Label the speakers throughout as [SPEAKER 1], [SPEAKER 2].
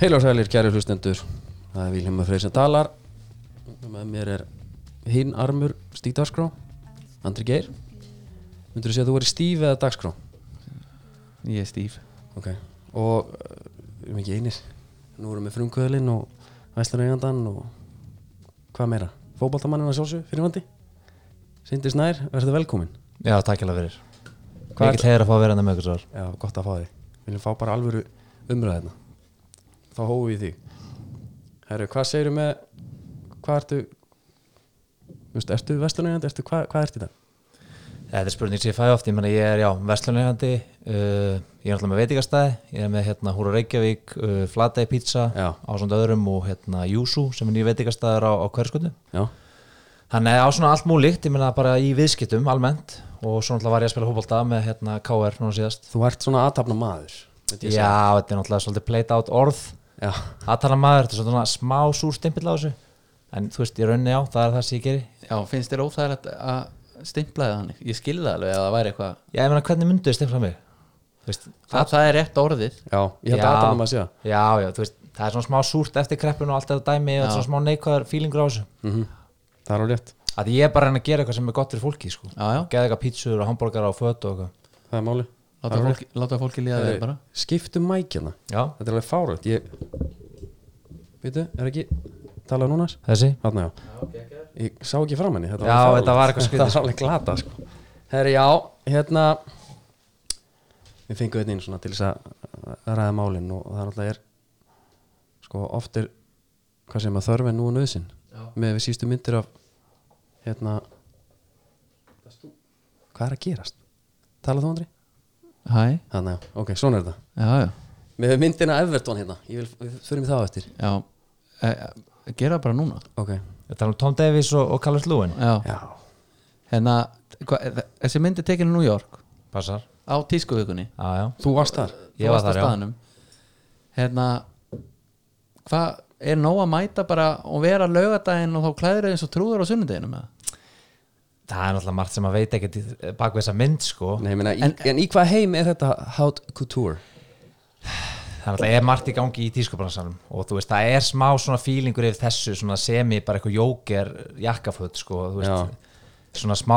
[SPEAKER 1] Heil og sælir, kæri hlustendur Það er Vilhelm Freyr sem talar Með mér er hinn armur Stíg Dagskrá, Andri Geir Myndur þú segja að þú verið stíf eða dagskrá?
[SPEAKER 2] Ég er stíf
[SPEAKER 1] Ok Og uh, við erum ekki einir Nú erum við frumkvöðlinn og Æslanaugandan og hvað meira? Fótboltamannina sjálfsög fyrir vandi Sindis nær, verður velkomin
[SPEAKER 3] Já, takk alveg fyrir
[SPEAKER 1] Hvað
[SPEAKER 3] Mikið hlæðir að fá að vera hérna með ykkur svar
[SPEAKER 1] Já, gott að fá þig Við viljum fá bara alvöru umræðina Þá hófum við í því Herru, hvað segirðu með Hvað ertu Þú veist, Ertu vestunægjandi, ertu, hvað, hvað ertu það?
[SPEAKER 3] Þetta er spurning sem ég fæ oft, ég meina ég er, já, verslunareigandi uh, Ég er náttúrulega með veitingastæði Ég er með hérna Húra Reykjavík, uh, Flatei Pizza
[SPEAKER 1] Já.
[SPEAKER 3] á svona öðrum og hérna Júsú sem er nýju veitingastæður á, á hverskutu
[SPEAKER 1] Já,
[SPEAKER 3] Þannig að á svona allt múlíkt, ég meina bara í viðskiptum almennt og svo náttúrulega var ég að spila hópalda með hérna KR núna síðast
[SPEAKER 1] þú ert svona aðtapna maður myndi ég
[SPEAKER 3] Já,
[SPEAKER 1] segja.
[SPEAKER 3] þetta er náttúrulega svolítið played out orð
[SPEAKER 1] Já,
[SPEAKER 3] aðtala maður, þetta er svona smá súr stimpill á þessu en þú veist, ég raunni á, það er það sem ég geri
[SPEAKER 2] Já, finnst þér óþægilegt að stimplaði það hannig? Ég skilði það alveg að það væri eitthvað
[SPEAKER 3] Já, ég meina, hvernig myndu þið stimpla mig? Þú veist,
[SPEAKER 2] það, það er rétt orðið
[SPEAKER 1] já, ég held að aðtapna maður sé það
[SPEAKER 3] já, já, þú veist, það er svona smá súrt eftir kreppun og allt þetta dæmi og svona smá neikvæðar fílingur á þessu
[SPEAKER 1] Mhm. Það er á rétt,
[SPEAKER 3] að ég er bara að reyna að gera eitthvað sem er gott fyrir fólki sko.
[SPEAKER 2] Já, já,
[SPEAKER 3] geða eitthvað pítsur og hambúrgar á föt og eitthvað
[SPEAKER 1] það er máli
[SPEAKER 2] láta, fólki, láta fólki líða vel bara
[SPEAKER 1] Skiptum mækjana
[SPEAKER 3] já,
[SPEAKER 1] Þetta er alveg fáröld Ég Veitu, er ekki Talað núna?
[SPEAKER 3] þessi
[SPEAKER 1] Þarna já Ég sá ekki fram henni þetta
[SPEAKER 3] Já,
[SPEAKER 1] alveg
[SPEAKER 3] þetta var eitthvað skrítið,
[SPEAKER 1] Þetta var alveg glata sko. Herri, já, hérna Við fengum þetta inn svona til þess að að ræða málin og það náttúrulega er sko oft er hvað sem að þörfin nú og nöðsinn með við sístu myndir af hérna Hvað er að gerast? Talað þú Andri?
[SPEAKER 2] Hæ,
[SPEAKER 1] Þannig, já, ok, svona er þetta
[SPEAKER 2] já, já,
[SPEAKER 1] Með myndina Everton hérna, ég vil, við förum í það á eftir
[SPEAKER 2] já. E, e, Gera það bara núna
[SPEAKER 1] Ok,
[SPEAKER 3] þetta er um Tom Davies og, og Callum Lewin
[SPEAKER 2] Já,
[SPEAKER 1] já,
[SPEAKER 2] hérna, hva, þessi mynd er tekinu New York
[SPEAKER 3] passar,
[SPEAKER 2] á tískuvikunni
[SPEAKER 3] já, já
[SPEAKER 1] þú varst þar
[SPEAKER 3] Ég
[SPEAKER 2] Þú
[SPEAKER 3] var
[SPEAKER 2] varst á
[SPEAKER 3] þar, já.
[SPEAKER 2] staðnum. Hérna, hvað, er nóg að mæta bara og vera lögadaginn og þá klæður eins og trúður á sunnudeginum eða?
[SPEAKER 3] það er náttúrulega margt sem að veita ekkert í- bak við þessa mynd sko.
[SPEAKER 1] Nei, ég meina, en, í, en í hvað heim er þetta Haute Couture?
[SPEAKER 3] það er náttúrulega margt í gangi í tískubransanum og þú veist, það er smá svona fílingur yfir þessu svona semi bara eitthvað jóker jakkaföt sko, þú veist, svona smá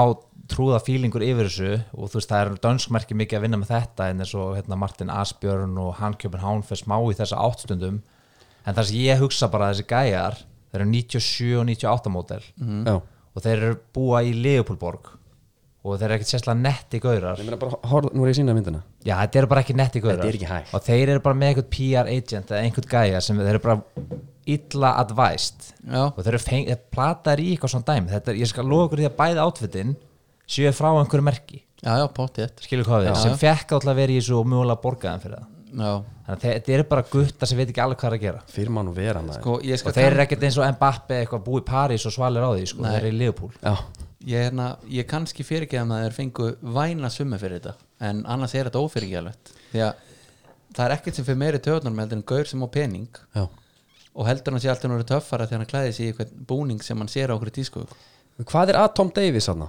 [SPEAKER 3] trúða fílingur yfir þessu og þú veist, það er dönskmerki mikið að vinna með þetta en eins og hérna, Martin Asbjörn og Hankjöpun Hánfess má í þessa áttstundum en það sem ég hugsa bara að þessi gæjar þeir eru 97 og 98 mótel
[SPEAKER 1] Já,
[SPEAKER 3] og þeir eru búa í Leopoldborg og þeir eru ekkert sérslega netti gaurar
[SPEAKER 1] ég meina bara, horf, nú er ég sína myndina
[SPEAKER 3] Já, þetta eru bara ekki netti gaurar
[SPEAKER 1] Þetta er ekki hægt.
[SPEAKER 3] Og þeir eru bara með einhvern PR agent eða einhvern gæja sem þeir eru bara illa advised
[SPEAKER 2] Já,
[SPEAKER 3] og þeir eru feng, þeir plataðir í eitthvað svona dæmi þetta er, ég skal lofa ykkur því að bæði átfittin séu frá einhverju merki
[SPEAKER 2] já, já, pottið
[SPEAKER 3] skilur hvað við,
[SPEAKER 2] Já,
[SPEAKER 3] sem
[SPEAKER 2] já.
[SPEAKER 3] fekk alltaf verið í þessu og mjögulega borgaðan fyrir það
[SPEAKER 2] Já,
[SPEAKER 3] þannig að þe- þetta eru bara gutta sem veit ekki alveg hvað er að gera
[SPEAKER 1] Fyrir mann og vera maður
[SPEAKER 2] sko, ég skal
[SPEAKER 3] og þeir eru ekkert eins og Mbappe eitthvað búið í París og svalir á því sko,
[SPEAKER 2] Nei.
[SPEAKER 3] þeir eru í Liverpool
[SPEAKER 1] Já,
[SPEAKER 2] ég, hérna, ég kannski fyrirgeðum að þeir fengu væna summa fyrir þetta en annars er þetta ófyrirgeðalegt því að það er ekkert sem fyrir meiri töðunar með um heldur en gaur sem á pening
[SPEAKER 1] já
[SPEAKER 2] og heldur hann sé alltaf náttúrulega töffara þegar hann klæði sig í eitthvað búning sem hann sér á okkur í tísku
[SPEAKER 1] Hvað er að Tom Davies hann?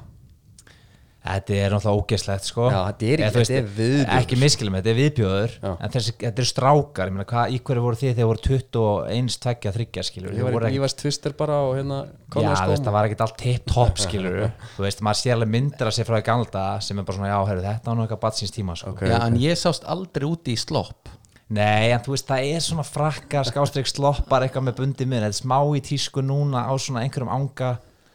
[SPEAKER 3] Þetta er náttúrulega ógeðslegt sko
[SPEAKER 1] Já, þetta er ekki-
[SPEAKER 3] Eða, þú
[SPEAKER 1] þetta er viðbjóður.
[SPEAKER 3] Ekki miskilum, þetta er viðbjöður
[SPEAKER 1] Já.
[SPEAKER 3] En þessi, þetta er strákar, ég meina hvað, í hverju voru þið þegar voru 21, 22, 30 skilur
[SPEAKER 1] Ég var í Ívars Twister bara og hérna
[SPEAKER 3] Já,
[SPEAKER 1] Conor
[SPEAKER 3] þú veist,
[SPEAKER 1] Stone.
[SPEAKER 3] það var ekkert allt tip-top skilur Þú veist, maður sér alveg myndir að sér frá í galda sem er bara svona, já, heyrðu, þetta var nú eitthvað batsins tíma sko.
[SPEAKER 1] Ok,
[SPEAKER 2] já,
[SPEAKER 1] ok.
[SPEAKER 2] en ég sást aldrei úti í slopp
[SPEAKER 3] Nei, en þú veist, það er svona frakkar skástrík sloppar eitthvað með bundi minn, þetta er smá í tísku núna á svona einhverjum anga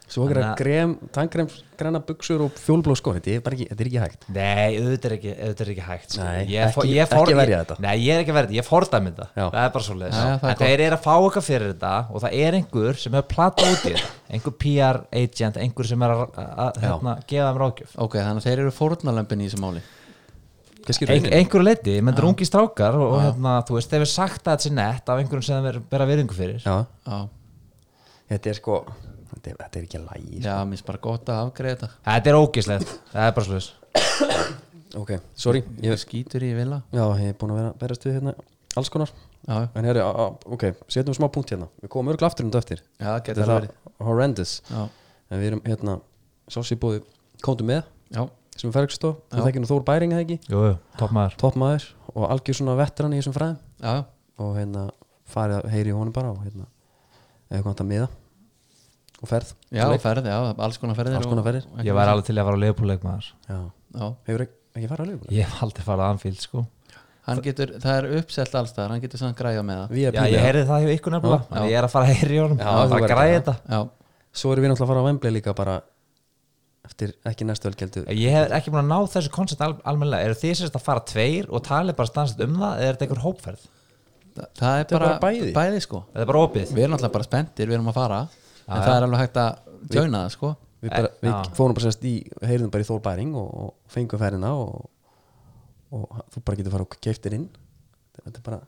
[SPEAKER 1] Svo ekki að
[SPEAKER 3] Þannig að-
[SPEAKER 1] grem, tangrem, græna buksur og fjólblóð skór Þetta er bara ekki, þetta er ekki hægt
[SPEAKER 3] Nei, auðvitað er ekki, auðvitað er ekki hægt sko.
[SPEAKER 1] Nei,
[SPEAKER 3] ég, fó-
[SPEAKER 1] ekki-
[SPEAKER 3] ég fór-
[SPEAKER 1] ekki verja
[SPEAKER 3] ég-
[SPEAKER 1] þetta.
[SPEAKER 3] Nei, ég er ekki verið, ég fordæmi þetta
[SPEAKER 1] Já.
[SPEAKER 3] Það er bara svo leiðis
[SPEAKER 2] Já, já, það er
[SPEAKER 3] En
[SPEAKER 2] gott.
[SPEAKER 3] þeir eru að fá eitthvað fyrir þetta og það er einhver sem hefur platað út í þetta einhver PR agent, einhver sem er að, að hérna, gefa þeim ráðgjöf
[SPEAKER 2] ok, þannig að þeir eru fórnarlömpin í þessu máli
[SPEAKER 1] Kannski
[SPEAKER 3] Ein,
[SPEAKER 1] raunin.
[SPEAKER 3] Einhverju leiti, menn það er ungi strákar og, og hérna, þú veist, þeir eru sagt að þetta sé nett af einhverjum sem þeir bera virðingu fyrir
[SPEAKER 1] Já,
[SPEAKER 2] já,
[SPEAKER 1] þetta er sko Þetta er, þetta er ekki lægi
[SPEAKER 2] já mér finnst bara gott að afgreða þetta
[SPEAKER 3] Þetta er ógislegt, það er bara svo leiðis
[SPEAKER 1] Ok, sorry
[SPEAKER 2] ég
[SPEAKER 1] ég,
[SPEAKER 2] skýtur í vila
[SPEAKER 1] Já, ég er búin að vera berast við hérna alls konar
[SPEAKER 2] já,
[SPEAKER 1] En herri, á- á- ok, setjum smá punkt hérna Við komum örgla aftur um þetta eftir
[SPEAKER 2] já,
[SPEAKER 1] Þetta
[SPEAKER 2] getur
[SPEAKER 1] er
[SPEAKER 2] það
[SPEAKER 1] það
[SPEAKER 2] verið
[SPEAKER 1] horrendous
[SPEAKER 2] já,
[SPEAKER 1] En við erum hérna, sósi búið Kóndu með,
[SPEAKER 2] já,
[SPEAKER 1] sem er Fergstó
[SPEAKER 2] Já.
[SPEAKER 1] Þú þekkir nú Þór Bæring eða ekki,
[SPEAKER 3] Jú, jú, topp maður
[SPEAKER 1] topp maður Og algjör svona vettran í þessum fræðum
[SPEAKER 2] já, já,
[SPEAKER 1] Og hérna, farið að heyri í honum bara og hérna, eða komið að miða og ferð
[SPEAKER 2] Já, ferði, já, alls konar ferðir
[SPEAKER 1] Alls konar ferðir.
[SPEAKER 2] og- og-
[SPEAKER 3] ég væri alveg til í að fara á leifbúleik maður
[SPEAKER 1] Já.
[SPEAKER 2] Já,
[SPEAKER 1] hefur ekki, ekki farið að lögulega
[SPEAKER 3] ég hef aldrei farið að Anfield sko
[SPEAKER 2] hann getur, það er uppsellt alls það hann getur samt græða með það
[SPEAKER 1] Við
[SPEAKER 3] já, ég heyrði það hjá ykkur nefnilega
[SPEAKER 2] Já.
[SPEAKER 3] þannig ég er að fara að heyri í honum
[SPEAKER 1] Já,
[SPEAKER 3] það
[SPEAKER 1] þú
[SPEAKER 3] er bara að
[SPEAKER 1] verður
[SPEAKER 3] græða
[SPEAKER 1] að-
[SPEAKER 3] þetta
[SPEAKER 2] Já,
[SPEAKER 1] Svo erum við náttúrulega að fara á Wembley líka bara eftir ekki næstu velgeldu
[SPEAKER 3] ég hef ekki búin að ná þessu koncept al almennilega eru þið sérst að fara tveir og talið bara stansast um það eða er þetta einhver hópferð
[SPEAKER 2] það, það er
[SPEAKER 1] er
[SPEAKER 2] bara,
[SPEAKER 1] bara bæði.
[SPEAKER 2] sko
[SPEAKER 3] eða bara opið
[SPEAKER 2] Við erum alltaf bara spenntir, við erum að fara en það er alveg hægt að tjóna það sko
[SPEAKER 1] Við, bara,
[SPEAKER 3] Eh,
[SPEAKER 1] við
[SPEAKER 3] já.
[SPEAKER 1] fórum bara sérst í heyrðum bara í Þór Bæring og, og fengum ferðina og, og þú bara getur fara og keiftir inn Þetta er bara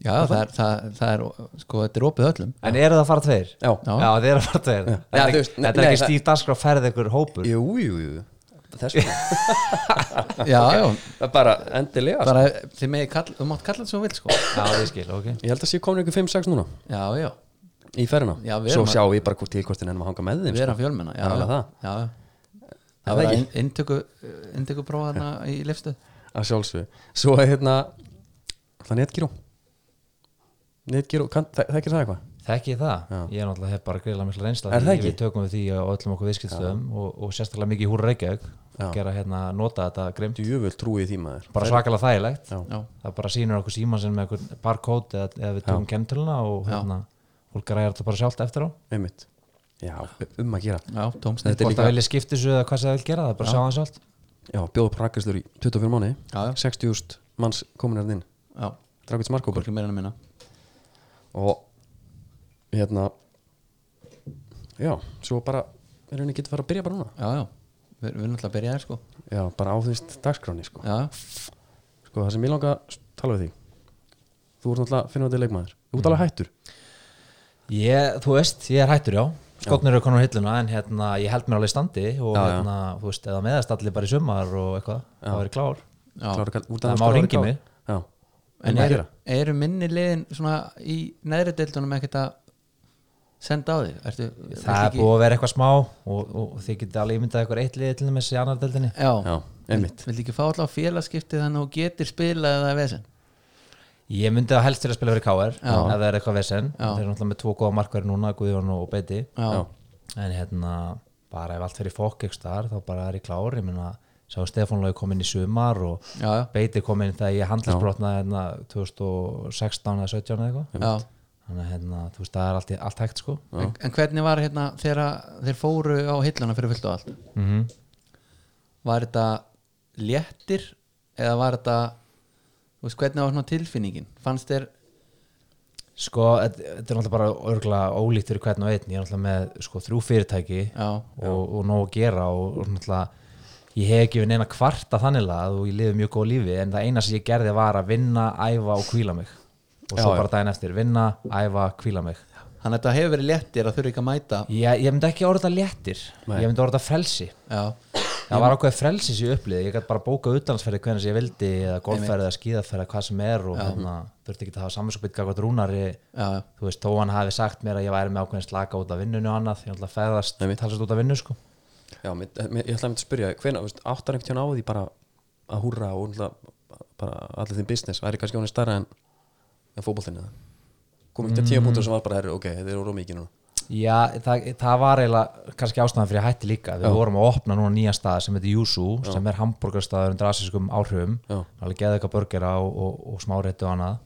[SPEAKER 2] Já, það er, það, það er, sko, þetta er opið öllum
[SPEAKER 3] en eru það að fara tveir?
[SPEAKER 1] Já,
[SPEAKER 2] Já.
[SPEAKER 3] já þið eru að fara tveir þetta
[SPEAKER 1] Já, þú
[SPEAKER 3] er ekki,
[SPEAKER 1] veist, nei,
[SPEAKER 3] þetta er
[SPEAKER 1] nei,
[SPEAKER 3] ekki
[SPEAKER 1] það-
[SPEAKER 3] stíf danskra ferð einhver hópur
[SPEAKER 1] jú, jú, jú Þess vegna
[SPEAKER 2] Já, já,
[SPEAKER 1] Það er bara endilega sko.
[SPEAKER 2] bara þið megi kall, þú mátt kalla þetta svo þú vilt sko
[SPEAKER 3] já ég skil, ok
[SPEAKER 1] Ég held að séu komin ykkur 5-6 núna
[SPEAKER 2] Já, já,
[SPEAKER 1] í ferðina
[SPEAKER 2] Já, við
[SPEAKER 1] Svo
[SPEAKER 2] erum að-
[SPEAKER 1] sjáum við bara hvort til hvort þið ennum að hanga með þeim
[SPEAKER 2] við
[SPEAKER 1] sko.
[SPEAKER 2] erum fjölmenna Já,
[SPEAKER 1] Það er alveg
[SPEAKER 2] já,
[SPEAKER 1] það.
[SPEAKER 2] já, já.
[SPEAKER 1] Það
[SPEAKER 2] Það var
[SPEAKER 1] ekki.
[SPEAKER 2] inn- inntöku, inntöku prófana í lifstuð
[SPEAKER 1] að sjálfsög Svo er hérna Það er netgíró Netgíró, kann- þek- þekkir það eitthvað?
[SPEAKER 3] Þekki ég það,
[SPEAKER 1] Já.
[SPEAKER 3] ég er náttúrulega hef bara greiðlega mikla reynsla
[SPEAKER 1] Er
[SPEAKER 3] því
[SPEAKER 1] það ekki?
[SPEAKER 3] Við tökum við því á öllum okkur viðskiptstöðum og, og sérstaklega mikið í húra Reykjavík
[SPEAKER 1] Já.
[SPEAKER 3] gera hérna, nota þetta grimt
[SPEAKER 1] Djöfull trúið því maður
[SPEAKER 3] bara svakalega þægilegt,
[SPEAKER 1] Já.
[SPEAKER 2] Já,
[SPEAKER 3] það bara sýnir okkur símansinn með einhver barcode eða, eða við tökum kemtöluna og
[SPEAKER 2] Já.
[SPEAKER 3] hérna, fólk ræðir þetta bara sjálft eftir á
[SPEAKER 1] einmitt Já, um að gera
[SPEAKER 2] já, tómsnið
[SPEAKER 1] Þetta er
[SPEAKER 3] hvort
[SPEAKER 1] líka-
[SPEAKER 3] það vilja skipta þessu eða hvað sem það vil gera það, er bara
[SPEAKER 2] Já.
[SPEAKER 3] sjá það sjálft
[SPEAKER 1] Já, bjóðu prakastur í 24 mánu
[SPEAKER 2] Já, já.
[SPEAKER 1] 60.000 manns komin hérna er þinn
[SPEAKER 2] Já,
[SPEAKER 1] Drakvits Markópur
[SPEAKER 2] hvorki meira en að minna
[SPEAKER 1] og hérna Já, svo bara er henni getur fara að byrja bara núna
[SPEAKER 2] Já, já, við, við erum alltaf að byrja þér sko
[SPEAKER 1] Já, bara á því dagskráni sko
[SPEAKER 2] Já,
[SPEAKER 1] Sko, það sem ég langa að tala við þig Þú ert náttúrulega finnandi leikmaður Þú ert alveg hættur
[SPEAKER 3] Ég, þú veist, ég er hættur já skotnir eru konur hilluna en hérna, ég held mér alveg í standi og
[SPEAKER 1] Já, já.
[SPEAKER 3] hérna, þú veist, eða meðast allir bara í sumar og eitthvað, það væri klár
[SPEAKER 2] já
[SPEAKER 1] Klára kall- út
[SPEAKER 3] Það
[SPEAKER 1] af
[SPEAKER 3] má
[SPEAKER 1] skráa
[SPEAKER 3] hringja
[SPEAKER 1] klár.
[SPEAKER 3] mig.
[SPEAKER 1] Já,
[SPEAKER 2] En
[SPEAKER 1] Hvað
[SPEAKER 2] eru,
[SPEAKER 1] gera?
[SPEAKER 2] eru minni liðin svona í neðri deildunum ekkert að senda á þig? Ertu,
[SPEAKER 3] Það er
[SPEAKER 2] ekki-
[SPEAKER 3] búið að vera eitthvað smá og, og þið getið alveg ímyndað eitthvað eitt liðið til þess í annar deildinni
[SPEAKER 2] Já,
[SPEAKER 1] Já, einmitt
[SPEAKER 2] vilt ekki fá alltaf félagskipti þannig að þú getir spilað eða vesen
[SPEAKER 3] Ég myndi að helst til að spila fyrir KR ef
[SPEAKER 2] Já.
[SPEAKER 3] það er eitthvað vesen
[SPEAKER 2] Já.
[SPEAKER 3] Þeir eru náttúrulega með tvo góða markverði núna, Guðjón og Beiti
[SPEAKER 1] Já.
[SPEAKER 3] En hérna, bara ef allt fyrir fokk ekki þar, þá bara er ég klár Ég meina, sá Stefán Lói kom inn í sumar og
[SPEAKER 2] já, já,
[SPEAKER 3] Beiti kom inn þegar ég handlisbrotnaði hérna 2016 eða 17 eða eitthvað
[SPEAKER 2] já.
[SPEAKER 3] Þannig að hérna, þú veist, það er allt, allt hægt sko
[SPEAKER 2] En, en hvernig var hérna þegar að þeir fóru á hilluna fyrir fullt og allt
[SPEAKER 3] mm
[SPEAKER 2] var þetta léttir eða var þetta þú veist, hvernig var svona tilfinningin fannst þér
[SPEAKER 3] Sko, þetta þetta er náttúrulega bara örgulega ólíkt fyrir hvern og einn Ég er náttúrulega með sko, þrjú fyrirtæki
[SPEAKER 2] já,
[SPEAKER 3] og, og nóg að gera og, og náttúrulega ég hef ekki verið neina kvarta þannig lað og ég lifi mjög góð lífi en það eina sem ég gerði var að vinna, æfa og kvíla mig og
[SPEAKER 1] Já,
[SPEAKER 3] svo
[SPEAKER 1] já.
[SPEAKER 3] bara daginn eftir, vinna, æfa, kvíla mig
[SPEAKER 2] þannig að þetta hefur verið léttir að þurfa ekki að mæta
[SPEAKER 3] ég, ég myndi ekki orða þetta léttir
[SPEAKER 1] Nei.
[SPEAKER 3] ég myndi orða þetta frelsi
[SPEAKER 2] já,
[SPEAKER 3] það var ákveð frelsi sem ég upplýði, ég gæti bara bókað utlandsferði hvernig sem ég vildi eða golfferði eða skíðaferði eða hvað sem er og hérna, þurfti ekki að hafa samvinskupið gagvart rúnari
[SPEAKER 2] já, já,
[SPEAKER 3] þú veist, þó hann hafi sagt mér að ég væri með ákveðin slaka út af vinnunni og annað, ég náttúrulega ferðast,
[SPEAKER 1] Einmitt.
[SPEAKER 3] talsast út af vinnu sko.
[SPEAKER 1] Já, mér, mér, ég ætla að mynda að spyrja hvena, veist, áttar einhvern tjón á því bara að húrra og náttúrulega bara allir þinn business væri kannski honum starra en, en fótboltinni það komið ekki að tíu punktur sem var bara herri, ok, þetta er úr ómikið núna
[SPEAKER 3] Já, það, það var eiginlega kannski ástæðan fyrir að hætti líka við vorum að opna núna nýja stað sem heitir Júsú sem er hambúrgarstaður undir asískum áhrifum
[SPEAKER 1] Já.
[SPEAKER 3] alveg geða eitthvað börgera og, og, og smáréttu og annað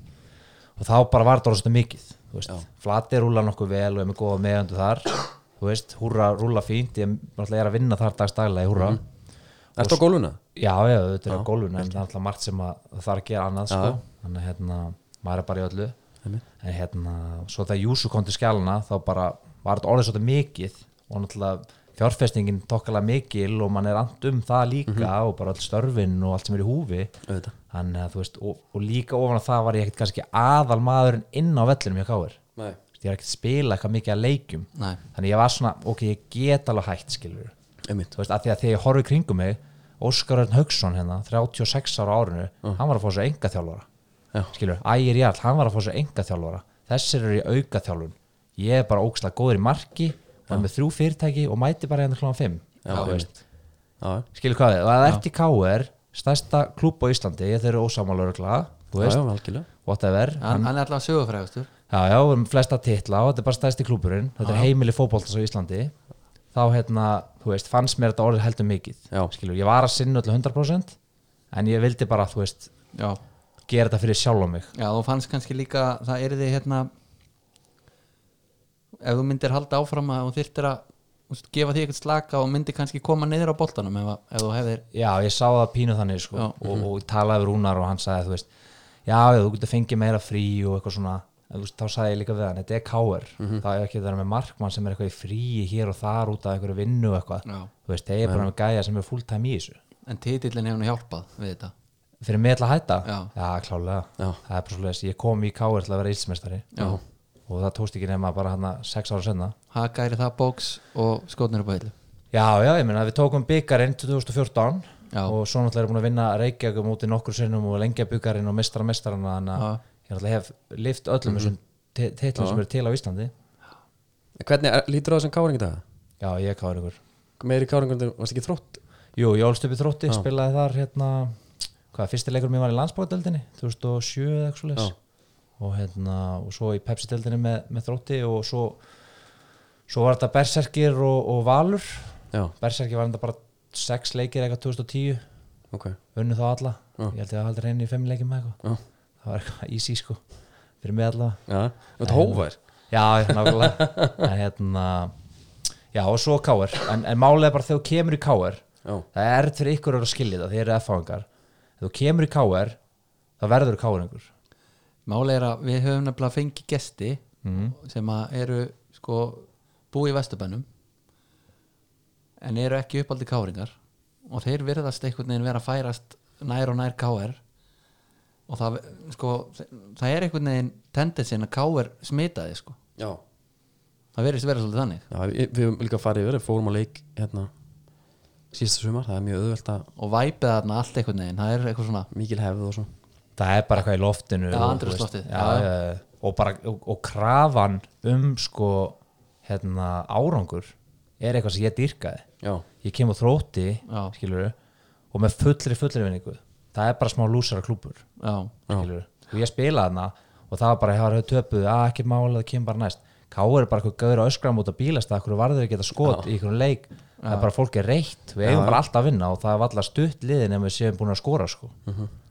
[SPEAKER 3] og þá bara var þetta orðast mikið þú veist, flati rúla nokkuð vel og er með góða meðandu þar þú veist, húra rúla fínt ég náttúrulega er að vinna þar dagstaglega í húra
[SPEAKER 1] Ertu á gólfuna?
[SPEAKER 3] Já, já, þetta er á gólfinu en það er alltaf margt sem að það þarf að gera annað sko. þannig að hérna, maður er bara í öllu en hérna, svo þegar Júsu kom til skjálana þá bara var þetta orðið svolítið mikið og náttúrulega fjárfestingin tokkalega mikil og mann er and um það líka og bara öll störfin og allt sem er í húfi
[SPEAKER 1] Auðvitað
[SPEAKER 3] þannig að þú veist, og, og líka ofan að það var ég ekkert kannski aðal maðurinn inn á vellinum hjá Káir
[SPEAKER 1] Nei
[SPEAKER 3] ég er ekkert að spila eitthvað mikið að leikjum
[SPEAKER 2] Nei.
[SPEAKER 3] þannig ég var svona, ok, ég get alveg hægt skilur
[SPEAKER 1] Einmitt
[SPEAKER 3] þú veist, að því að þegar ég horfi í kringum mig Óskar Örn Hauksson hérna, 36 ára á árinu hann var að fá sér enga
[SPEAKER 1] Já.
[SPEAKER 3] þjálfara skilur, Ægir Jarl, hann var að fá sér enga þjálfara þessir eru í auka þjálfun ég er bara ógslag góður í marki var með þrjú fyrirtæki og mæti bara hérna klóðan 5
[SPEAKER 1] Já, einmitt Já,
[SPEAKER 3] skilur hvað við, og það ert í KR stærsta klúb á Íslandi, þeir eru ósamálurugla þú
[SPEAKER 1] já,
[SPEAKER 3] veist,
[SPEAKER 1] já, algjörlega
[SPEAKER 3] whatever
[SPEAKER 2] hann, hann er alltaf sögufrægastur
[SPEAKER 3] já, já, við erum flesta titla og þetta er bara stæðst í klúburinn þetta er heimili fótboltas á Íslandi þá hérna, þú veist, fannst mér þetta orðið heldur mikið
[SPEAKER 1] Já.
[SPEAKER 3] skilur, ég var að sinna öllu 100% en ég vildi bara, þú veist,
[SPEAKER 2] já,
[SPEAKER 3] gera þetta fyrir sjálf á mig
[SPEAKER 2] já þú fannst kannski líka það er þið hérna ef þú myndir halda áfram að þú þyrtir að þú veist, gefa því eitthvað slaka og myndir kannski koma niður á boltanum ef, að- ef þú hefðir
[SPEAKER 3] já, ég sá það pínu þannig sko,
[SPEAKER 2] Já. mhm.
[SPEAKER 3] og, og ég talaði við Rúnar og hann sagði þú veist, já, já, þú getur fengið meira frí og eitthvað svona, en, þú veist, þá sagði ég líka við hann þetta er káir,
[SPEAKER 2] Mhm.
[SPEAKER 3] það er ekki að vera með markmann sem er eitthvað í fríi hér og þar út af einhverju vinnu og eitthvað,
[SPEAKER 2] Já.
[SPEAKER 3] þú veist, ég er bara með gæja sem er fulltime í þessu,
[SPEAKER 2] en titillin hefur nú hjálpað við þetta
[SPEAKER 3] fyrir mig til að hætta
[SPEAKER 2] Já.
[SPEAKER 3] klálega,
[SPEAKER 1] Já.
[SPEAKER 3] það er bara svo ég kom í káir til að vera íslmestari
[SPEAKER 2] Já.
[SPEAKER 3] og það tókst ekki nema bara hann sex ára senna
[SPEAKER 2] Hakæri það bóks og skotnir upp á hillu
[SPEAKER 3] Já, já, ég meina við tókum byggarinn 2014
[SPEAKER 2] Já.
[SPEAKER 3] og svo náttúrulega er búin að vinna Reykjavík á móti nokkur sinnum og lengja byggarinn og mistara mestarana þannig að
[SPEAKER 2] Já. Mhm.
[SPEAKER 3] ég náttúrulega hef lift öllum þessum mm titlum sem eru til á Íslandi
[SPEAKER 1] Hvernig er, lítur á þessum káring í dag?
[SPEAKER 3] Já, ég er káður ykkur
[SPEAKER 1] Meiri káringur, en þú varst ekki þrótt
[SPEAKER 3] Jú, ég ólst upp í þrótti, spilaði þar hérna hvað, fyrsti leikur mér var í landsbóðdeldinni 2007 eða eitthvað svoleiðis
[SPEAKER 1] Já.
[SPEAKER 3] og hérna, og svo í Pepsi-deldinni með, með þrótti og svo svo var þetta Berserkir og, og Valur
[SPEAKER 1] Já,
[SPEAKER 3] Berserkir var þetta bara sex leikir eitthvað 2010
[SPEAKER 1] ok
[SPEAKER 3] unnu þá alla ég held ég að haldi reyni í fimm leikjum með eitthvað
[SPEAKER 1] Já.
[SPEAKER 3] það var eitthvað easy sko fyrir mig allavega
[SPEAKER 1] Já, þú ert hófær
[SPEAKER 3] já, ég er nákvæmlega en hérna já og svo káir en, en málið er bara þegar þú kemur í káir
[SPEAKER 1] Já,
[SPEAKER 3] það er erfitt fyrir ykkur að skilja það þeir eru F-fangar þegar þú kemur í káir þá verður þú káir einhver
[SPEAKER 2] Máli er að við höfum nefnilega fengið gesti sem að eru sko búi í Vesturbænum en eru ekki uppaldi káringar og þeir virðast einhvern veginn vera að færast nær og nær káir og það sko það er einhvern veginn tendensin að káir smita þig sko
[SPEAKER 1] já
[SPEAKER 2] það verðist vera svolítið þannig
[SPEAKER 1] Já, við, við höfum líka farið yfir, við fórum á leik hérna síðasta sumar, það er mjög auðvelt að
[SPEAKER 2] og væpið þarna allt einhvern veginn það er eitthvað svona
[SPEAKER 1] mikil hefð og svo
[SPEAKER 3] það er bara eitthvað í loftinu
[SPEAKER 2] Já,
[SPEAKER 3] og,
[SPEAKER 2] andrúmsloftið,
[SPEAKER 3] þú veist,
[SPEAKER 2] já,
[SPEAKER 3] já, já, já. og, bara, og, og krafan um sko hérna, árangur er eitthvað sem ég dýrkaði
[SPEAKER 1] Já,
[SPEAKER 3] ég kem á þrótti
[SPEAKER 2] Já.
[SPEAKER 3] skilur, og með fullri fullri vinningu það er bara smá lúsara klúpur
[SPEAKER 2] já,
[SPEAKER 3] skilur, og ég spilaði hana og það var bara, það var töpuð, að ekki mála það kemur bara næst, K.R. er bara eitthvað gauður öskram út að bílast að hverju varður ekki að skot í einhverjum leik, það er bara fólk er reitt við eigum bara alltaf að vinna og það er alltaf stutt liðin ef við séum búin að skora sko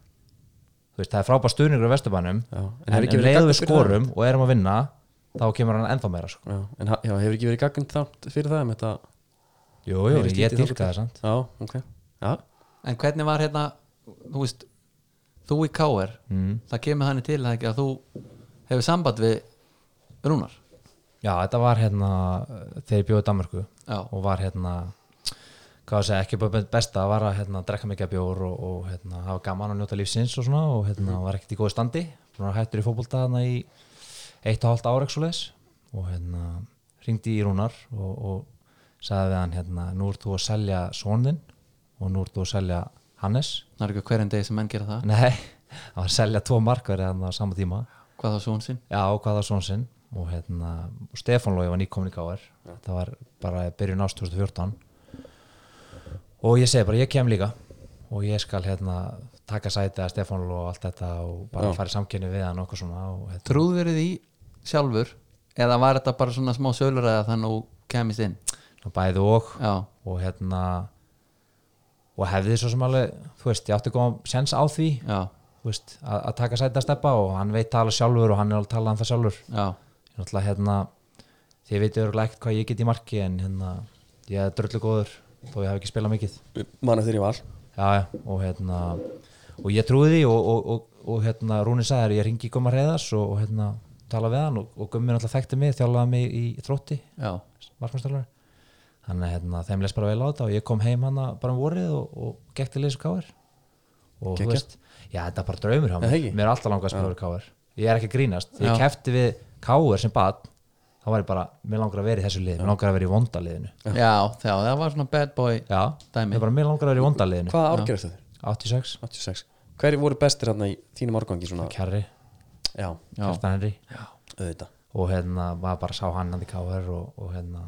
[SPEAKER 3] þú veist, það er frábæð stuðningur á Vesturbænum,
[SPEAKER 1] en
[SPEAKER 3] en,
[SPEAKER 1] hefur
[SPEAKER 3] en,
[SPEAKER 1] ekki verið
[SPEAKER 3] leiðu við
[SPEAKER 1] gagnrýnt fyrir
[SPEAKER 3] skorum og erum að vinna, þá kemur hann ennþá meira sko.
[SPEAKER 1] já, en ha- já, hefur ekki verið gaggrind þátt fyrir það um þetta
[SPEAKER 3] jú, jú,
[SPEAKER 1] Meiri
[SPEAKER 3] ég
[SPEAKER 1] skítið þangað
[SPEAKER 3] dýrka það sant
[SPEAKER 1] Já, ok Já,
[SPEAKER 2] En hvernig var hérna þú veist, þú í K.R. það kemur þannig til það ekki að þú hefur samband við Rúnar
[SPEAKER 3] Já, þetta var hérna uh, þegar ég bjóði Danmarku
[SPEAKER 2] Já.
[SPEAKER 3] og var hérna hvað að segja, ekki bara mitt besta var að hérna, drekka mikið af bjór og, og hérna, hafa gaman og njóta lífsins og svona og hérna, var ekkert í góðu standi Búin að vera hættur í fótbolta þarna í eitt og hálft ára ekki svo leis og hérna ringdi í Rúnar og, og sagði við hann hérna, nú ert þú að selja sonin og nú ert þú að selja Hannes
[SPEAKER 2] það er ekki hverjum degi sem menn gera það
[SPEAKER 3] Nei, það var að selja tvo markverði þarna á sama tíma
[SPEAKER 2] hvað þá svo hún sinn
[SPEAKER 3] Já, og hvað það svona sinn og hérna, og Stefán Lói var nýkomin í KR það var bara byrjun ást 2014 og ég segi bara, ég kem líka og ég skal hérna taka sæti að Stefán Lói og allt þetta og bara fara í samkynni við hann og okkur svona og hérna,
[SPEAKER 2] trúðverið í sjálfur eða var þetta bara svona smá söluræða þannig að þú kemist inn
[SPEAKER 3] og bæði og
[SPEAKER 2] já,
[SPEAKER 3] og hérna og hefði svo sem alveg, þú veist, ég átti góðan sens á því,
[SPEAKER 2] já,
[SPEAKER 3] þú veist, að, að taka sæti að Steppa og hann veit tala sjálfur og hann er alveg talað um það sjálfur
[SPEAKER 2] já,
[SPEAKER 3] ég náttúrulega hérna þið veitu örgulega ekkert hvað ég get í marki en hérna ég er dröllu góður þó ég hafi ekki spilað mikið
[SPEAKER 1] manna þeirri val
[SPEAKER 3] já, já, og hérna og ég trúi því og, og, og, og hérna Rúni sagði þér, ég ringi í Gumma Reyðars og, og hérna tala við hann og, og Gummi náttúrulega þekkti mig, þjálfaði mig í þrótti
[SPEAKER 2] já,
[SPEAKER 3] markmannstjálfari þannig að hérna, þeim les bara vel á þetta og ég kom heim hana bara um vorið og, og gekk til leysu káir og þú
[SPEAKER 1] Geggjað.
[SPEAKER 3] veist, já þetta er bara draumur hjá
[SPEAKER 1] Er
[SPEAKER 3] mér
[SPEAKER 1] það ekki?
[SPEAKER 3] mér er alltaf langað að spila fyrir káir ég er ekki að grínast,
[SPEAKER 2] Já.
[SPEAKER 3] ég kefti við káir sem bad þá var ég bara, mér langar að vera í þessu lið mér langar að vera í vondaliðinu já,
[SPEAKER 2] já, já það var svona bad boy Dæmi.
[SPEAKER 3] það er bara mér langar að vera í vondaliðinu
[SPEAKER 1] Hvaða ár gerist þetta?
[SPEAKER 3] 86,
[SPEAKER 1] 86 Hverju voru bestir hérna í þínum árgangi svona?
[SPEAKER 3] Kjarri,
[SPEAKER 1] Já,
[SPEAKER 2] já,
[SPEAKER 3] Kjartan Henry
[SPEAKER 1] auðvitað
[SPEAKER 3] og hérna maður bara sá hann hann í káir og, og hérna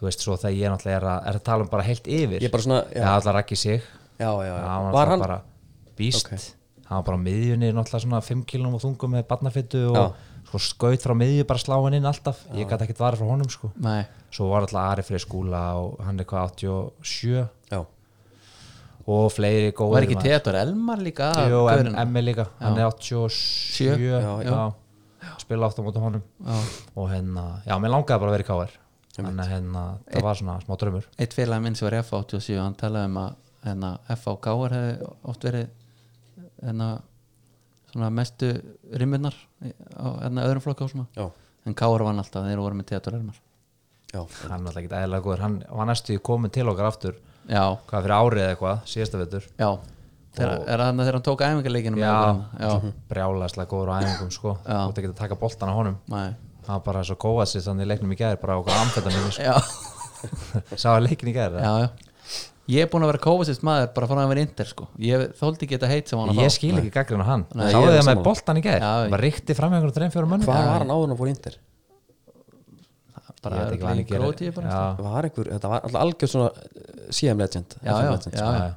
[SPEAKER 3] þú veist svo þegar ég náttúrulega er að, er að tala um bara heilt yfir
[SPEAKER 1] Ég er bara svona, já,
[SPEAKER 3] já, allar ekki sig
[SPEAKER 1] já, já, já.
[SPEAKER 3] Já, hann var,
[SPEAKER 1] Var
[SPEAKER 3] alltaf
[SPEAKER 1] hann?
[SPEAKER 3] bara býst
[SPEAKER 1] Ok.
[SPEAKER 3] hann var bara á miðjunni náttúrulega svona 5 kilónum og þungum með barnafittu og
[SPEAKER 1] Já.
[SPEAKER 3] sko skaut frá miðju bara slá hann inn alltaf ég gæti ekkert varð frá honum sko
[SPEAKER 2] Nei,
[SPEAKER 3] svo var alltaf Ari Frey skúla og hann er hvað 87
[SPEAKER 1] já,
[SPEAKER 3] og fleiri góðir
[SPEAKER 2] var ekki
[SPEAKER 3] maður.
[SPEAKER 2] Teodor Elmar líka að
[SPEAKER 3] Jú, em,
[SPEAKER 2] gaurinn?
[SPEAKER 3] Emmi líka, hann er 87
[SPEAKER 2] Sjö,
[SPEAKER 3] já,
[SPEAKER 2] já.
[SPEAKER 3] spila átt á móti honum
[SPEAKER 2] Já.
[SPEAKER 3] og hérna, já, mér langaði bara að vera í KR þannig að hérna, það var svona smá draumur
[SPEAKER 2] Eitt félag minn sem var í F87 hann talaði um að hérna, FHKR hefði oft verið hérna, svona mestu rimmunar á hérna, öðrum flokka og svona
[SPEAKER 1] já,
[SPEAKER 2] en KR vann alltaf þegar voru með Teodor Elmar
[SPEAKER 1] já,
[SPEAKER 3] hann var alltaf ekki eðlilega góður, hann var næstu í komin til okkar aftur,
[SPEAKER 2] Já,
[SPEAKER 3] hvað fyrir árið eða eitthvað síðasta vettur,
[SPEAKER 2] já þegar, er þarna þegar hann tók æfingarleikinu
[SPEAKER 3] Já. Mhm.
[SPEAKER 2] já,
[SPEAKER 3] brjálæslega góður á æfingum sko,
[SPEAKER 2] Já.
[SPEAKER 3] þú ert ekki að taka boltan á honum
[SPEAKER 2] Nei.
[SPEAKER 3] hann var bara svo góðað sér þannig í leiknum í gæðir bara okkur amfetamin,
[SPEAKER 2] já,
[SPEAKER 3] sko. sá að leikin í gæðir
[SPEAKER 2] já, já Ég er búinn að vera kófasist maður bara frá að vera inter sko Ég þóldi ekki þetta heit sem hann að
[SPEAKER 3] ég
[SPEAKER 2] fá
[SPEAKER 3] skil ekki gaggrinu hann,
[SPEAKER 2] Nei,
[SPEAKER 1] ég
[SPEAKER 3] sáðu
[SPEAKER 1] er
[SPEAKER 3] þið með
[SPEAKER 1] sammála.
[SPEAKER 3] boltan í gæðir,
[SPEAKER 2] Já, ég-
[SPEAKER 3] bara ríkti fram einhvern þreim fjórum mönnum
[SPEAKER 1] hvað var hann áður en að fór índir?
[SPEAKER 2] bara
[SPEAKER 3] Ég veit ekki hvað hann
[SPEAKER 2] örugglega í
[SPEAKER 3] gerir.
[SPEAKER 2] gróti bara
[SPEAKER 3] Já.
[SPEAKER 1] Var einhver, þetta var alltaf algjör svona eh, CM legend,
[SPEAKER 2] Já,
[SPEAKER 1] FM
[SPEAKER 2] já,
[SPEAKER 1] legend
[SPEAKER 2] já, já.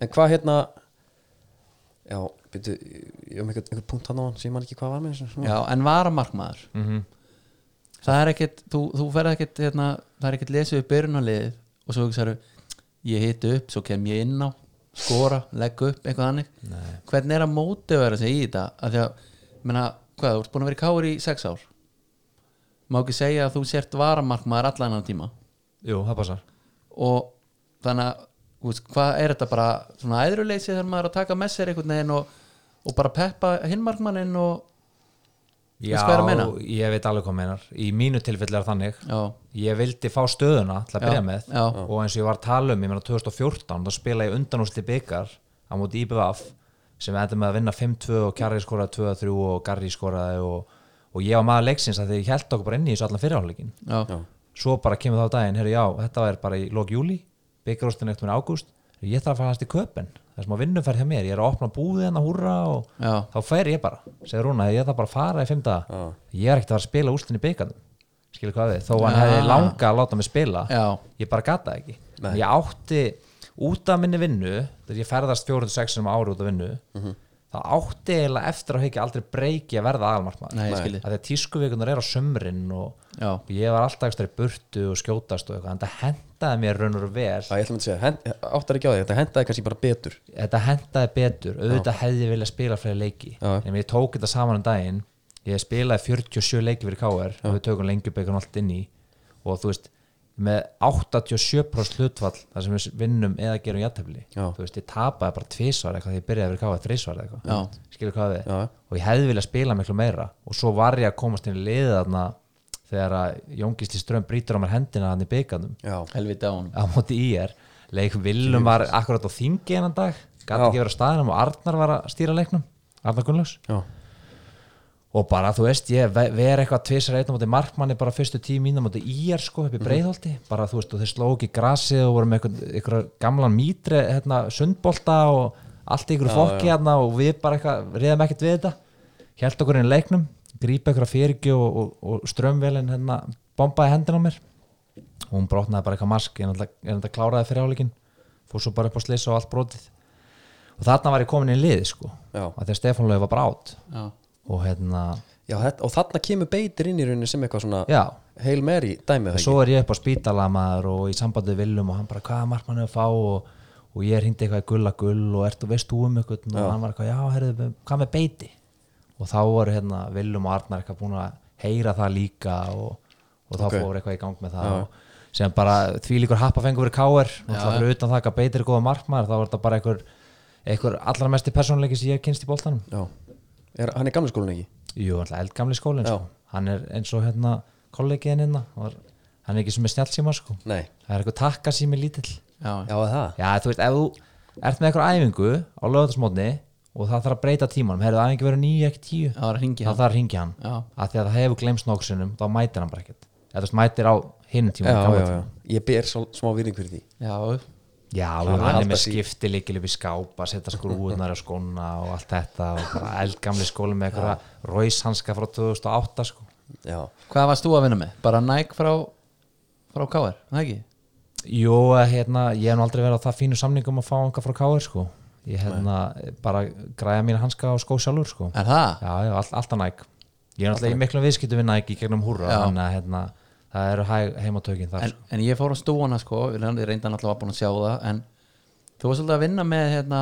[SPEAKER 1] En hvað hérna Já, byrju, ég hef einhvern einhver punkt hann á hann sem ég man ekki hvað var með þessu
[SPEAKER 2] Já, en varamarkmaður Það er ekkit, þú, þú ferð ekkit hérna, það er ekkit lesið upp byrjunarliðið og svo hugsaðu, ég hiti upp svo kem ég inn á, skora, legg upp eitthvað þannig, Nei. hvernig er að móti vera sig í þetta, að því að menna, hvað, þú ert búin að vera í káur í sex ár má ekki segja að þú sért varamarkmaður allan annan tíma
[SPEAKER 3] Jú, það passar
[SPEAKER 2] og þannig að þú veist, hvað er þetta bara svona æðruleysi þegar maður er að taka með sér einhvern veginn og, og bara peppa hinmarkmannin og
[SPEAKER 3] Já,
[SPEAKER 2] Veistu hvað ég er að meina?
[SPEAKER 3] ég veit alveg hvað meinar Í mínu tilfelli er þannig
[SPEAKER 2] já,
[SPEAKER 3] Ég vildi fá stöðuna til að
[SPEAKER 2] Já,
[SPEAKER 3] byrja með
[SPEAKER 2] já.
[SPEAKER 3] og eins og ég var að tala um, ég meina 2014 þá spila ég undanúsli byggar á móti IBVF sem endur með að vinna 5-2 og Kjarri skoraði 2-3 og Garri skoraði og, og ég var maður leiksins að því ég held okkur bara inn í þessu allan fyrirháleikin
[SPEAKER 2] já,
[SPEAKER 1] Já,
[SPEAKER 3] svo bara kemur þá daginn, herru já, þetta er bara í lok júli, byggarústin eftir með ágúst ég þarf að fara hans til köpen, það er smá vinnuferð hjá mér, ég er að opna búðið hennar húra og
[SPEAKER 2] já.
[SPEAKER 3] þá fær ég bara, segir hún að ég þarf bara að fara í fymta,
[SPEAKER 1] Já.
[SPEAKER 3] ég er ekkert að fara að spila úrslinni byggarnum, skilur hvað við þó hann
[SPEAKER 2] Já.
[SPEAKER 3] hefði langa að láta mig spila
[SPEAKER 2] Já.
[SPEAKER 3] ég bara gata ekki, ég átti út af minni vinnu, þegar ég ferðast 4-6 um ári út af vinnu þá átti eiginlega eftir að hekja aldrei breyki að verða aðalmarkmaður
[SPEAKER 2] Nei, ég
[SPEAKER 3] að
[SPEAKER 2] skil þig.
[SPEAKER 3] því að tískuvikunar er á sömrin og
[SPEAKER 2] Já.
[SPEAKER 3] ég var alltaf ekstra í burtu og skjótast og eitthvað, en það hendaði mér raun og vel
[SPEAKER 1] Já, ég ætlum að segja, hent, áttar ekki á því, þetta hendaði kannski bara betur
[SPEAKER 3] þetta hendaði betur auðvitað hefði ég viljað spila fleiri leiki
[SPEAKER 1] Já.
[SPEAKER 3] en ég tók þetta saman um daginn ég spilaði 47 leiki fyrir KR og við tökum lengjubikarn allt inn í og þú veist, með 87% hlutfall þar sem við vinnum eða gerum jættefli,
[SPEAKER 1] Já.
[SPEAKER 3] þú veist, ég tapaði bara tvisvar eitthvað þegar ég byrjaði fyrir KR þrisvar eða
[SPEAKER 2] Já.
[SPEAKER 3] eitthvað, skilur hvað við
[SPEAKER 1] Já.
[SPEAKER 3] og ég hefði viljað spila miklu meira og svo var ég að komast inn í liðið þarna þegar að Jóngisli Ström brýtur á mér hendina hann í byggarnum
[SPEAKER 1] Já,
[SPEAKER 2] helviti á honum
[SPEAKER 3] á móti IR leik Willum var akkurat á þingi enan dag gæti
[SPEAKER 1] Já.
[SPEAKER 3] ekki verið á staðinum og Arnar var að stýra leiknum Arnar Gunnlaugs
[SPEAKER 1] já,
[SPEAKER 3] og bara þú veist ég ve- ver eitthvað tvisar einn á móti markmanni bara fyrstu tíu mínu móti IR sko upp í breiðholti bara þú veist og þeir sló ekki grasið og voru með einhvern- einhverja gamlan mítri hérna sundbolta og allt í einhverju fokki hérna og við bara eitthvað reyðum ekkert við þetta held okkur inn í leiknum grípa einhverja fyrirgju og, og, og strömvelin hérna bombaði hendina á mér og hún brotnaði bara eitthvað mask en þetta kláraði fyrir áleikin fór svo bara upp á slisa og allt brotið og þarna var ég komin inn í liði sko
[SPEAKER 1] Já.
[SPEAKER 3] að þegar Stefán Löf var bara átt
[SPEAKER 2] já.
[SPEAKER 3] og hérna
[SPEAKER 1] já þetta, og þarna kemur beitir inn í rauninni sem eitthvað svona
[SPEAKER 3] Já,
[SPEAKER 1] Hail Mary dæmið það
[SPEAKER 3] svo er ég upp á spítalamaður og í sambandi við Viljum og hann bara hvaða markmann er að fá og, og ég hringdi eitthvað í gulla gull og ertu veist þú um eitthvað og hann var eitthvað, já, herrðu, hvað með beiti og þá voru hérna Viljum og Arnar eitthvað búin að heyra það líka og, og þá
[SPEAKER 1] Ok.
[SPEAKER 3] fór eitthvað í gang með það og, sem bara því líkur happafengur fyrir káir og það fyrir utan það að beiti er góða markmann þá var þetta bara einhver, einhver allra mesti persónleiki sem ég hef kynst í boltanum
[SPEAKER 1] ekki Já, er, hann er gamla skólan ekki
[SPEAKER 3] Jú, alltaf eldgamli skólinn
[SPEAKER 1] Já.
[SPEAKER 3] sko. hann er eins og hérna kollegiðin hérna, var- hann er ekki sem er snjálfsíma sko.
[SPEAKER 1] Nei,
[SPEAKER 3] það er eitthvað takka sími lítill
[SPEAKER 2] Já.
[SPEAKER 1] já, er það
[SPEAKER 3] Já, þú veist, ef þú ert með eitthvað æfingu á lögatarsmótni og það þarf að breyta tímanum, heyrðu æfingu verið nýju ekki tíu
[SPEAKER 2] það var að ringi
[SPEAKER 3] það
[SPEAKER 2] hann
[SPEAKER 3] þarf að ringja hann,
[SPEAKER 2] Já.
[SPEAKER 3] af því að það hefur glemst nóksunum, þá mætir hann bara ekkert eða þú veist, mætir á hinn
[SPEAKER 1] Já,
[SPEAKER 3] tímanum
[SPEAKER 1] já,
[SPEAKER 3] gamla
[SPEAKER 1] já, ég ber svo, smá virðing fyrir því
[SPEAKER 2] já,
[SPEAKER 3] Já,
[SPEAKER 1] er
[SPEAKER 3] og hann er
[SPEAKER 1] alltaf
[SPEAKER 3] með
[SPEAKER 1] sí-
[SPEAKER 3] skipti líkil upp í skápa, setja skrúðunar á skóna og allt þetta og bara eldgamli skóli með eitthvað rauðshanska frá 2008 sko.
[SPEAKER 1] Já,
[SPEAKER 2] hvað varst þú að vinna með? bara Nike frá frá KR, það ekki?
[SPEAKER 3] Jó, eh, hérna, ég hef nú aldrei verið á það fínu samningum að fá einhver frá Káir sko. Ég hérna, bara græða mín hanska og skó sjálfur sko.
[SPEAKER 2] er það?
[SPEAKER 3] Já, já, all, alltaf næk ég er náttúrulega í miklum viðskiptum við Nike í gegnum húra
[SPEAKER 2] Já.
[SPEAKER 3] þannig að hérna, það eru hæg, heimatökin þar sko.
[SPEAKER 2] en, en ég fór á stúana sko við reyndan alltaf að búin að sjá það en þú varst svolítið að vinna með hérna,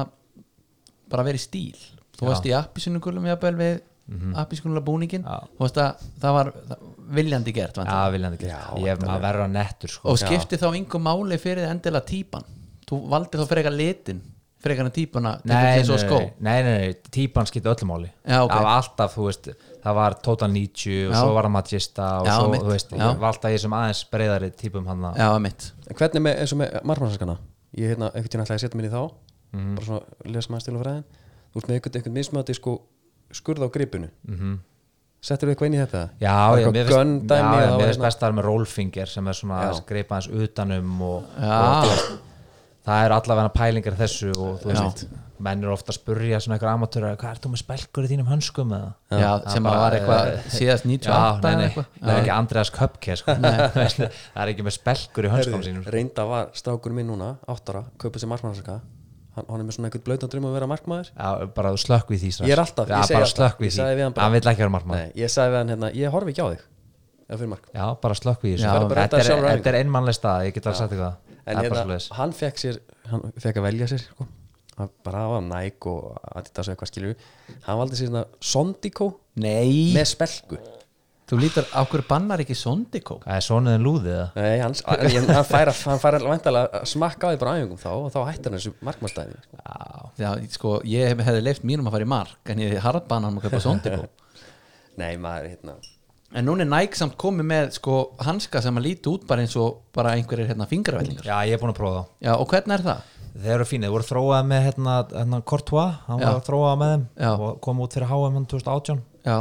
[SPEAKER 2] bara að vera í stíl þú
[SPEAKER 3] Já. Mhm.
[SPEAKER 2] varst í appisunugulum jafnvel við mm -hmm. búningin
[SPEAKER 3] Já.
[SPEAKER 2] þú varst að það var það, viljandi gert
[SPEAKER 3] já,
[SPEAKER 2] ja,
[SPEAKER 3] viljandi gert, ég hef maður verður að nettur sko.
[SPEAKER 2] og skipti þá yngu máli fyrir þið endilega típan þú valdi þá frekar litin frekar en típana til
[SPEAKER 3] nei, nei,
[SPEAKER 2] þess að skó
[SPEAKER 3] nei, nei, nei, nei, típan skipti öllu máli
[SPEAKER 2] Já, ok.
[SPEAKER 3] það var alltaf, þú veist, það var Total 90 og
[SPEAKER 2] Já.
[SPEAKER 3] svo var það Magista og
[SPEAKER 2] Já,
[SPEAKER 3] svo,
[SPEAKER 2] mitt.
[SPEAKER 3] þú veist,
[SPEAKER 2] Já.
[SPEAKER 3] ég var alltaf ég sem aðeins breyðari típum hann að
[SPEAKER 2] já, mitt
[SPEAKER 1] En hvernig með, eins og með margmannsaskana Ég hérna, einhvern tíðan ætlaði að setja mér í þá
[SPEAKER 3] Mhm.
[SPEAKER 1] Bara svona, lesa maður stil og fræðin Þú ert með einhvern, einhvern mismöti sko Skurð á gripinu mm -hmm. Settur þú eitthvað inn í þetta?
[SPEAKER 3] Mhm. Já,
[SPEAKER 1] Bara
[SPEAKER 3] ég,
[SPEAKER 1] eitthvað
[SPEAKER 3] mér finnst, já,
[SPEAKER 1] gunndæmi
[SPEAKER 3] ég,
[SPEAKER 1] á
[SPEAKER 3] mér finnst
[SPEAKER 1] hérna-
[SPEAKER 3] best að vera með rollfinger sem er svona að skreipa hans utanum og,
[SPEAKER 2] Já.
[SPEAKER 3] og þú veist, það er allavega pælingar í þessu og þú veist, menn eru ofta að spurja svona einhver amatúra, hvað ert þú með spelkur í þínum hönskum eða?
[SPEAKER 2] já, sem
[SPEAKER 3] bara,
[SPEAKER 2] að var eitthvað
[SPEAKER 3] eh,
[SPEAKER 2] síðast
[SPEAKER 3] Já,
[SPEAKER 2] 98
[SPEAKER 3] nei,
[SPEAKER 2] eða
[SPEAKER 3] nei,
[SPEAKER 2] eitthvað.
[SPEAKER 3] það er ekki Andreas Köpke sko. það er ekki með spelkur í hönskum sínum sko.
[SPEAKER 1] Reynda var strákur minn núna, áttara Kaupið sér margmannsaskana hann, hann er með svona einhvern blautan drömm að vera markmaður
[SPEAKER 3] Já, bara þú slökk við því strax.
[SPEAKER 1] Ég er alltaf,
[SPEAKER 3] já,
[SPEAKER 1] ég segi
[SPEAKER 3] bara
[SPEAKER 1] alltaf.
[SPEAKER 3] slökk
[SPEAKER 1] Ég
[SPEAKER 3] við því,
[SPEAKER 1] sagði við hann
[SPEAKER 3] hann,
[SPEAKER 1] bara-
[SPEAKER 3] vill ekki vera markmann
[SPEAKER 1] Nei, ég sagði við hann hérna, ég horfi ekki á þig Ef fyrir mark
[SPEAKER 3] já, bara slökk við því
[SPEAKER 2] Já,
[SPEAKER 3] svo.
[SPEAKER 1] bara
[SPEAKER 3] þetta,
[SPEAKER 1] reddaði
[SPEAKER 3] er-
[SPEAKER 1] sjálfur æfingu.
[SPEAKER 3] þetta er einmannlega stað, ég get alveg sagt eitthvað
[SPEAKER 1] En
[SPEAKER 3] það er bara
[SPEAKER 1] hérna,
[SPEAKER 3] slúðis
[SPEAKER 1] hann fekk sér hann fekk að velja sér sko. Hann bara var næk og Adidas og eitthvað skilur hann valdi sér svona Sondiko
[SPEAKER 2] nei,
[SPEAKER 1] með spelku
[SPEAKER 2] þú lítur, á hverju bannar ekki sondikó
[SPEAKER 3] það er sonuðin lúðið eða?
[SPEAKER 1] Nei, hans, en ég- hann fær, að- hann fær vantalega að smakka á því bara á æfingum þá og þá hættir hann þessu markmannstæði sko.
[SPEAKER 3] já,
[SPEAKER 2] Já, sko, ég hef- hefði leift mínum að fara í mark en ég harðbana hann að kaupa sondikó
[SPEAKER 1] Nei, maður, hérna
[SPEAKER 2] en núna er Nike samt komið með sko, hanska sem að líti út bara eins og bara einhverjir hérna fingravellingar
[SPEAKER 3] já, ég er búin að prófa þá
[SPEAKER 2] Já, og hvernig er það?
[SPEAKER 3] þeir eru fínir, þeir voru þróað með hérna, hérna Courtois, hann
[SPEAKER 2] Já.
[SPEAKER 3] var þróað með þeim
[SPEAKER 2] Já.
[SPEAKER 3] og kom út fyrir HM hann 2018
[SPEAKER 2] Já,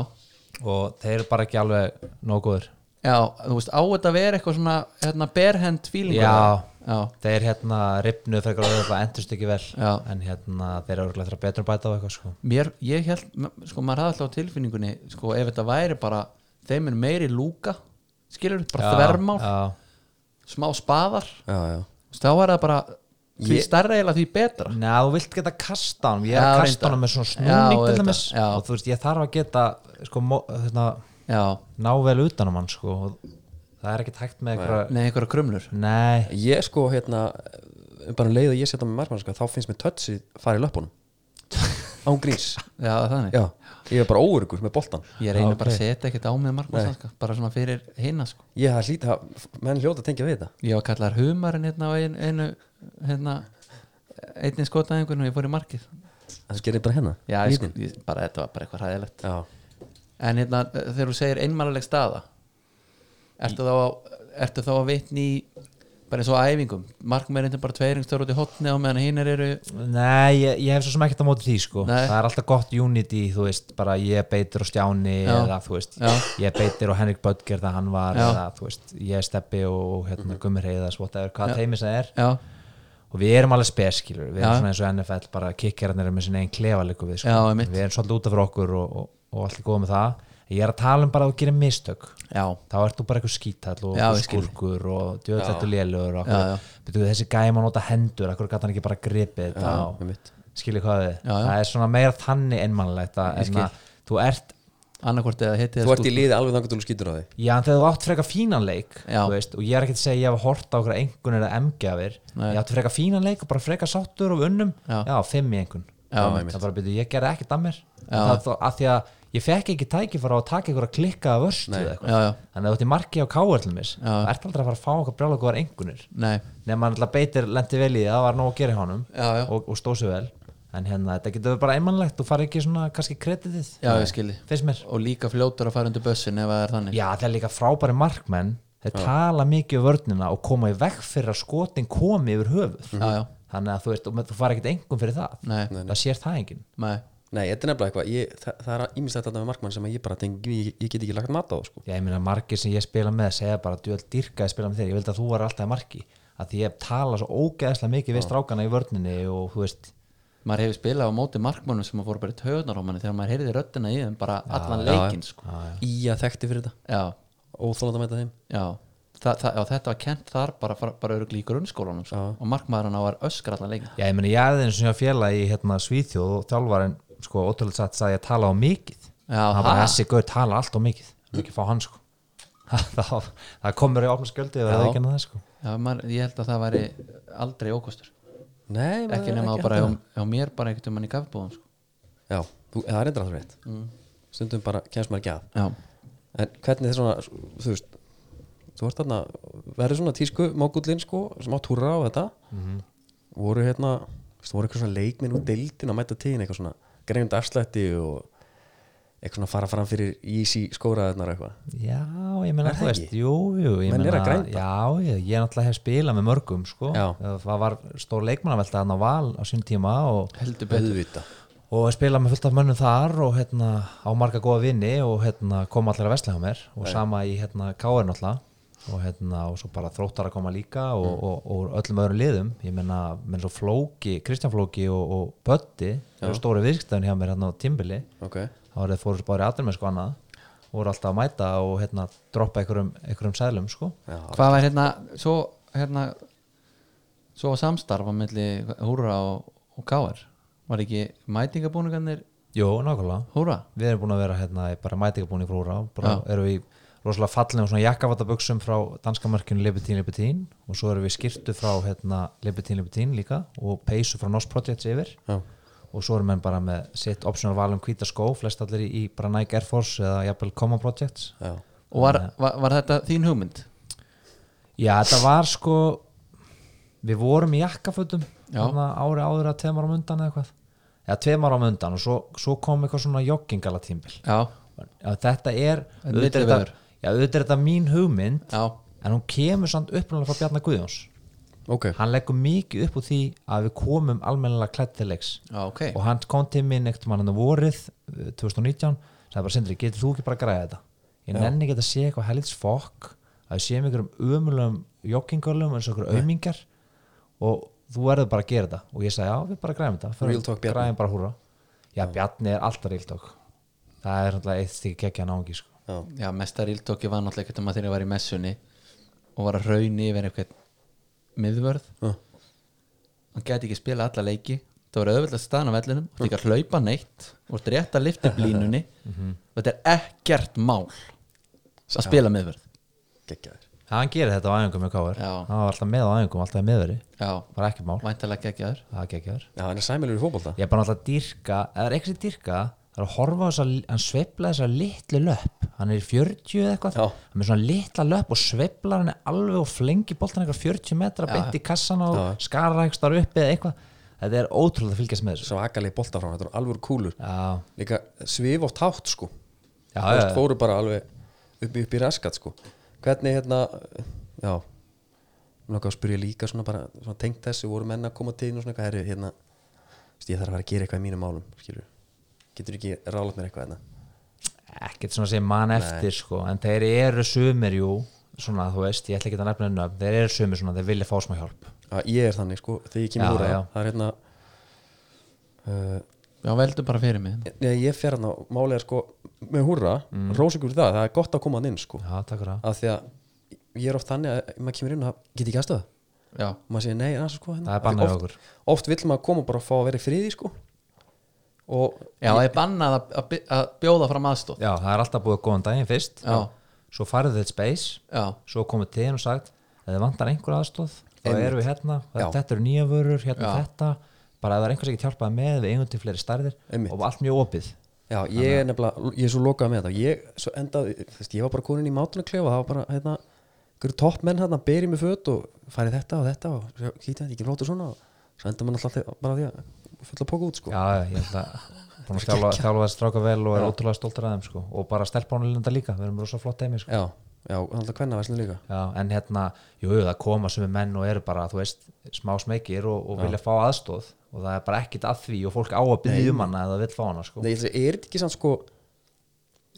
[SPEAKER 3] og þeir eru bara ekki alveg nóg góður
[SPEAKER 2] já þú veist, á þetta að vera eitthvað svona hérna, berhend feelingur
[SPEAKER 3] Já.
[SPEAKER 2] já,
[SPEAKER 3] þeir hérna ripnuð frekar auðvitað endust ekki vel
[SPEAKER 2] Já.
[SPEAKER 3] en hérna þeir eru örugglega þarf betur að bæta á eitthvað sko.
[SPEAKER 2] mér, ég held sko, maður hafði alltaf á tilfinningunni sko, ef þetta væri bara, þeim er meiri lúka skilur, bara þvermál
[SPEAKER 3] já,
[SPEAKER 2] smá spaðar,
[SPEAKER 1] Já, já
[SPEAKER 2] þú veist, þá er það bara því
[SPEAKER 1] Ég-
[SPEAKER 2] stærra eiginlega því betra
[SPEAKER 3] Nei, þú vilt geta kasta hann Ég er
[SPEAKER 2] Já,
[SPEAKER 3] að kasta
[SPEAKER 2] reyndar.
[SPEAKER 3] hann með svona
[SPEAKER 2] Já,
[SPEAKER 3] snúning til
[SPEAKER 2] auðvitað,
[SPEAKER 3] dæmis
[SPEAKER 2] já.
[SPEAKER 3] og þú veist, ég þarf að geta sko, mó- hérna,
[SPEAKER 2] Já,
[SPEAKER 3] ná vel utan um hann sko. og það er ekkert hægt með eitthvað
[SPEAKER 2] nei, einhverja krumlur
[SPEAKER 3] Nei,
[SPEAKER 1] Ég sko, hérna, bara um leið að ég setja með markmannstæði þá finnst mér tötsi fara í löpunum Án gríns
[SPEAKER 2] Já, þannig
[SPEAKER 1] Já, ég er bara óurugur með boltan
[SPEAKER 2] Ég reyni bara að setja ekkert á mig markmannsanska bara svona fyrir hinna sko
[SPEAKER 1] Ég hafði hlýta, menn hljóta að tengja við þetta
[SPEAKER 2] Ég var kallar humarinn hérna á einu, einu hérna einnig skotaðingun og ég fór í markið
[SPEAKER 1] Það gerir bara hérna
[SPEAKER 2] Já, ég,
[SPEAKER 1] Lítinn.
[SPEAKER 2] sko- ég, bara þetta var bara eitthvað hræðilegt
[SPEAKER 1] Já,
[SPEAKER 2] En hérna þegar þú segir einmæluleg staða ertu þá, að, ertu þá að vitni í bara eins og á æfingum markmærin er bara tveiringstöður út í hotni á meðan hinnir eru
[SPEAKER 3] nei ég, ég hef svo sem ekkert á móti því sko.
[SPEAKER 2] Nei.
[SPEAKER 3] það er alltaf gott unity þú veist, bara ég beitir og Stjáni
[SPEAKER 2] Já.
[SPEAKER 3] eða þú veist,
[SPEAKER 2] Já.
[SPEAKER 3] ég beitir og Henrik Böttger það hann var,
[SPEAKER 2] Já. Mhm.
[SPEAKER 3] eða þú veist ég steppi og hérna, Gummi Reyðas whatever, hvað teimis það er
[SPEAKER 2] Já,
[SPEAKER 3] og við erum alveg speskilur, við erum
[SPEAKER 2] Já.
[SPEAKER 3] svona eins og NFL bara kikkerarnir eru með sinni einn klefa líku við sko.
[SPEAKER 2] Já, einmitt.
[SPEAKER 3] við erum svolítið út af fyrir okkur og, og, og allt er góð með það ég er að tala um bara að þú gerir mistök
[SPEAKER 2] já,
[SPEAKER 3] þá ert þú bara eitthvað skítall og
[SPEAKER 2] Já,
[SPEAKER 3] einhver
[SPEAKER 2] ég skil.
[SPEAKER 3] skurkur og djöðlættu lélur og
[SPEAKER 2] Já, já.
[SPEAKER 3] okkur, betur þessi gæma að nota hendur, okkur gæti hann ekki bara gripið þetta og
[SPEAKER 1] einmitt.
[SPEAKER 3] skilja hvað við
[SPEAKER 2] Já, já.
[SPEAKER 3] það er svona meira þannig ennmannlegt en
[SPEAKER 2] skil.
[SPEAKER 3] að hérna, þú ert,
[SPEAKER 2] annarkvort eða heiti
[SPEAKER 1] Þú ert í liði alveg þangar til þú skýtur á því
[SPEAKER 3] já en þegar þú átt frekar fínan leik
[SPEAKER 2] Já.
[SPEAKER 3] þú veist, og ég er ekki að segja að ég hef hort á okkur engunir eða emgjafir,
[SPEAKER 2] Nei.
[SPEAKER 3] ég átti frekar fínan leik og bara frekar sáttur og unnum
[SPEAKER 2] Já.
[SPEAKER 3] fimm í engun
[SPEAKER 2] Já,
[SPEAKER 3] það
[SPEAKER 1] einmitt.
[SPEAKER 3] er bara byrju, ég gerði ekkert að mér En það, er þó- af því að ég fekk ekki tækifæra að taka ykkur að klikka að vörstu eða eitthvað.
[SPEAKER 2] Já, já,
[SPEAKER 3] þannig að þú ert í marki á káerlumis
[SPEAKER 2] Já.
[SPEAKER 3] það ert aldrei að fara að fá okkur brjála góðar engunir
[SPEAKER 2] nei,
[SPEAKER 3] nema hann alltaf beitir lendi vel í því, það var nóg að gera hjá honum
[SPEAKER 2] Já, já.
[SPEAKER 3] og, og stóð sér vel en hérna, þetta getur bara einmannlegt þú fari ekki svona kannski kreditið
[SPEAKER 2] já, ég skilji
[SPEAKER 3] finnst mér
[SPEAKER 2] og líka fljótur að fara undir bussin ef það er þannig
[SPEAKER 3] já, það er líka frábæri markmenn þeir tala mikið um vörnina og koma í vegg fyrir að skotin komi yfir höfuð
[SPEAKER 2] já, já,
[SPEAKER 3] þannig að þú, veist, og þú fari ekkert engum fyrir það
[SPEAKER 2] nei, nei,
[SPEAKER 3] það sér það enginn
[SPEAKER 1] Nei, þetta er nefnilega eitthvað ég, það, það er ímislegt að það með markmann sem að ég bara tengi, ég, ég get ekki lagt mat á það sko.
[SPEAKER 3] Já, ég meina margir sem ég spila með segja bara að djöld dyrkaði að spila með þér, ég vildi að þú var alltaf í marki að því ég tala svo ógeðslega mikið við strákana í vörninni og þú veist
[SPEAKER 2] maður hefur spilað á móti markmannum sem að fóru bara í töðunar á manni þegar maður heyrði röddina í þeim bara allan leikinn sko.
[SPEAKER 1] Í að þekkti fyrir þetta
[SPEAKER 2] já,
[SPEAKER 1] Óþólanda mæta þeim
[SPEAKER 2] já. Þa, það, já, þetta var kent þar bara, bara, bara örugli í grunnskólanum sko. og markmaðurinn á var öskar allan leikinn
[SPEAKER 3] Já, ég meina ég aðeins sem ég félag í hérna Svíþjóð og þjálfarinn sko ótrúlega satt sagði að tala á mikið
[SPEAKER 2] Já,
[SPEAKER 3] hann bara
[SPEAKER 2] ha?
[SPEAKER 3] þessi gaur tala allt og mikið Við erum ekki að fá hann sko það, það komur í ofna skjöldi það er
[SPEAKER 2] Já.
[SPEAKER 3] ekki annað sko
[SPEAKER 2] Já, maður, ég held að það væri aldrei ókostur
[SPEAKER 1] Nei, maður
[SPEAKER 2] ekki
[SPEAKER 1] er
[SPEAKER 2] nema
[SPEAKER 1] ekki
[SPEAKER 2] þá bara
[SPEAKER 1] hægt
[SPEAKER 2] hjá,
[SPEAKER 1] að-
[SPEAKER 2] hjá mér bara einhvern mann í kaffibóðum sko.
[SPEAKER 1] Já, þú, það er endur alltaf rétt Stundum bara kemst maður ekki að
[SPEAKER 2] Já,
[SPEAKER 1] En hvernig þetta svona, þú veist Þú ert þarna, verður svona tísku Mágullin sko, sem á túrra á þetta Voru hérna þú veist, Voru eitthvað svona leikminn úr deildin að mæta tíðin Eitthvað svona greind afslætti og Eitthvað svona fara fram fyrir Easy skóraðarnar eitthvað
[SPEAKER 3] já, ég menna
[SPEAKER 1] Er
[SPEAKER 3] þú
[SPEAKER 1] það
[SPEAKER 3] veist,
[SPEAKER 1] ekki?
[SPEAKER 3] jú, jú ég
[SPEAKER 1] Menn eru
[SPEAKER 3] meina-
[SPEAKER 1] að grænda.
[SPEAKER 3] já, ég, ég náttúrulega hef spilað með mörgum sko
[SPEAKER 1] Já.
[SPEAKER 3] það var stór leikmannavelta hann á val á sín tíma og
[SPEAKER 2] heldur betur
[SPEAKER 1] Böðvita
[SPEAKER 3] og spila með fullt af mönnum þar og hérna á marga góða vinni og hérna kom allir að vesla hjá mér og sama í hérna K.R. náttúrulega og hérna og svo bara þróttar að koma líka og, og, og, öllum öðrum liðum ég menna, menn svo Flóki, Kristján Flóki og, og Bötti, eru stóri viðskiptöðin hjá mér hérna á Timbili
[SPEAKER 1] Ok,
[SPEAKER 3] þá er það fóru bara í aðrum sko annað og voru alltaf að mæta og hérna droppa einhverjum, einhverjum sæðlum sko
[SPEAKER 1] já,
[SPEAKER 2] Hvað var hérna, svo hérna svo samstarf á milli Húra og, og Káar Var ekki mætingabúningarnir
[SPEAKER 3] Jó, nákvæmlega
[SPEAKER 2] Húra?
[SPEAKER 3] við erum búin að vera hérna í bara mætingabúin í frúra bara erum við í rosalega fallegum svona jakkavataböksum frá danska markinu Libetín Libetín og svo erum við skýrtu frá hérna Libetín Libetín líka og peysu frá Noss Projects yfir
[SPEAKER 1] já,
[SPEAKER 3] og svo erum við bara með sitt optional val um hvíta skó, flest allir í, í bara Nike Air Force eða jafnvel Common Projects
[SPEAKER 1] já.
[SPEAKER 2] Og var, var, var þetta þín hugmynd?
[SPEAKER 3] Já, þetta var sko við vorum í jakkafötum
[SPEAKER 2] Já.
[SPEAKER 3] þarna ári áður að tveimar á mundan eða eitthvað eða tveimar á mundan og svo, svo kom eitthvað svona joggingala tímbil
[SPEAKER 2] Já,
[SPEAKER 3] já, þetta er
[SPEAKER 2] En
[SPEAKER 3] auðvitað er
[SPEAKER 2] villiveður.
[SPEAKER 3] þetta, já, auðvitað er þetta mín hugmynd
[SPEAKER 2] já,
[SPEAKER 3] en hún kemur samt upprunalega frá Bjarnar Guðjóns
[SPEAKER 1] Ok,
[SPEAKER 3] hann leggur mikið upp úr því að við komum almennilega klætt til leiks
[SPEAKER 2] já, ok
[SPEAKER 3] og hann kom til minn eitt mann hann vorið eh, 2019 sagði bara Sindri, getur þú ekki bara að græða þetta ég nenni ekki að sé eitthvað helits fokk að við séum ykkur um ömulegum joggingölum eins og ykkur aumingar og þú verður bara að gera þetta og ég sagði já, við bara græðum þetta
[SPEAKER 1] Real talk Bjarni.
[SPEAKER 3] græðum bara húra já, Bjarni er alltaf real talk það er náttúrulega eitt stík kekkja náungi sko.
[SPEAKER 1] já,
[SPEAKER 2] Já, mesta ríldóki var náttúrulega ekkert um að þegar ég var í messunni og var að rauni yfir eitthvað miðvörð
[SPEAKER 1] Já.
[SPEAKER 2] hann gæti ekki spila alla leiki það var auðvitað staðan á vellinum þú ert ekki að hlaupa neitt þú ert rétt að lifta upp línunni og þetta er ekkert mál að spila miðvörð
[SPEAKER 1] geggjaður
[SPEAKER 3] hann gerir þetta á æfingum með káir
[SPEAKER 2] Já.
[SPEAKER 3] hann var alltaf með á æfingum, alltaf í miðveri
[SPEAKER 2] Já,
[SPEAKER 3] bara ekki mál,
[SPEAKER 2] væntalega geggjaður
[SPEAKER 3] það er kekkjaður
[SPEAKER 1] Já, hann er sæmilur í fótbolta
[SPEAKER 3] ég er bara náttúrulega að dýrka eða er eitthvað að dýrka það er að horfa á þess að hann sveifla þess að litlu löpp hann er í 40 eða eitthvað
[SPEAKER 1] Já.
[SPEAKER 3] hann er með svona litla löpp og sveiflar hann alveg og flengi boltan eitthvað 40 metra beint í kassan og skara eitthvað þar upp eða eitthvað þetta er ótrúlega að fylgjast með þessu já,
[SPEAKER 1] Svo akalegi bolta frá hann, þetta er alvöru kúlur
[SPEAKER 3] já,
[SPEAKER 1] Líka svif og tátt sko Þú
[SPEAKER 3] já,
[SPEAKER 1] veist, fóru bara alveg upp, upp í raskat sko. hvernig hérna já, mér langar að spyrja líka svona bara, svona tengt þessu, voru menn að koma til þín og svona, herri, hérna þú veist, ég þarf að fara að gera eitthvað í mínum málum, skilur getur ekki rálat mér eitthvað hérna
[SPEAKER 3] ekkert svona sem mann eftir sko. en þeir eru sumir jú svona þú veist, ég ætla ekki að nefna nöfn þeir eru sumir svona, þeir vilja fá smá hjálp
[SPEAKER 1] að ég er þannig, sko, þegar ég kemur
[SPEAKER 3] Já,
[SPEAKER 1] úr
[SPEAKER 3] já.
[SPEAKER 1] það það er hérna uh,
[SPEAKER 2] Já, veldu bara fyrir mig
[SPEAKER 1] ég, ég fer hérna, málið er sko með húrra, mm. rósingur það, það er gott að koma hann inn sko,
[SPEAKER 3] já, takk fyrir það
[SPEAKER 1] af því að ég er oft þannig að ef maður kemur inn og það get ekki aðstöða
[SPEAKER 2] Já,
[SPEAKER 1] og maður segir nei, en það er sko hérna
[SPEAKER 3] Það er bannað
[SPEAKER 1] Af því
[SPEAKER 3] hjá
[SPEAKER 1] oft, oft vill maður koma bara að fá að vera í friði sko og
[SPEAKER 2] já ég bannað að, að, by- að bjóða fram aðstóð
[SPEAKER 3] já, það er alltaf búið góðan daginn fyrst
[SPEAKER 2] Já.
[SPEAKER 3] svo farið þið space
[SPEAKER 2] Já,
[SPEAKER 3] svo komið til þín og sagt ef þið vantar einhver aðstóð þá
[SPEAKER 1] Einmitt.
[SPEAKER 3] erum við hérna,
[SPEAKER 1] Já.
[SPEAKER 3] þetta eru nýja vörur hérna
[SPEAKER 2] Já.
[SPEAKER 3] þetta, bara ef það er einhver sem ekki hjálpaði með við eigum til fleiri stærðir
[SPEAKER 1] Einmitt.
[SPEAKER 3] og allt mjög opið
[SPEAKER 1] já, ég er nefnilega, ég er svo lokað með þetta ég, svo endaði, þú veist, ég var bara konin í mátuna klefa, það var bara, hérna einhverju toppmenn hérna, berið mig föt og farið þetta og þetta og sjá, kýta, ég kem rótið svona og svo enda mann alltaf til- bara því að fulla póka út sko
[SPEAKER 3] já, ég held að búin að þjálfa- þjálfa þessi stráka vel og er ótrúlega stoltur að þeim sko. og bara stelpánulegunda líka, við erum rosa flott heimi sko.
[SPEAKER 1] já, já alltaf hvenna verslun líka
[SPEAKER 3] já, en hérna, jú, jú, það koma sem er menn og eru bara, þú veist, smá smekir og, og vilja fá aðstóð og það er bara ekkit að því og fólk á að byggja um hana eða vill fá hana sko.
[SPEAKER 1] Nei, ég ætla að segja, er þetta ekki sann sko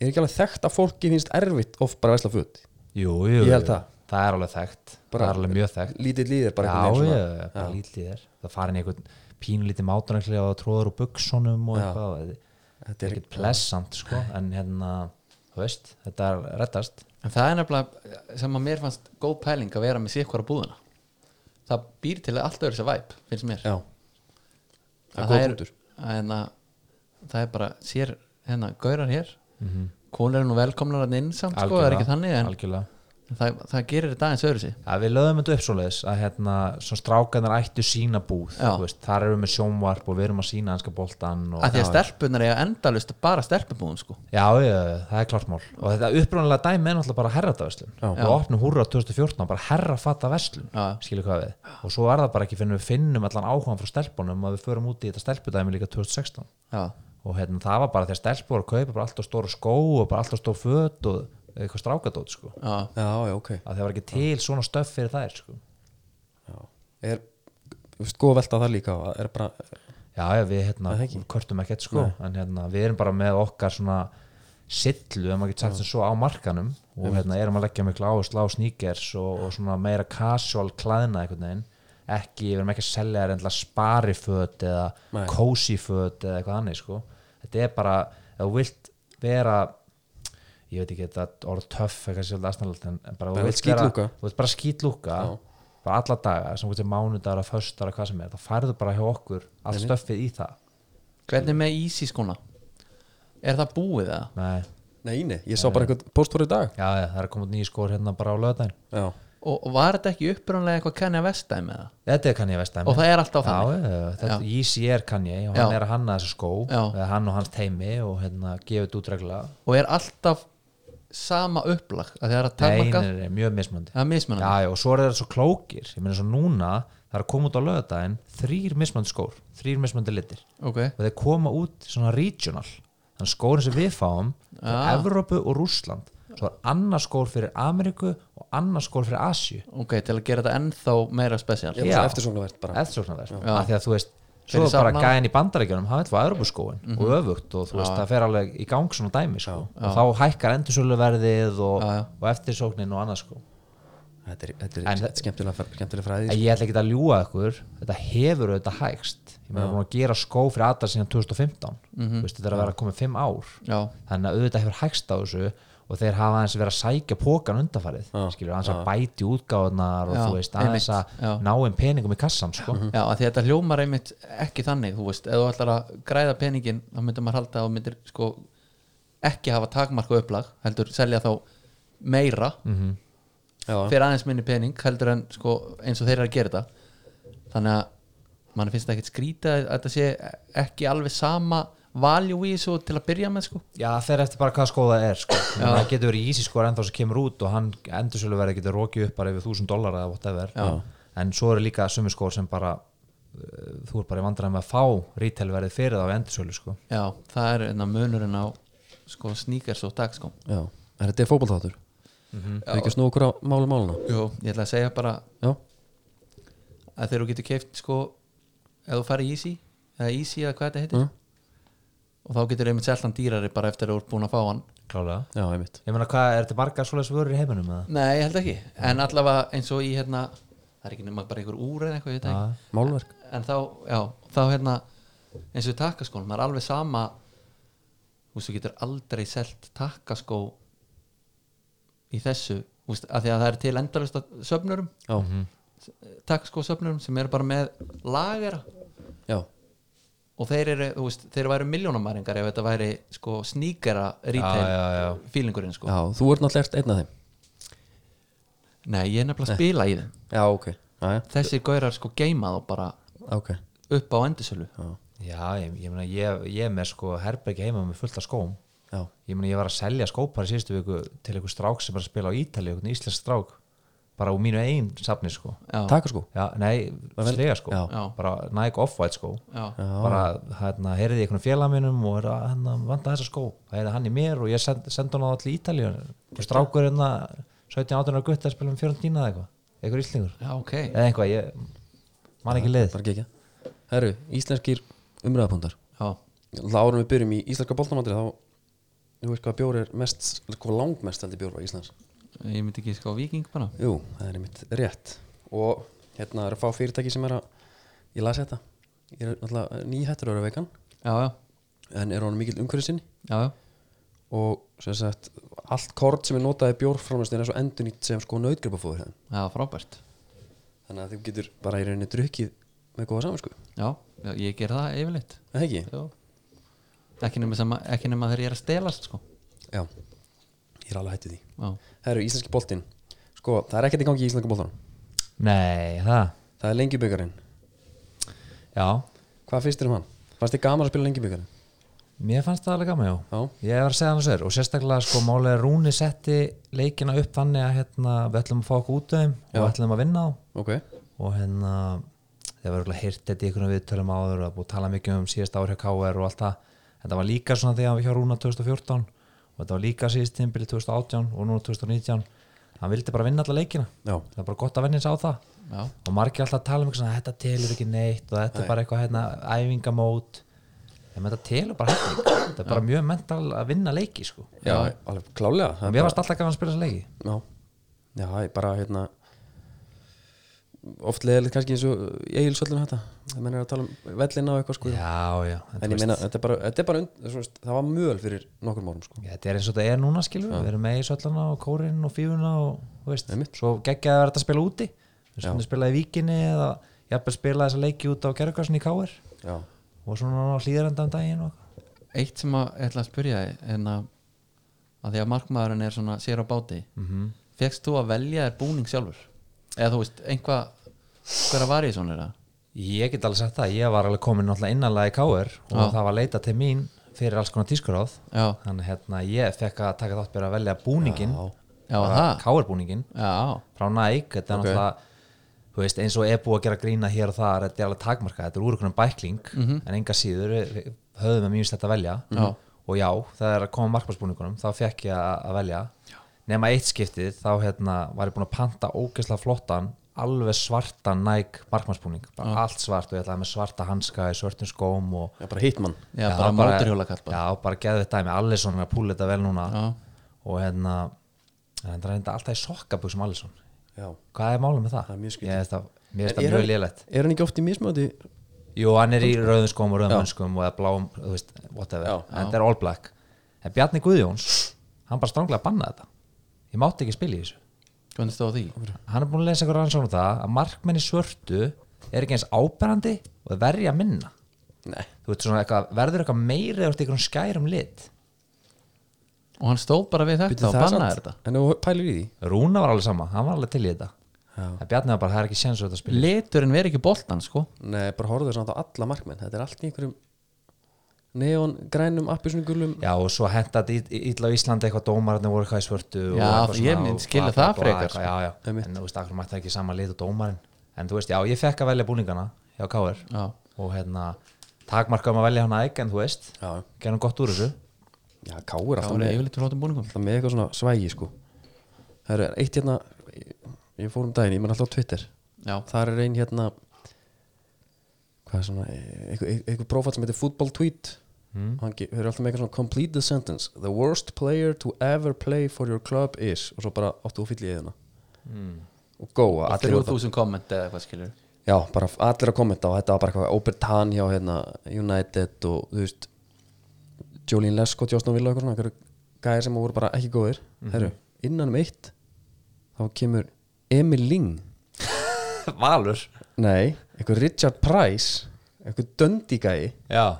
[SPEAKER 1] er ekki alveg þekkt að fólki finnst erfitt of bara versla föt
[SPEAKER 3] jú, jú,
[SPEAKER 1] Ég held
[SPEAKER 3] jú.
[SPEAKER 1] það.
[SPEAKER 3] það er alveg þekkt,
[SPEAKER 1] Bara-
[SPEAKER 3] það er alveg mjög þekkt
[SPEAKER 1] lítið líðir bara
[SPEAKER 3] já,
[SPEAKER 1] einhvern veginn
[SPEAKER 3] já,
[SPEAKER 1] svona.
[SPEAKER 3] já, bara lítið þér það farin í einhvern pínu lítið mátunarkli og tróður úr buksonum og eitthvað
[SPEAKER 1] Þetta
[SPEAKER 3] þetta er ekkert plessant sko en hérna, þú veist, þetta er rettast
[SPEAKER 2] en það er nefnilega sem að mér fannst góð pæling að vera með sikkvara búðuna Það býr til allt öðru sér væp, finnst mér
[SPEAKER 1] já, það er
[SPEAKER 2] Að
[SPEAKER 1] góð punktur
[SPEAKER 2] að hérna, það er bara sér hérna, gaurar hér
[SPEAKER 1] Mhm.
[SPEAKER 2] konur eru nú velkomnar að inn samt sko, það er ekki þannig en
[SPEAKER 3] algjörlega
[SPEAKER 2] það, það gerir þetta aðeins öðru sig
[SPEAKER 3] Já, við lögum þetta upp svoleiðis að hérna, svo strákanar ættu sína búð
[SPEAKER 2] Já.
[SPEAKER 3] þú veist, þar erum við með sjónvarp og við erum að sína hanska boltan og,
[SPEAKER 2] að því að stelpunar eiga endalust bara stelpubúðum sko
[SPEAKER 3] já, já, það er klart mál og þetta upprunalega dæmi er náttúrulega bara herrataverslun
[SPEAKER 1] Já.
[SPEAKER 3] við opnum húrra 2014 bara herrafata verslun
[SPEAKER 2] Já.
[SPEAKER 3] skilur hvað við og svo er það bara ekki finnum við finnum allan áhugan frá stelpunum að við förum út í þetta stelpudæmi líka 2016
[SPEAKER 2] já,
[SPEAKER 3] og hérna, það var bara þegar stelpur voru að kaupa bara alltaf stóru skó og bara alltaf stóru föt og eitthvað strákadót sko.
[SPEAKER 2] já,
[SPEAKER 1] já, já, ok
[SPEAKER 3] að það var ekki til svona stöf fyrir þær sko.
[SPEAKER 1] já. er, þú veist, góð að velta það líka á, er bara,
[SPEAKER 3] já, já, við hérna,
[SPEAKER 1] Það er ekki.
[SPEAKER 3] kvörtum ekkert sko. en hérna, við erum bara með okkar svona sillu, ef maður getur sagt sem svo á markanum og hérna, erum að leggja miklu áherslu á sneakers og, og svona meira casual klæðna einhvern veginn ekki, við erum ekki að selja þér endilega spariföt eða
[SPEAKER 1] Nei.
[SPEAKER 3] cozy föt eða eitthvað annað sko. þetta er bara, ef þú vilt vera ég veit ekki, þetta orð töff eitthvað svolítið aðstæðanlegt en en bara,
[SPEAKER 1] Bara
[SPEAKER 3] þú
[SPEAKER 1] vilt
[SPEAKER 3] vilt vera-
[SPEAKER 1] skítlúka.
[SPEAKER 3] þú veist bara skýtlúka
[SPEAKER 1] Já.
[SPEAKER 3] bara alla daga, sem hvernig mánudagur að föstudar að hvað sem er, þá færðu bara hjá okkur allt stöffið í það
[SPEAKER 2] hvernig með easy skona er það búið eða?
[SPEAKER 3] Nei,
[SPEAKER 1] nei, nei, ég sá bara einhvern póstur í dag
[SPEAKER 3] já, já, það er að koma út nýjir skór hérna bara á löðdæn
[SPEAKER 1] já,
[SPEAKER 2] Og, og var þetta ekki upprunlega eitthvað Kanye West dæmi eða?
[SPEAKER 3] Þetta er Kanye West dæmi
[SPEAKER 2] og það er alltaf
[SPEAKER 3] Já,
[SPEAKER 2] þannig
[SPEAKER 3] já, já, þetta Yeezy er Kanye og hann
[SPEAKER 2] Já.
[SPEAKER 3] er að hanna þessu skó
[SPEAKER 2] Já.
[SPEAKER 3] eða hann og hans teimi og hérna gefið þetta út reglulega
[SPEAKER 2] og er alltaf sama upplag að það er að
[SPEAKER 3] Nei,
[SPEAKER 2] takmarka
[SPEAKER 3] nei, nei, mjög mismandi
[SPEAKER 2] það er mismunandi
[SPEAKER 3] Já, já, og svo er þetta svo klókir ég meina svo núna, það er að koma út á löðdæn þrýr mismandi skór, þrýr mismandi litir
[SPEAKER 2] ok,
[SPEAKER 3] og þeir koma út svona regional þannig skórin sem við fáum ja. Evrópu og Rússland svo er annar skór fyrir Ameríku og annar skór fyrir Asju
[SPEAKER 2] ok, til að gera þetta ennþá meira spesial
[SPEAKER 1] ég var svo eftirsóknarvert bara
[SPEAKER 3] eftirsóknarverð af því að þú veist svo
[SPEAKER 2] Fyrir
[SPEAKER 3] er bara
[SPEAKER 2] safnað.
[SPEAKER 3] gæðin í bandarækjunum hann vil á Evrópuskóin og öfugt og þú veist það fer alveg í gang svona dæmi sko. og þá hækkar endursöluverðið og, og eftirsóknin og annað sko
[SPEAKER 1] þetta er, þetta
[SPEAKER 3] En-
[SPEAKER 1] er skemmtilega, skemmtilega fræði sko.
[SPEAKER 3] en ég ætla ekki að ljúga ykkur þetta hefur auðvitað hægst ég meina búin að gera skó fyrir aðar síðan 2015 þú veist þetta er að vera að koma fimm ár
[SPEAKER 2] já,
[SPEAKER 3] þannig að auðvitað hefur hægst á þessu og þeir hafa aðeins verið að sækja pókan undanfarið skilur aðeins að bæti útgáðunar og
[SPEAKER 2] Já,
[SPEAKER 3] þú veist aðeins
[SPEAKER 2] einmitt, já.
[SPEAKER 3] að ná einn peningum í kassan sko.
[SPEAKER 2] já, að því að þetta hljómar einmitt ekki þannig, þú veist, ef þú ætlar að græða peningin, þá myndir maður halda að þú myndir sko ekki hafa takmarku upplag heldur selja þá meira
[SPEAKER 3] Mhm.
[SPEAKER 1] já,
[SPEAKER 2] fyrir aðeins minni pening heldur en sko eins og þeir eru að gera þetta þannig að mann finnst það ekkert skrýta að þetta sé ekki alveg sama value í þessu til að byrja með sko
[SPEAKER 3] já það fer eftir bara hvað skóða er sko. Ég meina, það getur verið ísi skóra ennþá sem kemur út og hann endursölu verið getur rokið upp bara yfir 1000 dólar eða whatever já. en svo eru líka sumi skór sem bara uh, þú er bara í vandræðum með að fá retailverðið fyrir þá við endursölu sko.
[SPEAKER 2] já, það er enna munurinn á sko sneakers og dag sko
[SPEAKER 1] já en þetta er fótbolþáttur
[SPEAKER 3] Mhm.
[SPEAKER 1] við ekki að snúa okkur á máli máluna
[SPEAKER 2] Jú, ég ætla að segja bara
[SPEAKER 1] já,
[SPEAKER 2] að þegar þú getur keift sko ef þú farið Easy eða Easy eða hvað þetta heitir
[SPEAKER 1] Mm.
[SPEAKER 2] og þá getur einmitt seltan dýrari bara eftir að þú ert búin að fá hann
[SPEAKER 3] klálega
[SPEAKER 1] já, einmitt
[SPEAKER 3] ég meina hvað, er þetta margar svoleiðis vörur í heiminum eða?
[SPEAKER 2] nei, ég held ekki, en allavega eins og í hérna það er ekki nema bara einhver úr eða eitthvað ég veit það ekki
[SPEAKER 1] málverk,
[SPEAKER 2] en þá, já, þá hérna eins og takkaskónum, það er alveg sama þú veist, þú getur aldrei selt takkaskó í þessu, þú veist, af því að það er til endalust söfnurum,
[SPEAKER 1] já,
[SPEAKER 3] Mhm.
[SPEAKER 2] takkaskó söfnurum sem eru bara með lagera
[SPEAKER 1] já
[SPEAKER 2] og þeir eru, þú veist, þeir væru miljónamæringar ef þetta væri, sko, sníkera
[SPEAKER 3] Já, já, já.
[SPEAKER 2] retail fílingurinn, sko
[SPEAKER 1] já, þú ert náttúrulega eftir einn af þeim
[SPEAKER 2] nei, ég er nefnilega að spila í þeim
[SPEAKER 1] já, ok, já, já,
[SPEAKER 2] þessir gaurar, sko, geima þá bara
[SPEAKER 1] ok
[SPEAKER 2] upp á endursölu
[SPEAKER 1] já,
[SPEAKER 3] Já, ég, ég meina, ég, ég er með sko herbergi heima með fullt af skóm
[SPEAKER 1] já,
[SPEAKER 3] ég meina, ég var að selja skópar í síðustu viku til einhver strák sem var að spila á Ítali einhvern íslensk strák, bara úr mínu einn safni sko,
[SPEAKER 2] já,
[SPEAKER 1] taka sko
[SPEAKER 3] já, nei slega sko,
[SPEAKER 1] Já.
[SPEAKER 2] Já.
[SPEAKER 3] bara Nike Off-White skó
[SPEAKER 2] já, já,
[SPEAKER 3] bara, hérna, heyrði ég einhvern félag minnum og er að hérna, vanda þessa skó það heyrði hann í mér og ég send, sendi hann á allir Ítali og strákur hérna 17-18 ára gutt að spila um 14 eða eitthvað einhver íslengur,
[SPEAKER 2] ok
[SPEAKER 3] eða eitthvað ég man ekki lið,
[SPEAKER 1] bara gekja herru, íslenskir umræðapunktar
[SPEAKER 2] já,
[SPEAKER 1] árum við byrjum í íslenska boltamandri þá þú veist hvað bjór er mest hvað langmest heldur bjór á Íslands
[SPEAKER 2] ég myndi ekki, sko, viking bara
[SPEAKER 1] jú, það er einmitt rétt og hérna er að fá fyrirtæki sem er að ég las þetta, ég er náttúrulega nýhættur ára veikan,
[SPEAKER 2] já, já,
[SPEAKER 1] en er honum mikill umhverju sinni
[SPEAKER 2] já, já
[SPEAKER 1] og sem sagt allt kort sem er notaði bjórframlæstin er svo endurnýtt sem sko nautgripafóður þeim
[SPEAKER 2] Já, frábært
[SPEAKER 1] þannig að þú getur bara í rauninni drukkið með góða saman sko,
[SPEAKER 2] Já, já, ég ger það yfirleitt
[SPEAKER 1] það ekki?
[SPEAKER 2] Já. Ekki nema, sem, ekki nema þegar ég er að stelast sko.
[SPEAKER 1] já, ég er alveg hættið því
[SPEAKER 2] já,
[SPEAKER 1] það eru íslenski boltinn sko, það er ekkert í gangi í íslenska boltanum
[SPEAKER 3] Nei, það
[SPEAKER 1] það er lengjubikarinn,
[SPEAKER 3] Já,
[SPEAKER 1] hvað finnst þér um hann? fannst þér gaman að spila lengjubikarinn?
[SPEAKER 3] mér fannst það alveg gaman, já
[SPEAKER 1] já,
[SPEAKER 3] Ég var að segja hann þessu er og sérstaklega sko málega Rúni setti leikina upp þannig að hérna, við ætlum að fá okkur út af þeim og við ætlum að vinna á
[SPEAKER 1] ok,
[SPEAKER 3] og hérna það var örugglega heyrt þetta í einhvern viðtölum áður og búið að tala mikið um síðast ár hjá KR og allt það þetta var líka svona þegar hann var hjá Rúna 2014 og þetta var líka síðast tímbili 2018 og núna 2019 hann vildi bara vinna alla leikina
[SPEAKER 1] já,
[SPEAKER 3] það var bara gott að venja sig á það
[SPEAKER 2] já,
[SPEAKER 3] og margir alltaf að tala um eitthvað svona, þetta telur ekki neitt og þetta er bara eitthvað hérna æfingamót en þetta telur bara helling þetta er bara mjög mental að vinna leiki sko.
[SPEAKER 1] já, alveg klálega það
[SPEAKER 3] og
[SPEAKER 1] er
[SPEAKER 3] mér
[SPEAKER 1] bara-
[SPEAKER 3] varst alltaf gaman að spila þessa leiki
[SPEAKER 1] já, já, það er bara hérna oft leðilegt kannski eins og eigilsöllum þetta það mennir að tala um vellina og eitthvað sko
[SPEAKER 3] já, já, en,
[SPEAKER 1] en
[SPEAKER 3] en
[SPEAKER 1] ég meina, þetta er bara, þetta er bara und, svona, það var möl fyrir nokkur mórum sko
[SPEAKER 3] Já, þetta er eins og þetta er núna skilur við erum með í söllana og kórin og fífuna og þú veist,
[SPEAKER 1] Einmitt.
[SPEAKER 3] svo geggjaði að vera þetta að spila úti við skulum spila í víkinni eða jafnvel spila þessa leiki út á gerðkvarsin í káir
[SPEAKER 1] já,
[SPEAKER 3] og svona á hlýðarenda um daginn og
[SPEAKER 2] eitt sem að ég ætla að spyrja þig, en að, að því að markmaðurinn er svona sér á báti mm -hmm. fegst þú að velja þér búning sjálfur eða þú veist, einhvað hver að var ég svona er það
[SPEAKER 3] Ég get alveg sagt það, ég var alveg komin náttúrulega innanlega í káir og
[SPEAKER 2] Já.
[SPEAKER 3] það var leita til mín fyrir alls konar tískuráð
[SPEAKER 2] já,
[SPEAKER 3] þannig hérna ég fekk að taka þátt byrja að velja búningin
[SPEAKER 2] já, Ah. það
[SPEAKER 3] káir búningin
[SPEAKER 2] já,
[SPEAKER 3] frá Nike þetta er
[SPEAKER 1] Ok.
[SPEAKER 3] náttúrulega þú veist, eins og er búið að gera grína hér og þar þetta er alveg takmarkað, þetta er úr einhvern bækling en enga síður við höfðum við mjög slett að velja
[SPEAKER 2] Já.
[SPEAKER 3] og já, það er að koma markmannsbúningunum þá fekk ég að að velja já. nema eitt skiptið, þá hérna, var ég búin að panta ógeðslega flottan alveg svartan Nike markmannsbúning bara allt svart og ég ætlaði með svarta hanska í svörtum skóm og
[SPEAKER 1] já bara hitmann
[SPEAKER 2] já, bara móturhjólakall bara.
[SPEAKER 3] já, bara geðu þetta með Allison að púla þetta vel núna
[SPEAKER 2] Já.
[SPEAKER 3] og hérna en það er enda alltaf í sokkabuxum Allison
[SPEAKER 1] já,
[SPEAKER 3] hvað er málið með það?
[SPEAKER 1] Það er mjög skrítið.
[SPEAKER 3] Ég veist það, mér finnst
[SPEAKER 1] En
[SPEAKER 3] það
[SPEAKER 1] er
[SPEAKER 3] mjög
[SPEAKER 1] hann-
[SPEAKER 3] lélegt
[SPEAKER 1] er hann ekki oft í mismöndi
[SPEAKER 3] Jú, hann er í rauðum skóm og rauðum önskum og eða bláum, þú veist, whatever
[SPEAKER 1] Já.
[SPEAKER 3] en þetta er all black en Bjarni Guðjóns, hann bara stránglega bannaði þetta ég mátti ekki spila í þessu
[SPEAKER 2] hvernig stóð því
[SPEAKER 3] hann er búin að lesa eitthvað rannsókn um það að markmenni svörtu er ekki eins áberandi og þeir verja minna
[SPEAKER 1] nei,
[SPEAKER 3] þú veist, svona eitthvað, verður eitthvað meira eða eitthvað skærum lit
[SPEAKER 2] og hann stóð bara við þetta og bannaði þetta
[SPEAKER 1] en þú pælir í því
[SPEAKER 3] Rúna var alveg sama, hann var alveg til í þetta en Bjarni var bara, það er ekki séns að þetta spila í þessu."
[SPEAKER 2] liturinn veri ekki boltan sko
[SPEAKER 1] nei, bara horfðu samt á alla markmenn þetta er allt í einhverjum neon, grænum, appisnugulum
[SPEAKER 3] Já og svo henda þetta illa á Íslandi eitthvað dómararnir voru eitthvað í svörtu og
[SPEAKER 2] Já,
[SPEAKER 3] eitthvað
[SPEAKER 2] ég
[SPEAKER 3] svona
[SPEAKER 2] mynd
[SPEAKER 3] og
[SPEAKER 2] skilja
[SPEAKER 3] bla, bla,
[SPEAKER 2] það
[SPEAKER 3] bla,
[SPEAKER 2] frekar, sko.
[SPEAKER 3] eitthvað, Já, já,
[SPEAKER 1] Einmitt.
[SPEAKER 3] en þú veist, akkur mætti það ekki saman lit og dómarinn En þú veist, já, ég fekk að velja búningana hjá Káir
[SPEAKER 2] já,
[SPEAKER 3] Og hérna, takmarka um að velja hann æg En þú veist,
[SPEAKER 1] já,
[SPEAKER 3] gerðum gott úr þessu
[SPEAKER 1] já, káur
[SPEAKER 2] þá
[SPEAKER 1] alltaf
[SPEAKER 2] er
[SPEAKER 1] með
[SPEAKER 2] yfirleitt flótum búningum
[SPEAKER 1] alltaf með eitthvað svona svægi sko það er eitt hérna ég, ég fór um daginn, ég menn alltaf á Twitter
[SPEAKER 2] já,
[SPEAKER 1] þar er ein hérna hvað er svona eitthvað, eitthvað prófætt sem heitir football tweet
[SPEAKER 2] Hmm.
[SPEAKER 1] og hann ge- hefur alltaf með eitthvað svona complete the sentence the worst player to ever play for your club is og svo bara áttu og fyll í eðina
[SPEAKER 2] Hmm.
[SPEAKER 1] og góa
[SPEAKER 2] og
[SPEAKER 1] allir, voru
[SPEAKER 2] 3000 komment eða eitthvað
[SPEAKER 1] bara-
[SPEAKER 2] skilur
[SPEAKER 1] já, bara allir að kommenta og þetta var bara eitthvað Obertan hjá hérna, United og þú veist Jolín Lesko, Justin Villa og eitthvað svona einhverju gæðir sem voru bara ekki góðir herru, innan um eitt þá kemur Emil Ling
[SPEAKER 3] Valur
[SPEAKER 1] Nei, einhver Richard Price einhver döndíkæi
[SPEAKER 3] Já,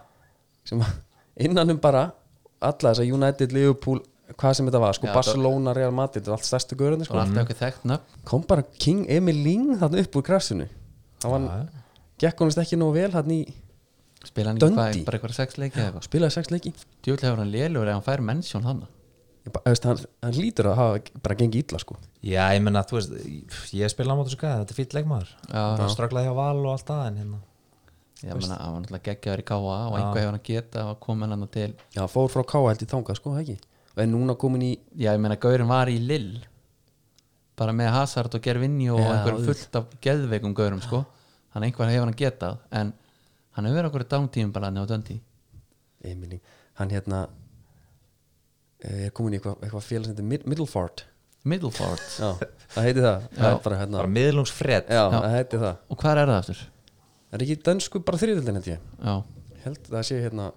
[SPEAKER 1] sem innan um bara alla þess að United, Liverpool hvað sem þetta var, sko
[SPEAKER 2] Já,
[SPEAKER 1] Barcelona, Real Madrid allt stærstu görðin,
[SPEAKER 2] og
[SPEAKER 1] sko
[SPEAKER 2] alltaf eitthvað þekkt nöfn
[SPEAKER 1] kom bara King Emil Ling þarna upp úr krafsinu það var,
[SPEAKER 3] Já.
[SPEAKER 1] gekk honest ekki nógu vel hann í,
[SPEAKER 2] spila hann ekki hvað,
[SPEAKER 1] Dundee.
[SPEAKER 2] bara eitthvað sex leiki eða eitthvað
[SPEAKER 1] spilaði sex leiki
[SPEAKER 2] djúvill hefur hann lélur eða hann fær mennsjón hann
[SPEAKER 1] Ég bara, veist, hann, hann lítur að hafa bara gengið illa, sko
[SPEAKER 3] já, ég menna, þú veist, ég spila á mót þessu gæði Þetta er fýtt leikmaður
[SPEAKER 2] Já.
[SPEAKER 3] Það strögglaði hjá Val og allt það En hérna,
[SPEAKER 2] ég meina, hann var náttúrulega geggjaður í káa og einhvað hefur hann að geta og kom hann að til
[SPEAKER 1] já, fór frá K held í þangað, sko, það ekki og er núna komin í,
[SPEAKER 2] já, ég meina, Gaurin var í Lill bara með Hazard og Gervinni og
[SPEAKER 1] Já,
[SPEAKER 2] einhverjum
[SPEAKER 1] auðvitað.
[SPEAKER 2] fullt af geðveikum Gaurum, sko hann einhvað hefur hann að geta en hann hefur verið okkur dántíum bara hann á döndi
[SPEAKER 1] Emil Ling hann hérna eh, er komin í eitthvað, eitthvað félag sem heitir Mid- Middleford
[SPEAKER 2] middle forward
[SPEAKER 1] Já, það heiti það, það er bara hérna
[SPEAKER 3] bara miðlungsfred
[SPEAKER 1] Já, það heiti það
[SPEAKER 2] og hvað er það aftur?
[SPEAKER 1] Það er ekki dönsku bara þriðildin held ég
[SPEAKER 2] já,
[SPEAKER 1] Ég Held það sé hérna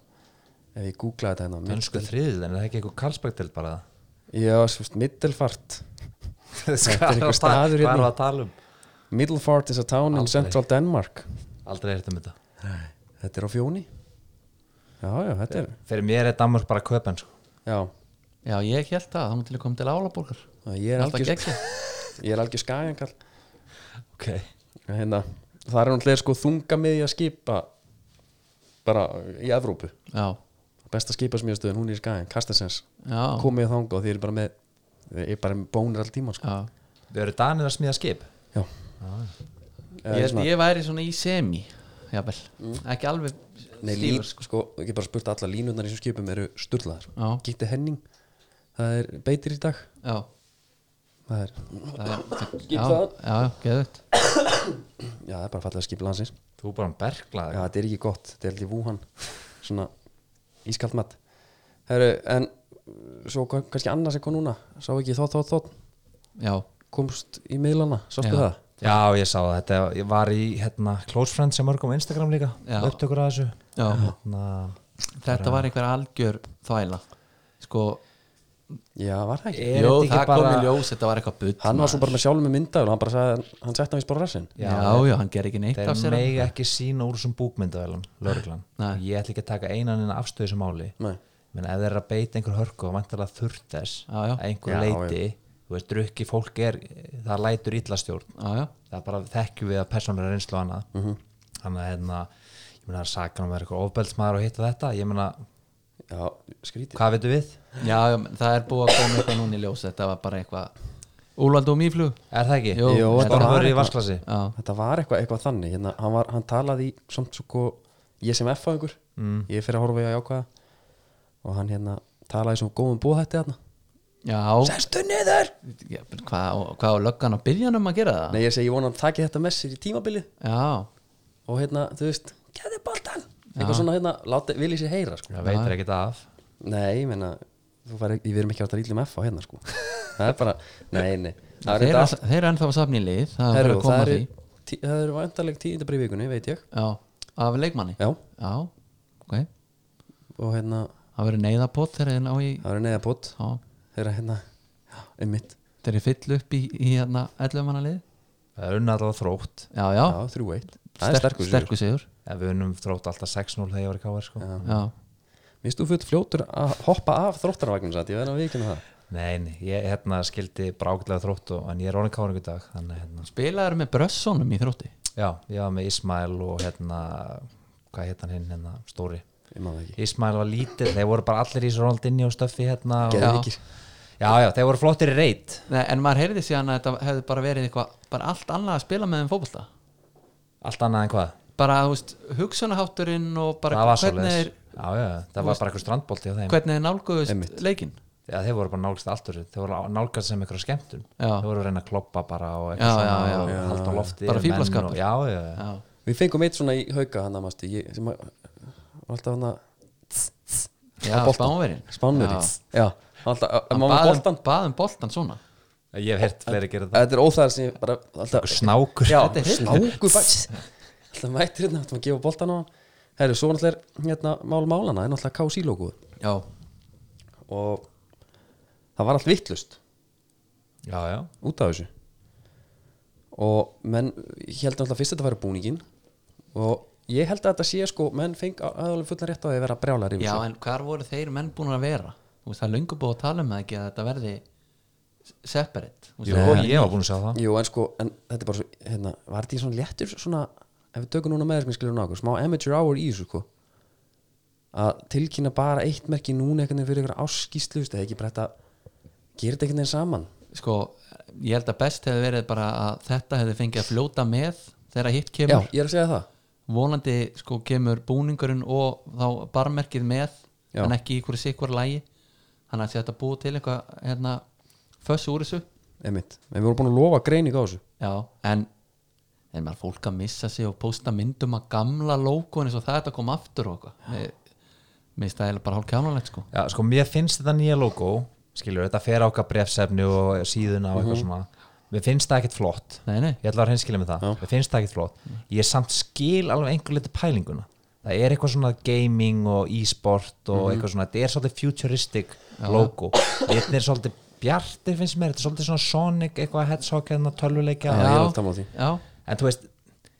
[SPEAKER 1] Ef ég googlaði þetta hérna
[SPEAKER 3] Mönsku þriðið, en er það ekki eitthvað Karlsbergdelt bara
[SPEAKER 1] Já, svist, Middelfart
[SPEAKER 3] Þetta
[SPEAKER 1] eitthvað staður
[SPEAKER 3] Hvað
[SPEAKER 1] hérna.
[SPEAKER 3] er það að tala um?
[SPEAKER 1] Middelfart is a town in
[SPEAKER 3] Aldrei.
[SPEAKER 1] central Denmark
[SPEAKER 3] Aldrei er um þetta
[SPEAKER 1] Þetta er á fjóni Já, já, þetta er
[SPEAKER 3] Fyrir mér er Danmark bara köpen sko
[SPEAKER 1] Já,
[SPEAKER 2] Já, ég held það, þá til að koma til Álaborgar
[SPEAKER 1] ég er
[SPEAKER 2] Alltaf
[SPEAKER 1] algjör,
[SPEAKER 2] gegja
[SPEAKER 1] ég er algjör skæðingal
[SPEAKER 3] ok
[SPEAKER 1] hérna, það er náttúrulega sko þunga miðja skipa bara í Evrópu
[SPEAKER 2] Já,
[SPEAKER 1] besta skipasmíðastöðin, hún er í skæðin, Kastensens
[SPEAKER 2] já,
[SPEAKER 1] komið þangað og þið eru bara með þið eru bara með bónir all tíma sko.
[SPEAKER 2] já.
[SPEAKER 3] Þau eru danir að smíða skip
[SPEAKER 1] já,
[SPEAKER 2] Ég,
[SPEAKER 1] Eða
[SPEAKER 2] held
[SPEAKER 1] svona-
[SPEAKER 2] ég væri svona í semi Jafnvel, ekki alveg
[SPEAKER 1] Nei, lín,
[SPEAKER 2] stífur sko.
[SPEAKER 1] sko, ekki bara spurt alla línundar í þessum skipum eru sturlaðar
[SPEAKER 2] Já,
[SPEAKER 1] Gitti Henning, það er beitir í dag
[SPEAKER 2] já
[SPEAKER 1] það er,
[SPEAKER 2] það er-
[SPEAKER 1] Skip
[SPEAKER 2] Já,
[SPEAKER 1] það.
[SPEAKER 2] já, geðut
[SPEAKER 1] já, það er bara fallega skip landsins já,
[SPEAKER 3] Þú er bara um berglaður
[SPEAKER 1] þetta er ekki gott, þetta er held í Wuhan svona ískalt mat Heru, en svo kom- kannski annars eitthvað núna sá ekki þótt, þótt, þótt
[SPEAKER 2] Já,
[SPEAKER 1] komst í miðlana, sástu
[SPEAKER 2] Já.
[SPEAKER 1] það
[SPEAKER 3] Já, ég sá það, þetta ég var í hérna, Close Friends sem mörgum á Instagram líka
[SPEAKER 2] Já.
[SPEAKER 3] upptökur að þessu Hérna,
[SPEAKER 2] já
[SPEAKER 3] Na,
[SPEAKER 2] Þetta var einhver algjör þvæla Sko,
[SPEAKER 1] já, var það ekki
[SPEAKER 3] Er
[SPEAKER 2] jú,
[SPEAKER 3] þetta ekki
[SPEAKER 2] það kom
[SPEAKER 3] bara-
[SPEAKER 2] í ljós Þetta var eitthvað bull
[SPEAKER 1] hann var svo
[SPEAKER 2] maður.
[SPEAKER 1] bara með sjálfum með myndavel hann bara sagði, hann setti hann í spara rassin
[SPEAKER 2] Já, já, hann ger ekki neitt af
[SPEAKER 3] Þeir
[SPEAKER 2] sér
[SPEAKER 3] megi ekki sína úr þessum búkmyndavelum lögreglan,
[SPEAKER 2] Nei.
[SPEAKER 3] ég ætla ekki að taka einan en afstöðu sem máli
[SPEAKER 1] Nei.
[SPEAKER 3] menn ef þeir eru að beita einhver hörku og vantarlega þurft þess
[SPEAKER 2] Já, já.
[SPEAKER 3] að einhver
[SPEAKER 1] Já,
[SPEAKER 3] leiti þú veist, drukki fólk er, það lætur illastjórn
[SPEAKER 2] Já, já,
[SPEAKER 3] það bara þekkjum við að persónulega reynslu og annað þannig að hérna, ég meina það er sakan að vera eitthvað ofbeldsmaður og hitta þetta ég meina,
[SPEAKER 1] já, skrítið
[SPEAKER 3] hvað veitum við?
[SPEAKER 2] já, já, það er búið að koma eitthvað núna í ljós Þetta var bara eitthvað Úlvaldum íflug
[SPEAKER 3] Er það ekki?
[SPEAKER 2] Jú, Jú,
[SPEAKER 1] þetta var
[SPEAKER 3] Stormur í
[SPEAKER 1] eitthvað.
[SPEAKER 3] vasklasi
[SPEAKER 2] Já,
[SPEAKER 1] þetta var eitthvað, eitthvað þannig hérna, hann, var, hann talaði í samt svo sko E ég sem F-fæðingur mm. ég fyrir að horfa í að jákvæða og hann hérna talaði í svona góðum bóðhætti þarna
[SPEAKER 2] já
[SPEAKER 1] Sestu niður!
[SPEAKER 2] Já, menn hvað, á- hvað á löggan á byrjanum að gera það?
[SPEAKER 1] Nei ég segi, ég vona hann taki þetta með sér í tímabili
[SPEAKER 2] Já,
[SPEAKER 1] og hérna, þú veist, geði boltan eitthvað svona hérna, láti, vilji sér heyra sko.
[SPEAKER 3] það veitir ekki það af
[SPEAKER 1] Nei, ég meina þú fari, við erum ekki átt að ílum F á hérna sko. það er bara, nei, nei það er
[SPEAKER 2] þeir,
[SPEAKER 1] þetta
[SPEAKER 2] er,
[SPEAKER 1] allt-
[SPEAKER 2] þeir eru ennþá að safna í lið Það er
[SPEAKER 1] Herru,
[SPEAKER 2] bara að koma
[SPEAKER 1] það
[SPEAKER 2] að
[SPEAKER 1] eru
[SPEAKER 2] því
[SPEAKER 1] tí- það eru vantarleg tíðindabrið vikunni, veit ég
[SPEAKER 2] Já, af leikmanni
[SPEAKER 1] já,
[SPEAKER 2] Já, ok
[SPEAKER 1] og hérna,
[SPEAKER 2] Það verður neyðapott þegar þeir ná í
[SPEAKER 1] það eru neðabót
[SPEAKER 2] Já,
[SPEAKER 1] þeirra hérna, já, einmitt
[SPEAKER 2] þeir eru fyll upp í, í hérna 11 manna lið
[SPEAKER 3] það er unnað alveg þrótt
[SPEAKER 2] Já, já,
[SPEAKER 1] Já, 3-1 Það er sterkur sigur.
[SPEAKER 2] sterkur sigur
[SPEAKER 3] en við unnum þrótt alltaf 6-0 þegar ég var í káar sko.
[SPEAKER 2] Já,
[SPEAKER 1] Mér stu full fljótur að hoppa af þróttaravagnin satt, ég verði að vikina það
[SPEAKER 3] nei, nei, ég hérna, skildi brákilega þrótt og, en ég er orðin káringu dag þannig, að, hérna,
[SPEAKER 2] spilaður með brössónum í þrótti
[SPEAKER 3] já, ég var með Ismail og hérna, hvað hétt hann hinn hérna, stóri,
[SPEAKER 1] Ég maður það ekki
[SPEAKER 3] Ismail var lítill þeir voru bara allir í svo Ronaldinho og stöffi hérna, og,
[SPEAKER 1] Geðvikir
[SPEAKER 3] já, já, þeir voru flottir í reyt
[SPEAKER 2] Nei, En maður heyrði síðan að þetta hefði bara verið eitthvað bara allt annað að spila með þeim fótbolta
[SPEAKER 3] allt annað en hvað
[SPEAKER 2] bara, þú veist, hugsunahátturinn og bara
[SPEAKER 3] það var
[SPEAKER 2] hvernig þeir
[SPEAKER 3] svoleiðis, já, já, það var bara eitthvað strandbólti á þeim
[SPEAKER 2] hvernig þið nálguðust
[SPEAKER 1] Einmitt.
[SPEAKER 2] leikinn
[SPEAKER 3] Já, þeir voru bara nálgast allt úr þessu. þeir voru nálgast sem einhverja skemmtun
[SPEAKER 2] Já.
[SPEAKER 3] þeir voru að reyna að kloppa bara
[SPEAKER 2] Já,
[SPEAKER 3] og eitthvað
[SPEAKER 2] já, já.
[SPEAKER 3] og
[SPEAKER 1] Já,
[SPEAKER 3] halda á
[SPEAKER 1] já.
[SPEAKER 3] lofti
[SPEAKER 2] Bara
[SPEAKER 3] menn
[SPEAKER 2] fíflaskapur.
[SPEAKER 3] og, já, já, já.
[SPEAKER 2] já,
[SPEAKER 1] Við fengum eitt svona í hauka hann að mástu Ég sem að var alltaf hann að
[SPEAKER 2] já
[SPEAKER 1] boltann.
[SPEAKER 2] spánverinn
[SPEAKER 1] Spánurinn Já, alltaf að Mamma
[SPEAKER 2] baðum,
[SPEAKER 1] boltan
[SPEAKER 2] baðum boltan svona
[SPEAKER 3] ég hef heyrt fleiri gera það
[SPEAKER 1] Þetta er óþæðar sem ég bara alltaf
[SPEAKER 3] snákur
[SPEAKER 1] Já,
[SPEAKER 2] Þetta er hryllilegt.
[SPEAKER 1] snáku fætt Alltaf mættir hérna, alltaf að gefa boltan á hann Herru, svo náttúrulega er hérna mál málana En alltaf ká sílókuð
[SPEAKER 2] já,
[SPEAKER 1] Og það var allt vittlust
[SPEAKER 3] já, já,
[SPEAKER 1] út af þessu og menn, ég held náttúrulega fyrst að þetta væri búningin og ég held að þetta sé sko menn feng aðalega fullan rétt á því að vera brjálar yfir
[SPEAKER 2] já
[SPEAKER 1] þessu.
[SPEAKER 2] en hvar voru þeir menn búin að vera Þú veist, það er löngu búið að tala um það ekki að þetta verði separate Þú veist,
[SPEAKER 3] Jú,
[SPEAKER 2] það-
[SPEAKER 3] ég var búin að sjá það
[SPEAKER 1] Jú, en sko, en þetta er bara svo, hérna, var þetta í svona léttur svona, ef við tökum núna meðersmið skiljum nákvæm, smá amateur hour í þessu sko að tilkynna bara eitt merki núna einhvern veginn fyrir ykkur áskýslu það er ekki bara þetta, gerir þetta einhvern veginn saman
[SPEAKER 2] sko, ég held að best hefði verið bara að þetta hefði fengið að fljóta með þegar hitt
[SPEAKER 1] Já,
[SPEAKER 2] kemur
[SPEAKER 1] ég er að segja það
[SPEAKER 2] vonandi sko kemur búningurinn og þá barmerkið með
[SPEAKER 1] Já.
[SPEAKER 2] en ekki í hverju sikvar lægi þannig að sé þetta búið til eitthvað hérna, föss úr þessu
[SPEAKER 1] einmitt, en við vorum búin að lofa greining á þessu
[SPEAKER 2] Já, en en maður fólk að missa sig og pósta myndum að gamla logoin eins og það er að koma aftur og eitthvað Mér- Mér finnst það eiginlega bara hálf kjánulegt sko
[SPEAKER 3] já, sko, mér finnst þetta nýja logo skilur, þetta fer á okkar brefsefni og síðuna og
[SPEAKER 2] Mhm.
[SPEAKER 3] eitthvað svona mér finnst það ekkert flott
[SPEAKER 2] Nei, nei,
[SPEAKER 3] ég ætla að reynskilja með það, mér finnst það ekkert flott ég samt skil alveg einhver liti pælinguna það er eitthvað svona gaming og e-sport og eitthvað svona þetta er svolítið futuristic logo þetta er svolítið bjartir finnst mér þetta er svolítið svona Sonic, eitthvað Hedgehog hérna tölvuleikja
[SPEAKER 1] Já, ég er alveg sammála því.
[SPEAKER 2] já,
[SPEAKER 3] en þú veist,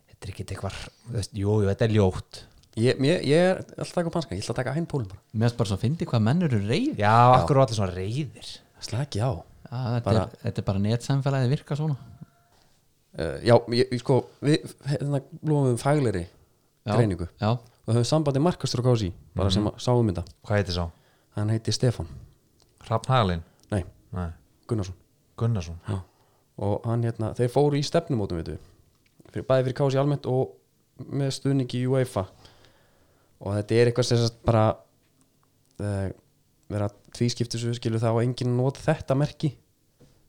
[SPEAKER 3] þetta er ekki eitthvað þú veist, jú, jú, þetta er ljótt
[SPEAKER 1] ég, ég, ég er alltaf að taka panskan, ég ætla að taka hinn pólum bara
[SPEAKER 2] Mér finnst bara svo að fyndi hvað menn eru reyð
[SPEAKER 3] já, akkur og allir svona reyðir
[SPEAKER 1] Slaki á
[SPEAKER 2] þetta,
[SPEAKER 1] Bara-
[SPEAKER 2] er- þetta er bara netsamfélagið virka svona
[SPEAKER 1] uh, Já, ég, ég sko, við hérna lofum við fagleiri
[SPEAKER 2] Já.
[SPEAKER 1] greiningu
[SPEAKER 2] Já,
[SPEAKER 1] og höfum sambandi Markus Trókási bara sem að sáum þetta,
[SPEAKER 3] hvað heitir sá?
[SPEAKER 1] hann heiti Stefan
[SPEAKER 3] Hrafn Hagalinn?
[SPEAKER 1] Nei,
[SPEAKER 3] Nei,
[SPEAKER 1] Gunnarsson
[SPEAKER 3] Gunnarsson
[SPEAKER 1] Já. og hann hérna, þeir fóru í stefnumótum veitum við fyrir, bæði fyrir Kási almennt og með stuðningi í UEFA og þetta er eitthvað sem sagt bara uh, vera tvískiptis skilur þá að enginn nota þetta merki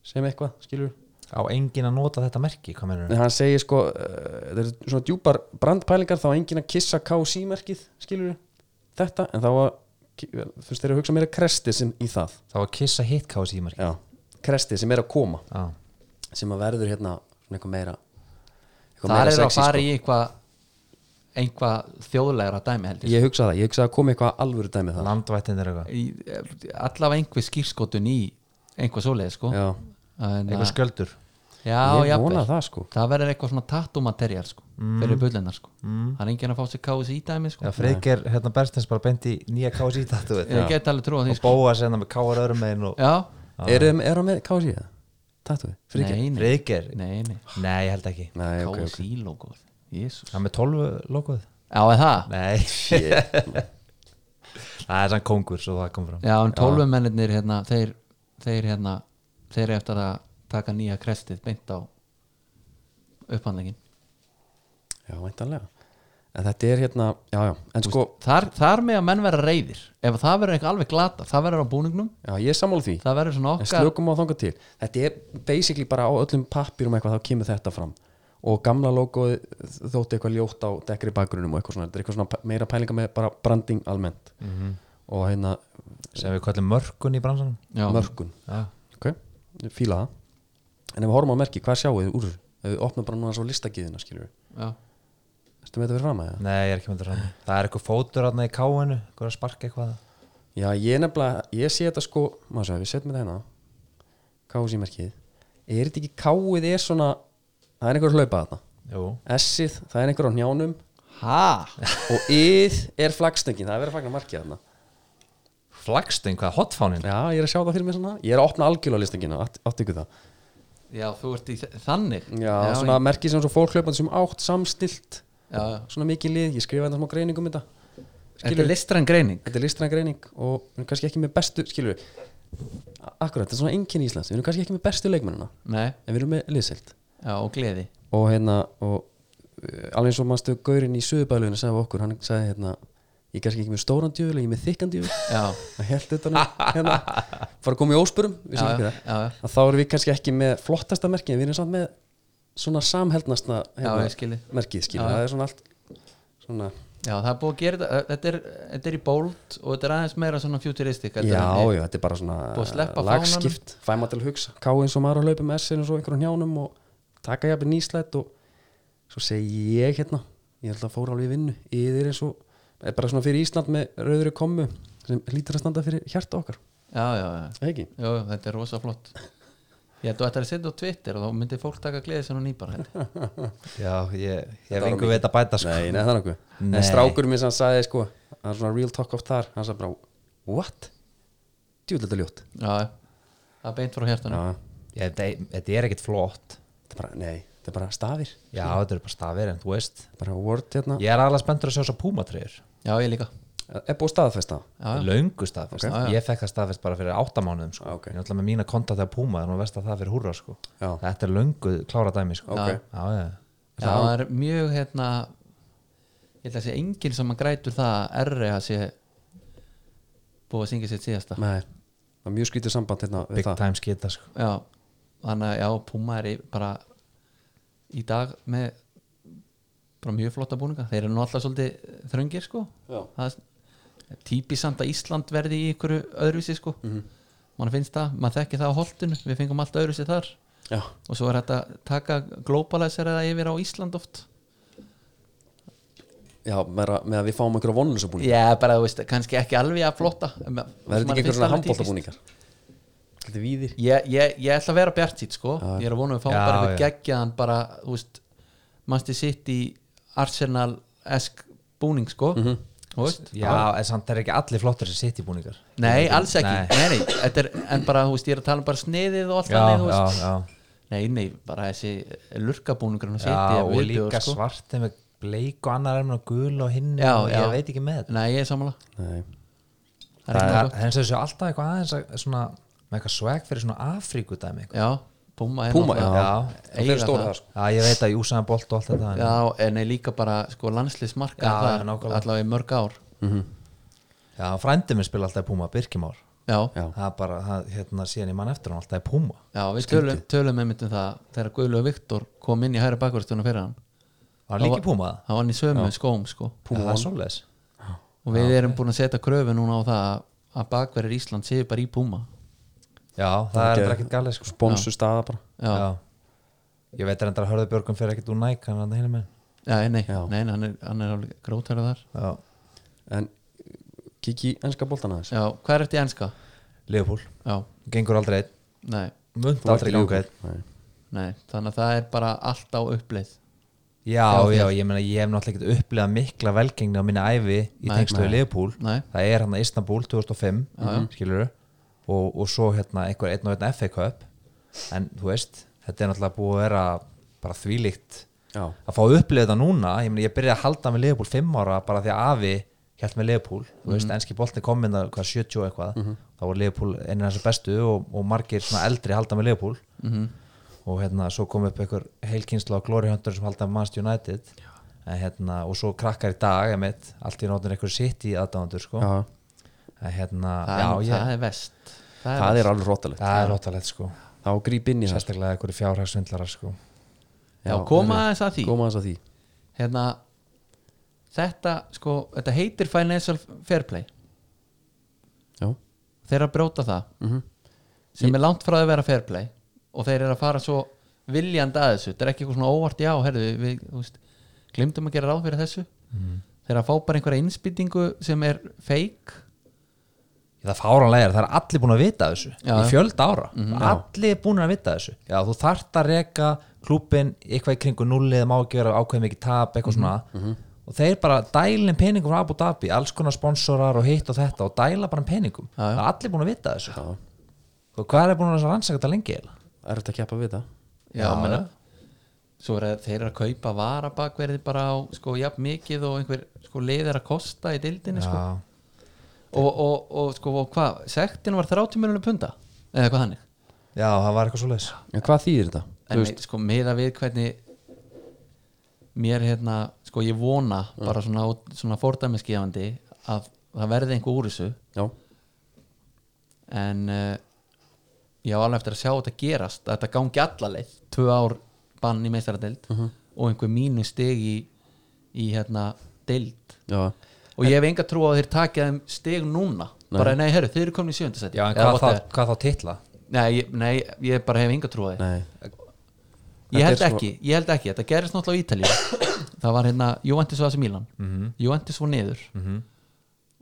[SPEAKER 1] sem eitthvað, skilur
[SPEAKER 3] á engin að nota þetta merki, hvað mennur
[SPEAKER 1] en hann segir sko, uh, þetta er svona djúpar brandpælingar þá á enginn að kissa KC merkið skilur þetta, en þá var þú veist þeir eru að hugsa meira krestið sem í það
[SPEAKER 3] þá að kissa hitt kási í merki
[SPEAKER 1] Já. krestið sem er að koma
[SPEAKER 3] já,
[SPEAKER 1] sem að verður hérna svona eitthvað meira eitthvað
[SPEAKER 2] það
[SPEAKER 1] meira
[SPEAKER 2] er að
[SPEAKER 1] sexy,
[SPEAKER 2] fara
[SPEAKER 1] sko.
[SPEAKER 2] í eitthvað einhvað þjóðlegra dæmi heldur
[SPEAKER 1] ég hugsa það, ég hugsa að koma eitthvað alvöru dæmi það
[SPEAKER 3] landvættin er eitthvað
[SPEAKER 2] í, allavega einhver skýrskotun í einhvað svoleið sko
[SPEAKER 1] já,
[SPEAKER 2] en, eh,
[SPEAKER 3] eitthvað sköldur
[SPEAKER 2] já,
[SPEAKER 1] ég
[SPEAKER 2] jafnvel.
[SPEAKER 1] vona það sko
[SPEAKER 2] það verður eitthvað svona tattoo-material sko,
[SPEAKER 1] Mm.
[SPEAKER 2] fyrir bullennar sko það er enginn að fá sér kási í dæmi sko
[SPEAKER 3] já, Freykir, hérna Berstens bara bendi nýja kási í tattu
[SPEAKER 2] ég get alveg trúa því
[SPEAKER 3] og
[SPEAKER 2] sko
[SPEAKER 3] bóa sem það með káar öðrum megin og
[SPEAKER 2] já,
[SPEAKER 1] er, er hann með KC eða? Tattu við, fríkir?
[SPEAKER 2] nei, nei,
[SPEAKER 3] Freykir,
[SPEAKER 2] nei, nei.
[SPEAKER 3] nei, ég held ekki
[SPEAKER 1] nei, ok, ok
[SPEAKER 2] kási logo jésus,
[SPEAKER 3] hann með 12 logoð
[SPEAKER 2] já, er það
[SPEAKER 3] nei, það er sann kongur svo það kom fram
[SPEAKER 2] já, en tólfumennir hérna þeir, þeir hérna, þeir eru eftir að taka nýja krestið beint á upphandlegin
[SPEAKER 1] já, væntanlega en þetta er hérna, já, já, en sko
[SPEAKER 2] þar, þar með að menn vera reyðir ef það verður eitthvað alveg glata, það verður á búningnum
[SPEAKER 1] já, ég er sammála því,
[SPEAKER 2] það verður svona
[SPEAKER 1] en
[SPEAKER 2] okkar
[SPEAKER 1] slökum á þangað til þetta er basically bara á öllum pappírum eitthvað þá kemur þetta fram og gamla logoð þótti eitthvað ljótt á dekkri bakgrunum og eitthvað svona, þetta er eitthvað svona pæ- meira pælinga með bara branding almennt
[SPEAKER 2] Mhm.
[SPEAKER 1] og hérna
[SPEAKER 3] sem við kallum mörkun í bransanum
[SPEAKER 2] já,
[SPEAKER 1] mörkun
[SPEAKER 3] já,
[SPEAKER 1] ok, ég fíla það en ef við horfum á merki, hvað sjáu þið úr þessu? ef við opnum bara núna svo listagiðina skilur við
[SPEAKER 2] já,
[SPEAKER 1] erstu með þetta fyrir fram að það?
[SPEAKER 3] nei, ég er ekki með þetta fram það er eitthvað fótur aðna í káinu eitthvað að sparka eitthvað
[SPEAKER 1] já, ég nefnilega, ég sé þetta sko maður svo, við setjum þetta hérna kási merkið, er þetta ekki káið er svona, það er einhver að hlaupa þarna
[SPEAKER 3] jú,
[SPEAKER 1] S-ið, það er einhver á njánum
[SPEAKER 2] ha
[SPEAKER 1] og yð er flaggstengin, það er verið að fagna markið þarna
[SPEAKER 3] flagstöng, hvað, hotfánin
[SPEAKER 1] já, ég er að sjá það fyrir mig svona, ég er að opna algjörlega listengina, átt ykkur það
[SPEAKER 2] Já, þú ert í þ- þannig
[SPEAKER 1] já, svona merkið sem svo fólk hlaupandi sem átt samstilt,
[SPEAKER 2] já, já.
[SPEAKER 1] svona mikið lið ég skrifa þetta smá greiningum þetta
[SPEAKER 2] Þetta er listræn greining
[SPEAKER 1] þetta er listræn greining og við erum kannski ekki með bestu skilur við, akkurat, þetta er svona enginn í Íslands við erum kannski ekki með bestu leikmennina
[SPEAKER 2] Nei,
[SPEAKER 1] en við erum með liðsild
[SPEAKER 2] já, og gleði
[SPEAKER 1] og hérna, og eh, alveg eins og mannstu Gaurinn í Suðubæluðinu sagði við okkur hann sagði hérna, ég er kannski ekki með stóran djöful ég er með þykkan djöful
[SPEAKER 2] Já,
[SPEAKER 1] það held þetta nú, hérna fara að koma í óspurum, við sem
[SPEAKER 2] Já,
[SPEAKER 1] ekki
[SPEAKER 2] já,
[SPEAKER 1] það
[SPEAKER 2] já, já.
[SPEAKER 1] að þá erum við kannski ekki með flottasta merki en við erum samt með svona samheldnasta hérna,
[SPEAKER 2] Já, ég skil þig.
[SPEAKER 1] merkið skilur,
[SPEAKER 2] Já, já.
[SPEAKER 1] það er svona allt svona,
[SPEAKER 2] já, það er búið að gera þetta Þetta er, þetta er í bóld og þetta er aðeins meira svona futuristik
[SPEAKER 1] já, já, þetta er bara
[SPEAKER 2] Búið að
[SPEAKER 1] svona
[SPEAKER 2] sleppa
[SPEAKER 1] lagskipt, fæma til að hugsa ká eins og maður á hlaupum S eins og einhverjum hjánum og taka jafnir nýslætt og svo segi ég hérna ég held að fóra alveg í vinnu, yfir eins og er bara svona fyrir Ísland með rauðri kommu sem hlýtur að standa fyrir hjarta okkar
[SPEAKER 2] já, já, já.
[SPEAKER 1] Eða ekki,
[SPEAKER 2] Jú, þetta er rosa flott Ég held að þetta er að setja á Twitter og þá myndi fólk taka gleði sem hún nýpar held ég.
[SPEAKER 3] já, ég, ég
[SPEAKER 1] var
[SPEAKER 3] hef engu veit að bæta sko.
[SPEAKER 1] nei, nei, það er nokkuð
[SPEAKER 3] Nei.
[SPEAKER 1] en strákur minn sem sagði sko það er svona real talk of þar, hann sagði bara what? djúlega þetta er ljótt
[SPEAKER 2] Já, já. það er beint frá hjartanum
[SPEAKER 1] Já,
[SPEAKER 3] ég, þetta- þetta er ekkit flott
[SPEAKER 1] þetta er bara, nei, þetta er bara stafir
[SPEAKER 3] já, þetta eru bara stafir en þú veist
[SPEAKER 1] bara word hérna,
[SPEAKER 3] ég er alveg spenntur að sjá svo púmatreyjur
[SPEAKER 2] Já, ég líka
[SPEAKER 1] er búið staðfesta
[SPEAKER 3] Ah.
[SPEAKER 2] Já,
[SPEAKER 3] löngu staðfest,
[SPEAKER 2] Ok. Já, já.
[SPEAKER 3] ég fekk það staðfest bara fyrir áttamánuðum sko.
[SPEAKER 1] Ah, ok.
[SPEAKER 3] ég er alltaf með mína konta þegar púma þannig að versta það fyrir húrra sko.
[SPEAKER 1] Já.
[SPEAKER 3] þetta er löngu klára dæmi sko.
[SPEAKER 1] Ok.
[SPEAKER 3] já, já.
[SPEAKER 2] Já, það er mjög hérna ég held að sé enginn sem að grætur það að R að sé búið að syngja sitt síðasta
[SPEAKER 1] Nei, það er mjög skrítið samband hérna við
[SPEAKER 3] big
[SPEAKER 1] það.
[SPEAKER 3] time skita sko.
[SPEAKER 2] Já, þannig að já, Puma er í, bara í dag með bara mjög flotta búninga þeir eru nú alltaf svolítið þröngir sko
[SPEAKER 1] Já.
[SPEAKER 2] það er típisand að Ísland verði í ykkur öðruvísi sko
[SPEAKER 1] Mhm.
[SPEAKER 2] mm mann finnst það, maður þekki það á holtinu við fengum allt öðruvísi þar
[SPEAKER 1] Já,
[SPEAKER 2] og svo er þetta að taka globalisera það yfir á Ísland oft
[SPEAKER 1] já með, að, með að við fáum einhverja vonlusabúningar
[SPEAKER 2] Já, bara þú veist, kannski ekki alveg að flotta
[SPEAKER 1] Verður þetta
[SPEAKER 2] Verður
[SPEAKER 1] ekki einhverja svona handbóltabúningar? Þetta er víðir
[SPEAKER 2] ég, ég, ég ætla að vera bjart sýtt sko
[SPEAKER 1] Já.
[SPEAKER 2] Ég er að vona að við fáum
[SPEAKER 3] Já,
[SPEAKER 2] bara eitthvað
[SPEAKER 3] já.
[SPEAKER 2] geggjaðan bara, þú veist, mannstu sitt í Arsenal-esk búning sko
[SPEAKER 1] Mhm.
[SPEAKER 2] mm -hmm. veist,
[SPEAKER 3] já, en samt það er ekki allir flottur sem sitt í búningar
[SPEAKER 2] Nei, alls ekki nei. Nei, nei, þetta er, En bara, þú veist, ég er að tala um bara sniðið og allt þannig, þú veist
[SPEAKER 3] já,
[SPEAKER 2] Nei, nei, bara þessi lurkabúningur hann
[SPEAKER 3] já, já
[SPEAKER 2] að
[SPEAKER 3] og
[SPEAKER 2] setja
[SPEAKER 3] líka
[SPEAKER 2] sko.
[SPEAKER 3] svart með bleik og annar ermin og gul og hinn
[SPEAKER 2] Já,
[SPEAKER 3] og
[SPEAKER 2] já.
[SPEAKER 3] ég veit ekki með þetta
[SPEAKER 2] Nei, ég er sammála
[SPEAKER 1] Nei.
[SPEAKER 2] Það er
[SPEAKER 3] það
[SPEAKER 2] ekki
[SPEAKER 3] er
[SPEAKER 2] gott.
[SPEAKER 3] þess að þessu alltaf eitthvað aðeins að- svona, með eitthvað swag fyrir svona Afríkudæmi eitthvað.
[SPEAKER 2] Já, Puma er hérna.
[SPEAKER 1] Puma,
[SPEAKER 2] náttúrulega-
[SPEAKER 1] já.
[SPEAKER 2] eiga
[SPEAKER 1] Þeir eru stórir þar, sko.
[SPEAKER 3] já, ég veit að Júsaðan Bolt og allt þetta en-
[SPEAKER 2] Já, en nei, líka bara sko landslismarka
[SPEAKER 3] Já,
[SPEAKER 2] það
[SPEAKER 3] nákvæmlega.
[SPEAKER 2] allavega í mörg ár
[SPEAKER 3] já, frændi minn spila alltaf í Puma, Birkimár
[SPEAKER 2] Já,
[SPEAKER 1] Já.
[SPEAKER 3] það er bara, það, hérna síðan ég mann eftir hann alltaf í Puma
[SPEAKER 2] já við tölum, tölum einmitt um það þegar Guðlu og Viktor kom inn í hæra bakverðstuna fyrir hann
[SPEAKER 3] var hann líka í Puma?
[SPEAKER 2] Það var hann í sömu skóm sko
[SPEAKER 3] Puma það er svoleiðis
[SPEAKER 2] og við erum búin að setja kröfu núna á það að- að bakverðir Ísland séu bara í Puma
[SPEAKER 3] já, það er þetta ekkert galið sko
[SPEAKER 1] Sponsu staða bara
[SPEAKER 2] Já, já.
[SPEAKER 3] ég veit reyndar að hörðu Björgum fyrir ekkert úr næk hann er hann hérna með
[SPEAKER 2] nei,
[SPEAKER 1] Já.
[SPEAKER 2] nei, nei, hann er, hann er alveg grótæra þar
[SPEAKER 3] já,
[SPEAKER 1] En kiki í enska boltan aðeins
[SPEAKER 2] Já, hvað er þetta í enska?
[SPEAKER 3] Leopold,
[SPEAKER 2] Já,
[SPEAKER 3] gengur aldrei einn
[SPEAKER 2] nei,
[SPEAKER 3] munt aldrei ganga einn
[SPEAKER 1] Nei.
[SPEAKER 2] nei þannig að það er bara allt á uppleið
[SPEAKER 3] Já, já, ég meina ég hef náttúrulega ekkert upplegað mikla velgengni á minni ævi í tengstöðu Leopold
[SPEAKER 2] Nei.
[SPEAKER 3] það er hann að Istanbul 2005 skilur og, og svo hérna einhver einn og einn FA Cup en þú veist, þetta er náttúrulega búið að vera bara þvílíkt
[SPEAKER 1] Já,
[SPEAKER 3] að fá upplegað það núna, ég meina ég byrjaði að halda með Leopold 5 ára bara því að afi hjælt með Leopold, þú veist, enski boltin komin að hvað 70 og eitthvað, þá var Leopold einin þessu bestu og, og margir svona eldri halda með Leopold og hérna svo kom upp einhver heilkynsla á Glory Hunter sem halda með Manchester United en, hérna, og svo krakkar í dag emitt, allt í nóttin einhver sitt í aðdándur sko.
[SPEAKER 1] já.
[SPEAKER 3] en hérna,
[SPEAKER 2] það,
[SPEAKER 3] já,
[SPEAKER 2] er,
[SPEAKER 3] ég,
[SPEAKER 2] það er vest Það
[SPEAKER 1] Það er alveg rótalegt
[SPEAKER 3] það er rótalegt sko
[SPEAKER 1] Þá gríp inn í það sko.
[SPEAKER 3] sérstaklega einhverju fjárhagsvindlarar sko
[SPEAKER 2] Já, koma
[SPEAKER 1] verið.
[SPEAKER 2] aðeins að því.
[SPEAKER 1] Koma aðeins að því
[SPEAKER 2] hérna þetta sko, þetta heitir financial fair play
[SPEAKER 1] Já, Mhm.
[SPEAKER 2] þeir eru að brjóta það sem er langt frá því að vera fair play og þeir eru að fara svo viljandi að þessu þetta er ekki eitthvað svona óvart já, herðu við, þú veist, glimtum að gera ráð fyrir þessu þeir eru að fá bara einhverja innspýtingu sem er fake
[SPEAKER 3] það er fáranlegar, það er allir búin að vita af þessu
[SPEAKER 2] Já.
[SPEAKER 3] í fjölda ára, allir búin að vita af þessu já, þú þart að reka klúbin eitthvað í kringu nulli, það má ekki vera ákveð mikið tap, eitthvað svona og þeir bara dælin peningum frá Abu Dhabi alls konar sponsorar og hitt og þetta og dæla bara peningum,
[SPEAKER 2] Já, já.
[SPEAKER 3] það er allir búin að vita af þessu
[SPEAKER 1] Já.
[SPEAKER 3] og hvað er búin að rannsaka þetta lengi eiginlega?
[SPEAKER 1] er þetta að keppa við það
[SPEAKER 2] já, já menna, svo er að þeir eru að kaupa varabakverði bara á sko jafn mikið og einhver sko leið er að kosta í dildinni sko
[SPEAKER 3] Já.
[SPEAKER 2] og, og, og sko og hvað, sektin var 30 miljonum punda eða hvað hannig
[SPEAKER 3] já, það var eitthvað svo leis
[SPEAKER 1] En hvað þýðir þetta?
[SPEAKER 2] en veist, sko meða við hvernig mér hérna sko ég vona bara svona, út- svona fordæmiskefandi að það verði einhver úr þessu
[SPEAKER 1] Já,
[SPEAKER 2] en uh, ég á alveg eftir að sjá þetta gerast að þetta gangi allaleið tvö ár bann í meistaradeild
[SPEAKER 3] Mhm.
[SPEAKER 2] og einhver mínu steg í, í hérna deild
[SPEAKER 1] já
[SPEAKER 2] og ég hef enga trú á að þeir takja þeim steg núna bara nei herru, þeir eru komin í sjöndasetti
[SPEAKER 3] já, en hvað, það, hvað þá titla?
[SPEAKER 2] Nei, ég, nei, ég bara hef enga trú á því
[SPEAKER 1] Nei,
[SPEAKER 2] Ég held
[SPEAKER 1] Þetta er
[SPEAKER 2] ekki, ég held ekki, þetta gerist náttúrulega í Ítalíu Það var hérna, Juventus var þessi Milan
[SPEAKER 3] Mhm.
[SPEAKER 2] Juventus var niður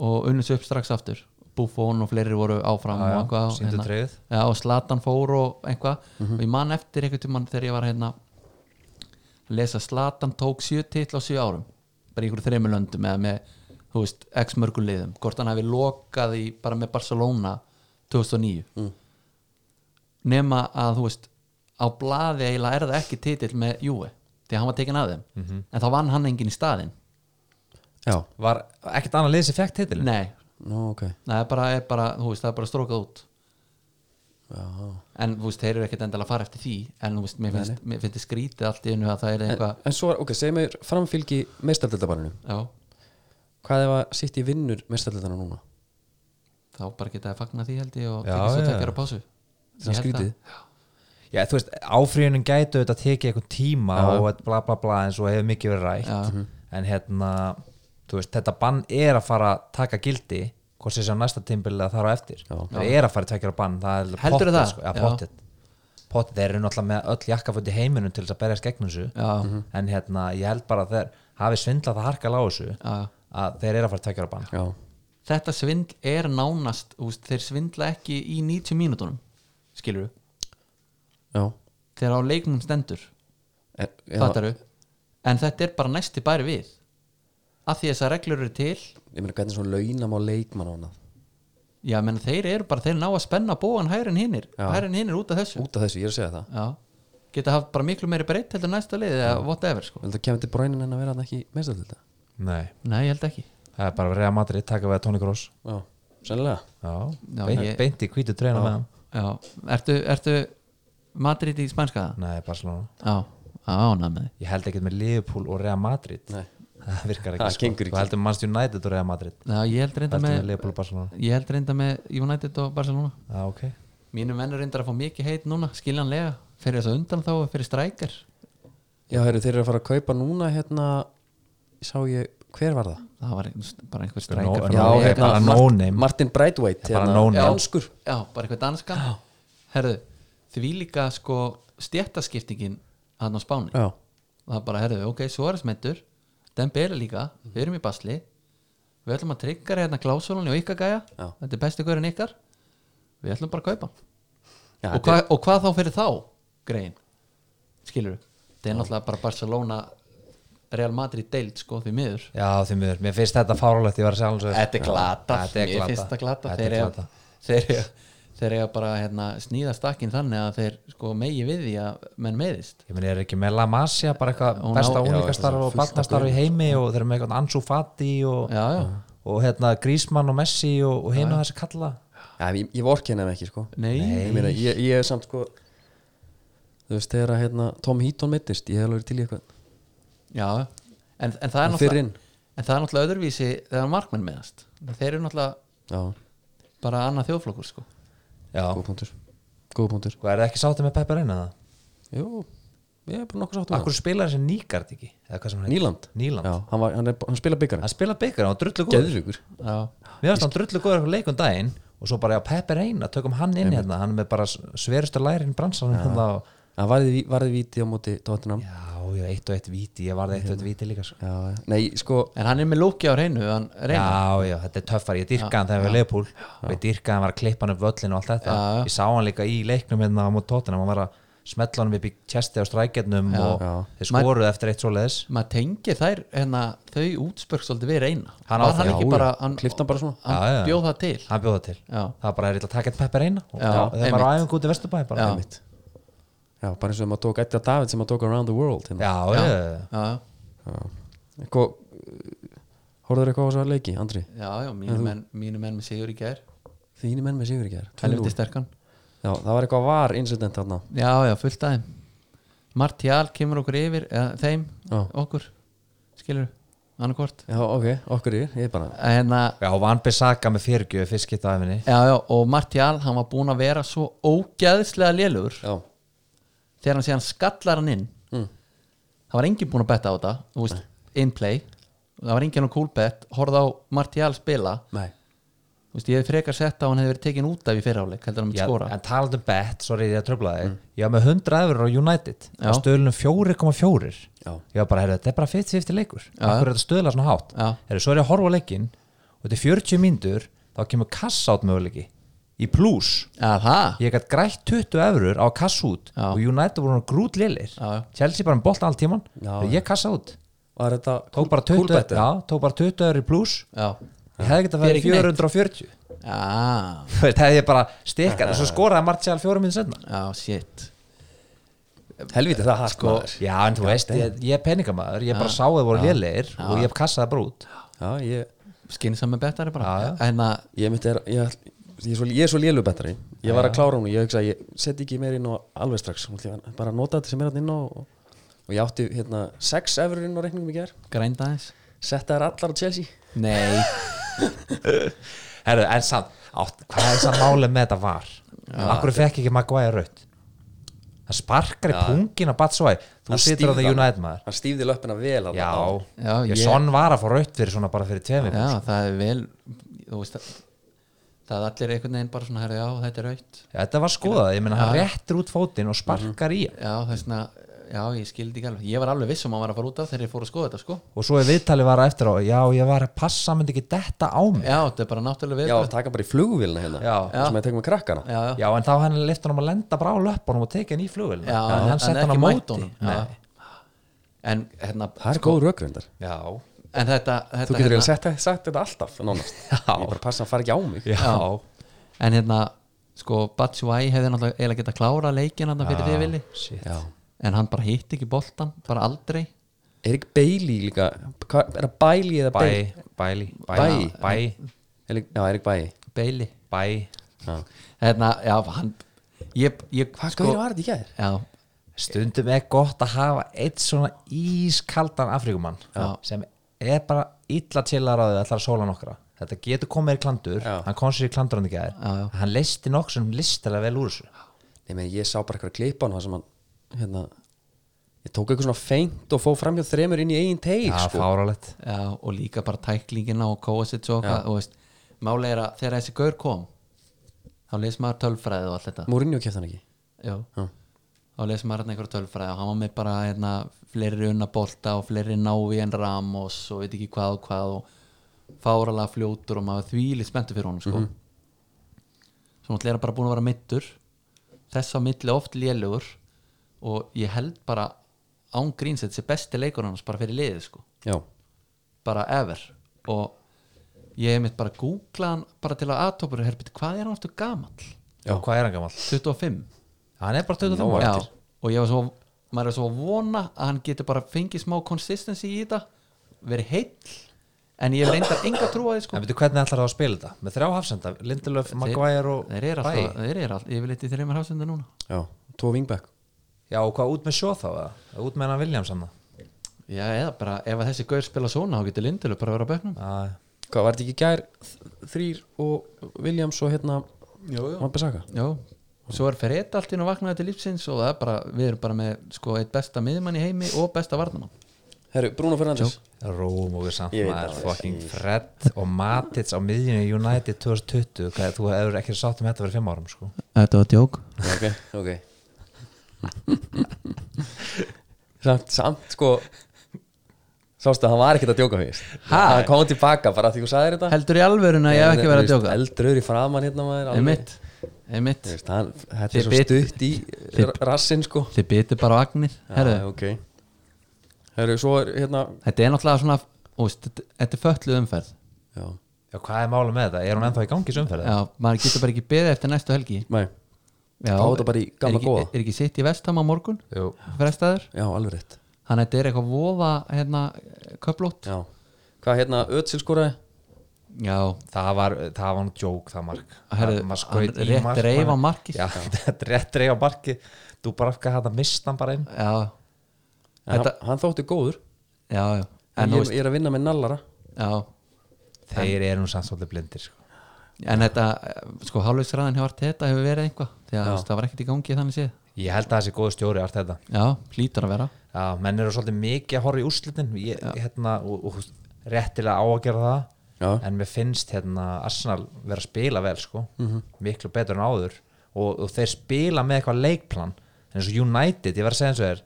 [SPEAKER 2] og unnum svo upp strax aftur Buffon og fleiri voru áfram
[SPEAKER 3] Já, já,
[SPEAKER 2] og eitthvað hérna. og
[SPEAKER 3] sýndu tregið.
[SPEAKER 2] Já, og Slatan fór og eitthvað og ég man eftir einhvern tímann þegar ég var hérna að lesa Slatan tók sjö titla á sjö árum bara í einhverju þreymur löndum eða með, þú veist, x mörgum liðum hvort hann hafi lokað í bara með Barcelona 2009 nema að þú veist á blaði eiginlega er það ekki titill með Júi, því að hann var tekin að þeim en þá vann hann enginn í staðinn
[SPEAKER 1] já,
[SPEAKER 3] var ekkert annað lið sem fekk titlin?
[SPEAKER 2] nei,
[SPEAKER 1] nú ok
[SPEAKER 2] nei, það er bara, er bara, þú veist, það er bara strókað út Já. en þú veist, þeir eru ekkert endilega að fara eftir því en þú veist, mér finnst, mér finnst þið skrítið allt í einu að það er
[SPEAKER 1] En,
[SPEAKER 2] eitthvað
[SPEAKER 1] en svo, er- ok, segjum við framfylgi meistardeldabarinu
[SPEAKER 2] já,
[SPEAKER 1] Hvað ef að sitt í vinnur meistardeldana núna?
[SPEAKER 2] þá bara geta að fagna því held ég og
[SPEAKER 3] Já,
[SPEAKER 2] tekið svo
[SPEAKER 3] já.
[SPEAKER 2] tekjar á pásu
[SPEAKER 1] Það er
[SPEAKER 2] Ég held
[SPEAKER 1] skrítið.
[SPEAKER 2] það.
[SPEAKER 3] Já, þú veist, áfríðunum gætu auðvitað tekið eitthvað tíma og bla bla bla eins og hefur mikið verið rætt
[SPEAKER 2] Mhm.
[SPEAKER 3] en hérna, þú veist, þetta bann er að fara að taka gildi hvort sem sem næsta tímbilið að þar á eftir það er að fara að taka bann, það er alveg
[SPEAKER 2] Heldurðu
[SPEAKER 3] pottet,
[SPEAKER 2] það?
[SPEAKER 3] Sko, já,
[SPEAKER 2] Já.
[SPEAKER 3] pottet. pottet, þeir eru náttúrulega með öll jakkaföld í heiminum til þess að berjast gegn þessu
[SPEAKER 2] Já. Mhm.
[SPEAKER 3] en hérna, ég held bara að þeir hafi svindlað það harkal á þessu
[SPEAKER 2] Já.
[SPEAKER 3] að þeir eru að fara að taka bann
[SPEAKER 1] Já,
[SPEAKER 2] þetta svindl er nánast þú veist, þeir svindla ekki í 90 mínútunum skilur
[SPEAKER 1] já
[SPEAKER 2] þegar á leiknum stendur
[SPEAKER 1] Er, já,
[SPEAKER 2] fattaru en þetta er bara næsti bæri við að því þessar reglur eru til
[SPEAKER 1] ég meina hvernig svona launam á leikmann og annað
[SPEAKER 2] já, menn þeir eru bara, þeir ná að spenna bóan hær en hinnir,
[SPEAKER 1] Já.
[SPEAKER 2] hær en hinnir út af þessu
[SPEAKER 1] út af þessu, ég er að segja það
[SPEAKER 2] já, geta haft bara miklu meiri breytt heldur en næsta liðið eða whatever sko
[SPEAKER 1] Vel, það kemur til brænin en að vera hann ekki meðstöld þetta
[SPEAKER 3] Nei,
[SPEAKER 2] nei, ég held ekki
[SPEAKER 3] það er bara að reyða Madrid taka við að Toni Kroos
[SPEAKER 1] já, sennilega
[SPEAKER 3] Já,
[SPEAKER 2] Já,
[SPEAKER 3] beint,
[SPEAKER 2] ég-
[SPEAKER 3] beint í hvítu treyna með hann
[SPEAKER 2] já, ertu, ertu Madrid í spænska?
[SPEAKER 3] Nei, Barcelona
[SPEAKER 2] já, ánað með þið
[SPEAKER 3] Ég held ekkert með Liverpool og Real Madrid
[SPEAKER 1] Nei.
[SPEAKER 3] Það virkar
[SPEAKER 1] Það
[SPEAKER 3] ekki sko.
[SPEAKER 1] gengur ekki.
[SPEAKER 3] Þú heldur Manchester United og Real Madrid
[SPEAKER 2] Já, ég held reynda
[SPEAKER 3] Heldur með
[SPEAKER 2] með
[SPEAKER 3] Liverpool og Barcelona
[SPEAKER 2] ég held reynda með United og Barcelona
[SPEAKER 3] Já, ok
[SPEAKER 2] mínu mennur reyndar að fá mikið heit núna skiljanlega, fyrir þess að undan þá fyrir strækjar
[SPEAKER 1] já, heyrðu, þeir eru að fara að kaupa núna hérna, sá ég, hver var það?
[SPEAKER 2] það var ein- bara einhver
[SPEAKER 3] Nó-
[SPEAKER 2] strækjar
[SPEAKER 3] Já,
[SPEAKER 1] Já,
[SPEAKER 3] ég er
[SPEAKER 1] hérna,
[SPEAKER 3] bara
[SPEAKER 1] Mart-
[SPEAKER 3] no-name.
[SPEAKER 1] Martin hérna, Brightweight
[SPEAKER 3] Ég er bara no-name.
[SPEAKER 1] Danskur
[SPEAKER 2] já, bara einhver danskan herðu, því líka sko stjættaskiptingin hann á Spáni
[SPEAKER 1] Já,
[SPEAKER 2] það bara, herðu, ok, svo er smettur Dembele líka, við erum í basli við ætlum að trygga hérna klásulunni og ykkar gæja,
[SPEAKER 1] Já.
[SPEAKER 2] þetta er besti gaur en ykkar við ætlum bara að kaupa hann.
[SPEAKER 1] já
[SPEAKER 2] og, hva, og hvað þá fyrir þá grein skilur þetta er náttúrulega bara Barcelona Real Madrid deild sko því miður
[SPEAKER 3] Já, því miður, mér finnst þetta fáralegt Ég var að segja alveg
[SPEAKER 2] þetta er glata,
[SPEAKER 3] Þetta er glata,
[SPEAKER 2] Mér finnst það glata.
[SPEAKER 3] Þetta
[SPEAKER 2] þeir
[SPEAKER 3] er
[SPEAKER 2] eiga-
[SPEAKER 3] glata.
[SPEAKER 2] þeir eiga- þeir eiga bara hérna, snýða stakkin þannig að þeir sko megi við því að menn meðist
[SPEAKER 3] Ég meni, er ekki með La Masia bara eitthvað
[SPEAKER 2] Hún á-
[SPEAKER 3] besta
[SPEAKER 2] Já,
[SPEAKER 3] úlingastarf og barnastarf í heimi og þeir eru með eitthvað Ansu Fati og,
[SPEAKER 2] sko. já, já,
[SPEAKER 3] og hérna Grísmann og Messi og, og heima þessi kalla
[SPEAKER 1] Já, ég, ég vorki henni ekki sko
[SPEAKER 2] nei,
[SPEAKER 1] Ég, meina, ég, ég er samt sko Þú veist, þegar að hérna, Tom Heaton meittist Ég hef alveg verið til í eitthvað
[SPEAKER 2] já en, en það er
[SPEAKER 1] En fyrr
[SPEAKER 2] náttúrulega
[SPEAKER 1] inn
[SPEAKER 2] en það er náttúrulega öðruvísi þegar markmenn meðast þeir eru náttúrulega
[SPEAKER 1] Já,
[SPEAKER 2] bara annað þjóflokkur sko
[SPEAKER 3] Já,
[SPEAKER 1] góð punktur Góð punktur
[SPEAKER 3] og er það ekki sáttið með Pepper eina það?
[SPEAKER 1] Jú, ég er bara nokkuð sáttum
[SPEAKER 3] Akkur spilar þessi Nýgard ekki? Eða hvað sem hann heitir?
[SPEAKER 1] Nýland
[SPEAKER 3] Nýland
[SPEAKER 1] Já, hann, var, hann, er, hann spila byggarinn
[SPEAKER 3] Hann spila byggar, hann var drullu góður
[SPEAKER 1] Geðvíkur
[SPEAKER 2] já,
[SPEAKER 3] Mér finnst hann drullu góður eitthvað leikum daginn og svo bara, já, Pepper eina, tökum hann inn hérna hann er með bara sverustu lærin bransanum hérna og
[SPEAKER 1] Hann varði, varði víti á móti Tottenham Já,
[SPEAKER 3] Já, ég var eitt og eitt víti, ég varði eitt
[SPEAKER 2] Hérna.
[SPEAKER 3] og eitt víti líka sko.
[SPEAKER 1] já Nei, sko
[SPEAKER 2] en hann er með lúki á reynu hann
[SPEAKER 3] Já,
[SPEAKER 2] reyna,
[SPEAKER 3] já, þetta er töffar, ég dyrkaði hann þegar við leifupúl og ég dyrkaði hann var að klippa hann upp völlin og allt þetta
[SPEAKER 2] Já, já.
[SPEAKER 3] Ég sá hann líka í leiknum hérna á mót tóttina, hann var að smetla hann upp í tjesti á strækjarnum og
[SPEAKER 1] Já.
[SPEAKER 3] þeir skoruðu eftir eitt svoleiðis
[SPEAKER 2] maður tengir þær hérna, þau útspörk svolítið við reyna
[SPEAKER 3] Hann á
[SPEAKER 2] var
[SPEAKER 3] það,
[SPEAKER 2] hann
[SPEAKER 1] já,
[SPEAKER 2] ekki
[SPEAKER 1] já.
[SPEAKER 2] bara hann,
[SPEAKER 1] Klippti hann bara svona?
[SPEAKER 2] hann
[SPEAKER 3] Já, já.
[SPEAKER 2] bjóð það til
[SPEAKER 3] Hann bjóða til
[SPEAKER 2] Já.
[SPEAKER 3] Það bara er illa að taka eitt Pepper eina og
[SPEAKER 2] Já,
[SPEAKER 3] og þeir
[SPEAKER 2] einmitt.
[SPEAKER 3] bara á æfingu út í Vesturbæði bara
[SPEAKER 2] Já.
[SPEAKER 1] Einmitt. Já, bara eins og maður tók Edda David sem maður tók Around the World hérna.
[SPEAKER 3] Já, já, já.
[SPEAKER 2] já,
[SPEAKER 1] Eitthvað Hóruður eitthvað á þess að leiki, Andri?
[SPEAKER 2] já, já mínu, menn, mínu menn með sigur í gær
[SPEAKER 1] Þínu menn með sigur í gær 2-0.
[SPEAKER 2] helviti sterkan
[SPEAKER 1] Já, það var eitthvað var incident þarna
[SPEAKER 2] já, já, fullt aðeim Martial kemur okkur yfir eða, þeim,
[SPEAKER 1] Já.
[SPEAKER 2] okkur skilur, annarkvort
[SPEAKER 1] Já, ok, okkur yfir, ég er bara
[SPEAKER 2] hérna,
[SPEAKER 3] Já, og Van Bissaka með fyrgjöf fyrst geta aðeins
[SPEAKER 2] já, já, og Martial hann var búin að vera svo ógæðslega lélugur
[SPEAKER 1] Já,
[SPEAKER 2] þegar hann sé hann skallar hann inn
[SPEAKER 1] mm.
[SPEAKER 2] það var enginn búinn að betta á þetta þú veist, in play það var enginn á cool bet, horfða á Martial spila
[SPEAKER 1] nei
[SPEAKER 2] Þú veist, ég hefði frekar sett á hann hefði verið tekin út af í fyrirháleik heldur hann myndi
[SPEAKER 3] Já,
[SPEAKER 2] skora
[SPEAKER 3] en talandi um bet, sorry ég tröflaði mm. ég var með 100 efur á United
[SPEAKER 2] Já.
[SPEAKER 3] á stöðlunum 4,4
[SPEAKER 1] Já.
[SPEAKER 3] ég var bara, heyrðu, þetta er bara 50-50 leikur okkur er þetta stöðla svona hátt
[SPEAKER 2] Já.
[SPEAKER 3] heyrðu, svo er ég að horfa á leikinn og þetta er 40 mínútur þá kemur kassa át möguleiki í pluss,
[SPEAKER 2] Aha,
[SPEAKER 3] ég gætt grætt 20 efurur á kassa út
[SPEAKER 2] Já.
[SPEAKER 3] og United voru grút lélir
[SPEAKER 2] Já, já.
[SPEAKER 3] Chelsea bara um bolt all tíman
[SPEAKER 1] Já,
[SPEAKER 3] og ég kassa út
[SPEAKER 1] Var þetta
[SPEAKER 3] tók bara 20
[SPEAKER 1] bet, eða?
[SPEAKER 3] já, tók bara 20 efur í pluss
[SPEAKER 2] já
[SPEAKER 3] ég hefði gett að
[SPEAKER 2] Fyrir
[SPEAKER 3] færi
[SPEAKER 2] ekki neitt.
[SPEAKER 3] 440
[SPEAKER 2] Já,
[SPEAKER 3] Þú veist, hefði ég bara stikkað og svo skoraði Martial fjórum minn senna
[SPEAKER 2] já, shit
[SPEAKER 1] Helviti það hart sko
[SPEAKER 3] já en þú veist, ég, ég er peningamæður ég bara sá að það voru lélegir og ég kassaði bara út
[SPEAKER 1] Já, ég,
[SPEAKER 2] Skinsam með bettari bara
[SPEAKER 3] Já,
[SPEAKER 2] En að,
[SPEAKER 1] ég myndi er, ég, ætl- ég, er svo, ég er svo lélu betri Ég var að klára hún og ég hugsa Ég seti ekki meir inn á alveg strax Hún ætli að Bara nota þetta sem er hann inn á og, og ég átti hérna sex efur inn á reikningum í gær
[SPEAKER 2] grænda aðeins
[SPEAKER 1] Setta þær allar á Chelsea
[SPEAKER 2] Nei,
[SPEAKER 3] Herru, en samt, átt, hvað er það málið með þetta var akkur fekk ekki Maguire raut það sparkar í pungin á Batsvæ þú
[SPEAKER 1] Hann
[SPEAKER 3] situr á
[SPEAKER 1] stífði
[SPEAKER 3] það
[SPEAKER 1] hann.
[SPEAKER 3] United maður
[SPEAKER 1] Hann stífði löppina vel þarna
[SPEAKER 3] já,
[SPEAKER 1] áðan.
[SPEAKER 2] Já,
[SPEAKER 3] ég
[SPEAKER 2] ég-
[SPEAKER 3] svon var að fá raut fyrir svona bara fyrir tvemi já,
[SPEAKER 2] já, það er vel Þú veist það Það er allir einhvern veginn bara svona, herri, já, þetta er raut
[SPEAKER 3] þetta var skoðað, ég meina hann réttir út fótinn og sparkar í hann
[SPEAKER 2] Já, þessna, já, ég skildi ekki alveg Ég var alveg viss um að maður var að fara út af þegar ég fór að skoða þetta, sko
[SPEAKER 3] og svo er viðtalið var eftir á já, ég var að passa, hann myndi ekki detta á mig já,
[SPEAKER 2] Já, þetta er bara náttúrulega við
[SPEAKER 1] Já, taka bara í flugvílna hérna
[SPEAKER 3] Já.
[SPEAKER 1] Sem að tekum með krakkana
[SPEAKER 2] já, já,
[SPEAKER 3] en þá hann liftur hann að lenda bara á löppunum og tekið hann í flugil
[SPEAKER 2] já
[SPEAKER 3] hann
[SPEAKER 2] en
[SPEAKER 3] sett hann á
[SPEAKER 2] ekki mætt
[SPEAKER 3] móti
[SPEAKER 2] honum. Já. En hérna
[SPEAKER 1] Það er góð rökrundar
[SPEAKER 3] Já,
[SPEAKER 2] en þetta, þetta
[SPEAKER 1] Þú getur
[SPEAKER 2] hérna-
[SPEAKER 1] hérna. sett, sagt þetta alltaf nánast Já Ég bara passa að fara ekki á mig
[SPEAKER 3] Já.
[SPEAKER 2] en hérna sko Batshuayi hefði náttúrulega eiginlega geta klára leikin hann fyrir því villi
[SPEAKER 3] shit.
[SPEAKER 1] Já.
[SPEAKER 2] en hann bara hitt ekki boltan, bara aldrei
[SPEAKER 1] Er ekki Bailey líka Hvað, Er það Bailey eða Bailey?
[SPEAKER 3] Bæ, bæli,
[SPEAKER 1] Bæ.
[SPEAKER 3] bæ, bæ,
[SPEAKER 1] Er, já, er ekki Bailey
[SPEAKER 2] Bailey
[SPEAKER 3] bæ
[SPEAKER 1] Já.
[SPEAKER 2] hérna, já, hann ég, ég,
[SPEAKER 1] Hvað sko, gauður var þetta í gær?
[SPEAKER 2] já,
[SPEAKER 3] Stundum er gott að hafa eitt svona ískaldan Afrikumann
[SPEAKER 2] Já.
[SPEAKER 3] sem er bara illa til að ráðið ætlar að sóla nokkra Þetta getur komið í klandur,
[SPEAKER 1] Já.
[SPEAKER 3] hann kom sér í klandur hann ekki
[SPEAKER 2] Já, já.
[SPEAKER 3] aðeir Hann leisti nokkuð sem listilega vel úr þessu
[SPEAKER 1] Nei, meni, ég sá bara eitthvað klipan það sem hann hérna, ég tók eitthvað svona feint og fóð framhjóð þremur inn í eigin teig
[SPEAKER 3] Það er
[SPEAKER 1] sko.
[SPEAKER 3] fáralegt
[SPEAKER 2] já, og líka bara tæklingina og Kovacic og hvað, þú veist máli er að þegar þessi gaur kom þá les maður tölfræði og allt þetta
[SPEAKER 1] Mourinho kefti hann ekki
[SPEAKER 2] já, þá les maður hann einhverja tölfræði og hann var með bara hérna, fleiri unna bolta og fleiri návi en Ramos og veit ekki hvað og hvað og fáralega fljótur og maður þvílið spenntu fyrir honum sko. mm -hmm. svo náttúrulega er hann bara búin að vera mittur þess á milli oft lélugur og ég held bara án grínsett þessi besti leikur hans bara fyrir liðið sko
[SPEAKER 1] Já,
[SPEAKER 2] bara ever og ég hef mitt bara googlað hann bara til að aðtopur herbiti hvað er hann aftur gamall
[SPEAKER 3] Já. Hvað er hann gamall?
[SPEAKER 2] 25
[SPEAKER 3] Hann er bara 25
[SPEAKER 1] Nó,
[SPEAKER 3] ára
[SPEAKER 2] já, og ég var svo maður er svo að vona að hann getur bara fengið smá consistency í þetta verið heill en ég hef reyndar enga trú að því sko
[SPEAKER 3] En veitu hvernig ætlar það að spila þetta? Með þrjá hafsenda, Lindelöf, Maguire og
[SPEAKER 2] þeir eru alltaf, þeir eru alltaf, ég vil eitthvað þeirra með hafsenda núna
[SPEAKER 1] já, tvo vingbæk
[SPEAKER 3] Já, og hvað út með sjó þá? eða? Eða Út með hann Williams hann
[SPEAKER 2] já, eða bara ef að þessi gaur spila svona þá getur Lindelöf bara að vera á bekknum
[SPEAKER 3] Já,
[SPEAKER 1] Hvað, var þetta ekki í gær þ- þrír og Williams og hérna
[SPEAKER 2] Jú, jú.
[SPEAKER 1] Van Bissaka
[SPEAKER 2] já, svo er Ferret allt inn og vaknaði til lífsins og það er bara, við erum bara með sko eitt besta miðmann í heimi og besta varnamann
[SPEAKER 1] Herru, Bruno Fernandes
[SPEAKER 3] Róm og samt
[SPEAKER 1] Ég veit
[SPEAKER 3] maður
[SPEAKER 1] það.
[SPEAKER 3] fucking Fred og Matits á miðjunni United 2020 hvað, þú hefur ekki sátt um þetta fyrir fimm árum sko.
[SPEAKER 2] Þetta var djók
[SPEAKER 1] Ok, ok Samt, samt sko Sástu að hann var ekkert að djóka fyrst Hann kom tilbaka bara því þú sagðir þetta
[SPEAKER 2] Heldur í alvöruna að ég hef ekki verið að djóka
[SPEAKER 1] Eldröður í framann hérna maður alveg.
[SPEAKER 2] Einmitt,
[SPEAKER 1] Þú
[SPEAKER 2] einmitt
[SPEAKER 1] veist, hann, Þetta
[SPEAKER 2] Þið
[SPEAKER 1] er svo
[SPEAKER 2] bit-
[SPEAKER 1] stutt í
[SPEAKER 2] þið-
[SPEAKER 1] rassinn sko
[SPEAKER 2] Þið byttu bara á agnir, herðu
[SPEAKER 1] ah, okay. Herru, svo er hérna
[SPEAKER 2] Þetta er náttúrulega svona úst, þetta- Þetta er fötluð umferð
[SPEAKER 1] Já,
[SPEAKER 3] Já, hvað er málum með þetta? Er hún ennþá í gangi sumferði?
[SPEAKER 2] Já, maður getur bara ekki beðið eftir næstu helgi
[SPEAKER 1] mæ,
[SPEAKER 2] Já,
[SPEAKER 1] Á, þetta bara í gamla
[SPEAKER 2] er ekki,
[SPEAKER 1] góða.
[SPEAKER 2] Er ekki sitt í vestam á morgun
[SPEAKER 3] Jú.
[SPEAKER 2] frestaður,
[SPEAKER 1] já, alveg rétt
[SPEAKER 2] þannig að þetta er eitthvað voða hérna, köplót
[SPEAKER 1] já. Hvað hérna, Ötsil skoraði?
[SPEAKER 2] Já,
[SPEAKER 3] Það var, það var nú djók það mark
[SPEAKER 2] Herðu,
[SPEAKER 3] Það- maður skaut
[SPEAKER 2] hann
[SPEAKER 3] í
[SPEAKER 2] rétt
[SPEAKER 3] mark,
[SPEAKER 2] reif á
[SPEAKER 3] maður.
[SPEAKER 2] markið.
[SPEAKER 3] Já, þetta rétt dreif á marki Þú bara afkvæða hann að mista hann bara einn
[SPEAKER 2] já,
[SPEAKER 1] Þetta...
[SPEAKER 2] Þetta-
[SPEAKER 1] Hann, hann þótti góður
[SPEAKER 2] já, já En,
[SPEAKER 1] en
[SPEAKER 2] þú
[SPEAKER 1] ég, ég er að vinna með nallara
[SPEAKER 2] veist, já,
[SPEAKER 3] Þeir eru nú samt svolítið blindir sko.
[SPEAKER 2] en þetta eh, sko hálflegsræðan hefur þetta hefur verið einhvað því að þú veist, það var ekkert í gangi þannig séð
[SPEAKER 3] Ég held að þessi góðu stjóri allt þetta
[SPEAKER 2] Já, hlýtur að vera
[SPEAKER 3] Já, menn eru svolítið mikið að horfa í úrslitin ég, hérna, og, og réttilega á að gera það
[SPEAKER 1] Já.
[SPEAKER 3] en mér finnst hérna Arsenal vera að spila vel sko
[SPEAKER 2] Mhm.
[SPEAKER 3] miklu betur en áður og, og þeir spila með eitthvað leikplan en eins og United, ég verð að segja eins og þér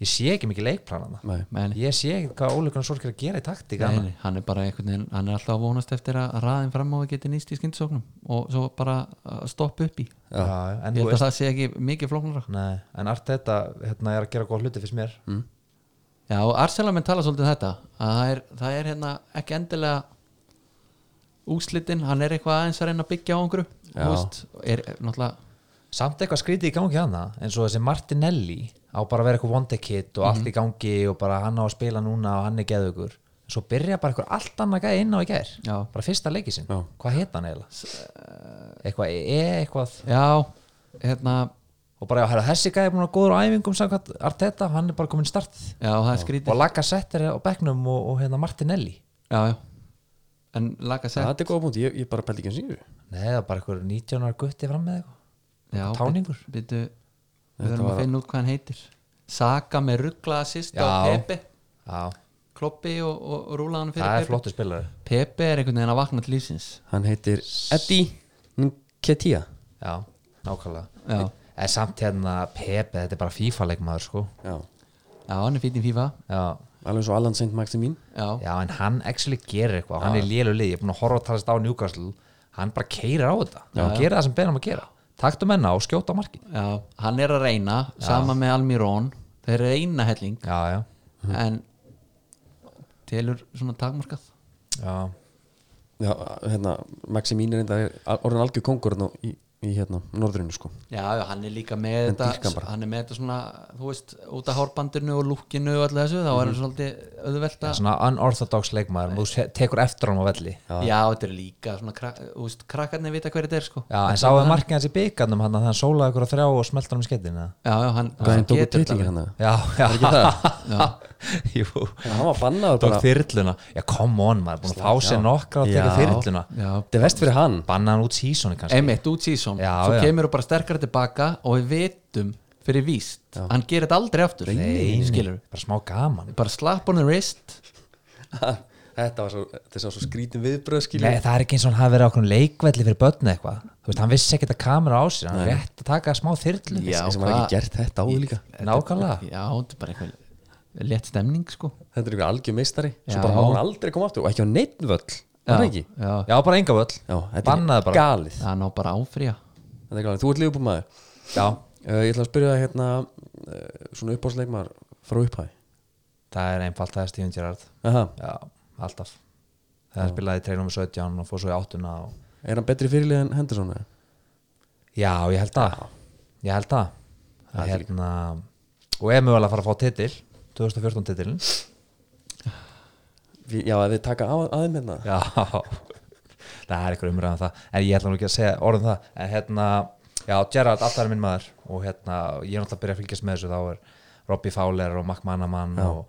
[SPEAKER 3] ég sé ekki mikið leikplan hana
[SPEAKER 1] Nei.
[SPEAKER 2] Nei, nei.
[SPEAKER 3] ég sé ekki hvað ólíkunar svolítið er að gera í taktík
[SPEAKER 2] Nei,
[SPEAKER 3] hana
[SPEAKER 2] nei, hann er bara einhvern veginn, hann er alltaf að vonast eftir að raðin fram á að geti nýst í skyndisóknum og svo bara að stoppa upp í
[SPEAKER 3] Já, já, en
[SPEAKER 2] Ég held
[SPEAKER 3] þú
[SPEAKER 2] að
[SPEAKER 3] veist
[SPEAKER 2] það sé ekki mikið flóknara
[SPEAKER 3] Nei, en allt þetta hérna, er að gera góð hluti fyrst mér mm.
[SPEAKER 2] Já, og Arsenal menn tala svolítið um þetta að það er, það er hérna ekki endilega úslitinn, hann er eitthvað aðeins að reyna að byggja á einhverju
[SPEAKER 1] Já.
[SPEAKER 2] þú veist, er er náttúrulega
[SPEAKER 3] Samt eitthvað skrítið í gangi hana eins og þessi Martinelli á bara að vera eitthvað one day kid og allt í gangi og bara hann á að spila núna og hann er geðugur en svo byrja bara eitthvað allt annað gæði inn á í gær
[SPEAKER 2] Já.
[SPEAKER 3] bara fyrsta leiki sinn,
[SPEAKER 1] Já.
[SPEAKER 3] hvað heit hann eiginlega eitthvað e eitthvað
[SPEAKER 2] já, hérna,
[SPEAKER 3] og bara herra, þessi gæði er búin að góður á æfingum samkvæmt Arteta, hann er bara komin start
[SPEAKER 2] já, það er skrítið
[SPEAKER 3] og laga settir á bekknum og, og hérna Martinelli
[SPEAKER 2] Já, já En laga
[SPEAKER 1] Það
[SPEAKER 2] sett
[SPEAKER 1] þetta er góða punkt, ég, ég bara pældi ekki hans yfir
[SPEAKER 3] Nei, það er bara eitthvað 19 ára gutti fram með eitthvað
[SPEAKER 2] já,
[SPEAKER 3] táningur.
[SPEAKER 2] byt- byttu, Við verðum að finna út hvað hann heitir Saka með ruggla assist á
[SPEAKER 3] Já.
[SPEAKER 2] Pepe
[SPEAKER 3] Já,
[SPEAKER 2] Kloppi og, og, og rúlaðan fyrir
[SPEAKER 3] það er
[SPEAKER 2] Pepe
[SPEAKER 3] flottu spilari
[SPEAKER 2] Pepe er einhvern veginn að vakna til lífsins
[SPEAKER 1] Hann heitir Eddie Nketia
[SPEAKER 3] Já, nákvæmlega
[SPEAKER 2] Já.
[SPEAKER 3] En samt hérna Pepe, þetta er bara FIFA leikmaður sko
[SPEAKER 1] Já,
[SPEAKER 2] Já, hann er fýtt í FIFA
[SPEAKER 3] Já,
[SPEAKER 1] alveg svo Allan Saint Maximin
[SPEAKER 2] Já,
[SPEAKER 3] já en hann actually gerir eitthvað Hann er lélu lið, ég er búin að horfa að talast á Newcastle Hann bara keirir á þetta Hann gerir það sem beðum að gera Taktu menna og skjóta á markið
[SPEAKER 2] já, hann er að reyna Sama með Almirón Þeir reyna helling
[SPEAKER 3] Já, já,
[SPEAKER 2] En telur svona takmarkað
[SPEAKER 3] já,
[SPEAKER 1] Já, hérna, Maximín er enda orðin algjör kongur hérna í, í hérna, norðrinu sko
[SPEAKER 2] já, já, hann er líka með
[SPEAKER 1] En dýrkan
[SPEAKER 2] þetta
[SPEAKER 1] bara.
[SPEAKER 2] hann er með þetta svona, þú veist, út af hárbandinu og lúkinu og allir þessu, þá er hann svolítið auðvelt
[SPEAKER 3] það er
[SPEAKER 2] að,
[SPEAKER 3] svona unorthodox leikmaður þú se- tekur eftir honum á velli
[SPEAKER 2] já, þetta er líka svona, krak, þú veist, krakkarnir vita hver þetta er sko
[SPEAKER 3] já, en sáðu markið hans í byggarnum hann að hann sólaði ykkur á þrjá og smelta hann í skettina
[SPEAKER 2] já, já, hann,
[SPEAKER 1] Gæðin
[SPEAKER 2] hann
[SPEAKER 1] tóku
[SPEAKER 2] þetta
[SPEAKER 1] titlingin hann
[SPEAKER 3] já, já,
[SPEAKER 1] ekki
[SPEAKER 3] jú
[SPEAKER 1] Hann var bannaður
[SPEAKER 3] tók
[SPEAKER 1] bara
[SPEAKER 3] þyrluna, já come on maður búin að fá sér nokkra að teka
[SPEAKER 1] Já.
[SPEAKER 3] þyrluna
[SPEAKER 2] já,
[SPEAKER 1] Þetta er vest fyrir hann
[SPEAKER 3] banna hann út sísoni kannski
[SPEAKER 2] einmitt út síðan,
[SPEAKER 3] Já,
[SPEAKER 2] svo
[SPEAKER 3] já.
[SPEAKER 2] kemur þú bara sterkara tilbaka og við vitum fyrir víst, hann gerir þetta aldrei aftur
[SPEAKER 3] Nei, nei,
[SPEAKER 2] skilur
[SPEAKER 3] bara smá gaman
[SPEAKER 2] bara slap on the wrist
[SPEAKER 1] Þetta var svo, þetta er svo, svo skrítin viðbröð skilja
[SPEAKER 3] Nei, það er ekki eins og hann hafi verið á okkur leikvelli fyrir börn eða eitthvað þú veist, hann vissi ekkert að kamera á sér hann er rétt að taka smá þyrlu
[SPEAKER 2] Já,
[SPEAKER 1] sem hafa
[SPEAKER 2] hvað-
[SPEAKER 1] ekki gert þetta áður líka
[SPEAKER 3] nákvæmlega
[SPEAKER 2] já, þetta er bara eitthvað létt stemning sko
[SPEAKER 1] Þetta er ykkur algjör meistari Svo
[SPEAKER 2] Já.
[SPEAKER 1] bara má hann aldrei koma aftur og ekki á neitt völl Það er
[SPEAKER 2] já,
[SPEAKER 1] ekki
[SPEAKER 2] já,
[SPEAKER 3] Já, bara enga völl
[SPEAKER 1] Já, þetta
[SPEAKER 3] Bannaði
[SPEAKER 1] er
[SPEAKER 3] bara.
[SPEAKER 1] galið
[SPEAKER 2] það ná bara áfrýja
[SPEAKER 1] Þetta er galið, þú ert lífbúr maður
[SPEAKER 3] Já,
[SPEAKER 1] Uh, ég ætla að spyrja það hérna uh, svona uppáðsleikmar frá upphæði
[SPEAKER 3] það er einfalt það er Steven Gerrard
[SPEAKER 1] Aha,
[SPEAKER 3] Já, alltaf Það spilaði í treinum 17 og fór svo í 8 og...
[SPEAKER 1] er hann betri fyrirlið en Henderson? eða?
[SPEAKER 3] Já, ég held það Ég held það, það hérna... Og er mögulega að fara að fá titil 2014 titilin
[SPEAKER 1] Við- Já, að þið taka á, aðeim hérna
[SPEAKER 3] Já, það er eitthvað umræðan það En ég ætla nú ekki að segja orðum það En hérna, já, Gerard, alltaf er minn maður Og hérna, ég er náttúrulega að byrja að fylgjast með þessu Þá er Robbie Fowler og Mac Manaman og,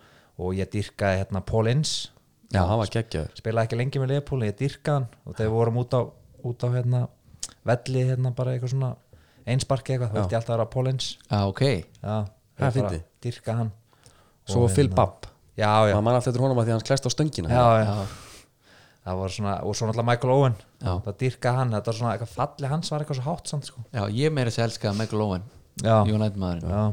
[SPEAKER 3] og ég dyrkaði hérna Paul Ince
[SPEAKER 1] Já, hann var geggjaður
[SPEAKER 3] spilaði ekki lengi með Leopold en ég dyrkaði hann og þegar við vorum út á, út á hérna, velli hérna bara eitthvað svona einsparki eitthvað, þá vildi ég alltaf að vera Pólins
[SPEAKER 2] já, ok,
[SPEAKER 3] já,
[SPEAKER 1] Það er
[SPEAKER 3] ég bara
[SPEAKER 1] fyndið.
[SPEAKER 3] dýrkaði hann
[SPEAKER 1] Svo var Phil Babb
[SPEAKER 3] já, já,
[SPEAKER 1] maður mann alltaf eftir honum að því hann klæst á stöngina
[SPEAKER 3] já, já. það var svona, og svo náttúrulega Michael Owen
[SPEAKER 2] Já.
[SPEAKER 3] það dyrkaði hann, þetta var svona eitthvað falli hans var eitthvað svo hátt samt sko
[SPEAKER 2] já, ég meira sér elskaði Michael Owen
[SPEAKER 3] já,
[SPEAKER 2] United maðurinn
[SPEAKER 3] já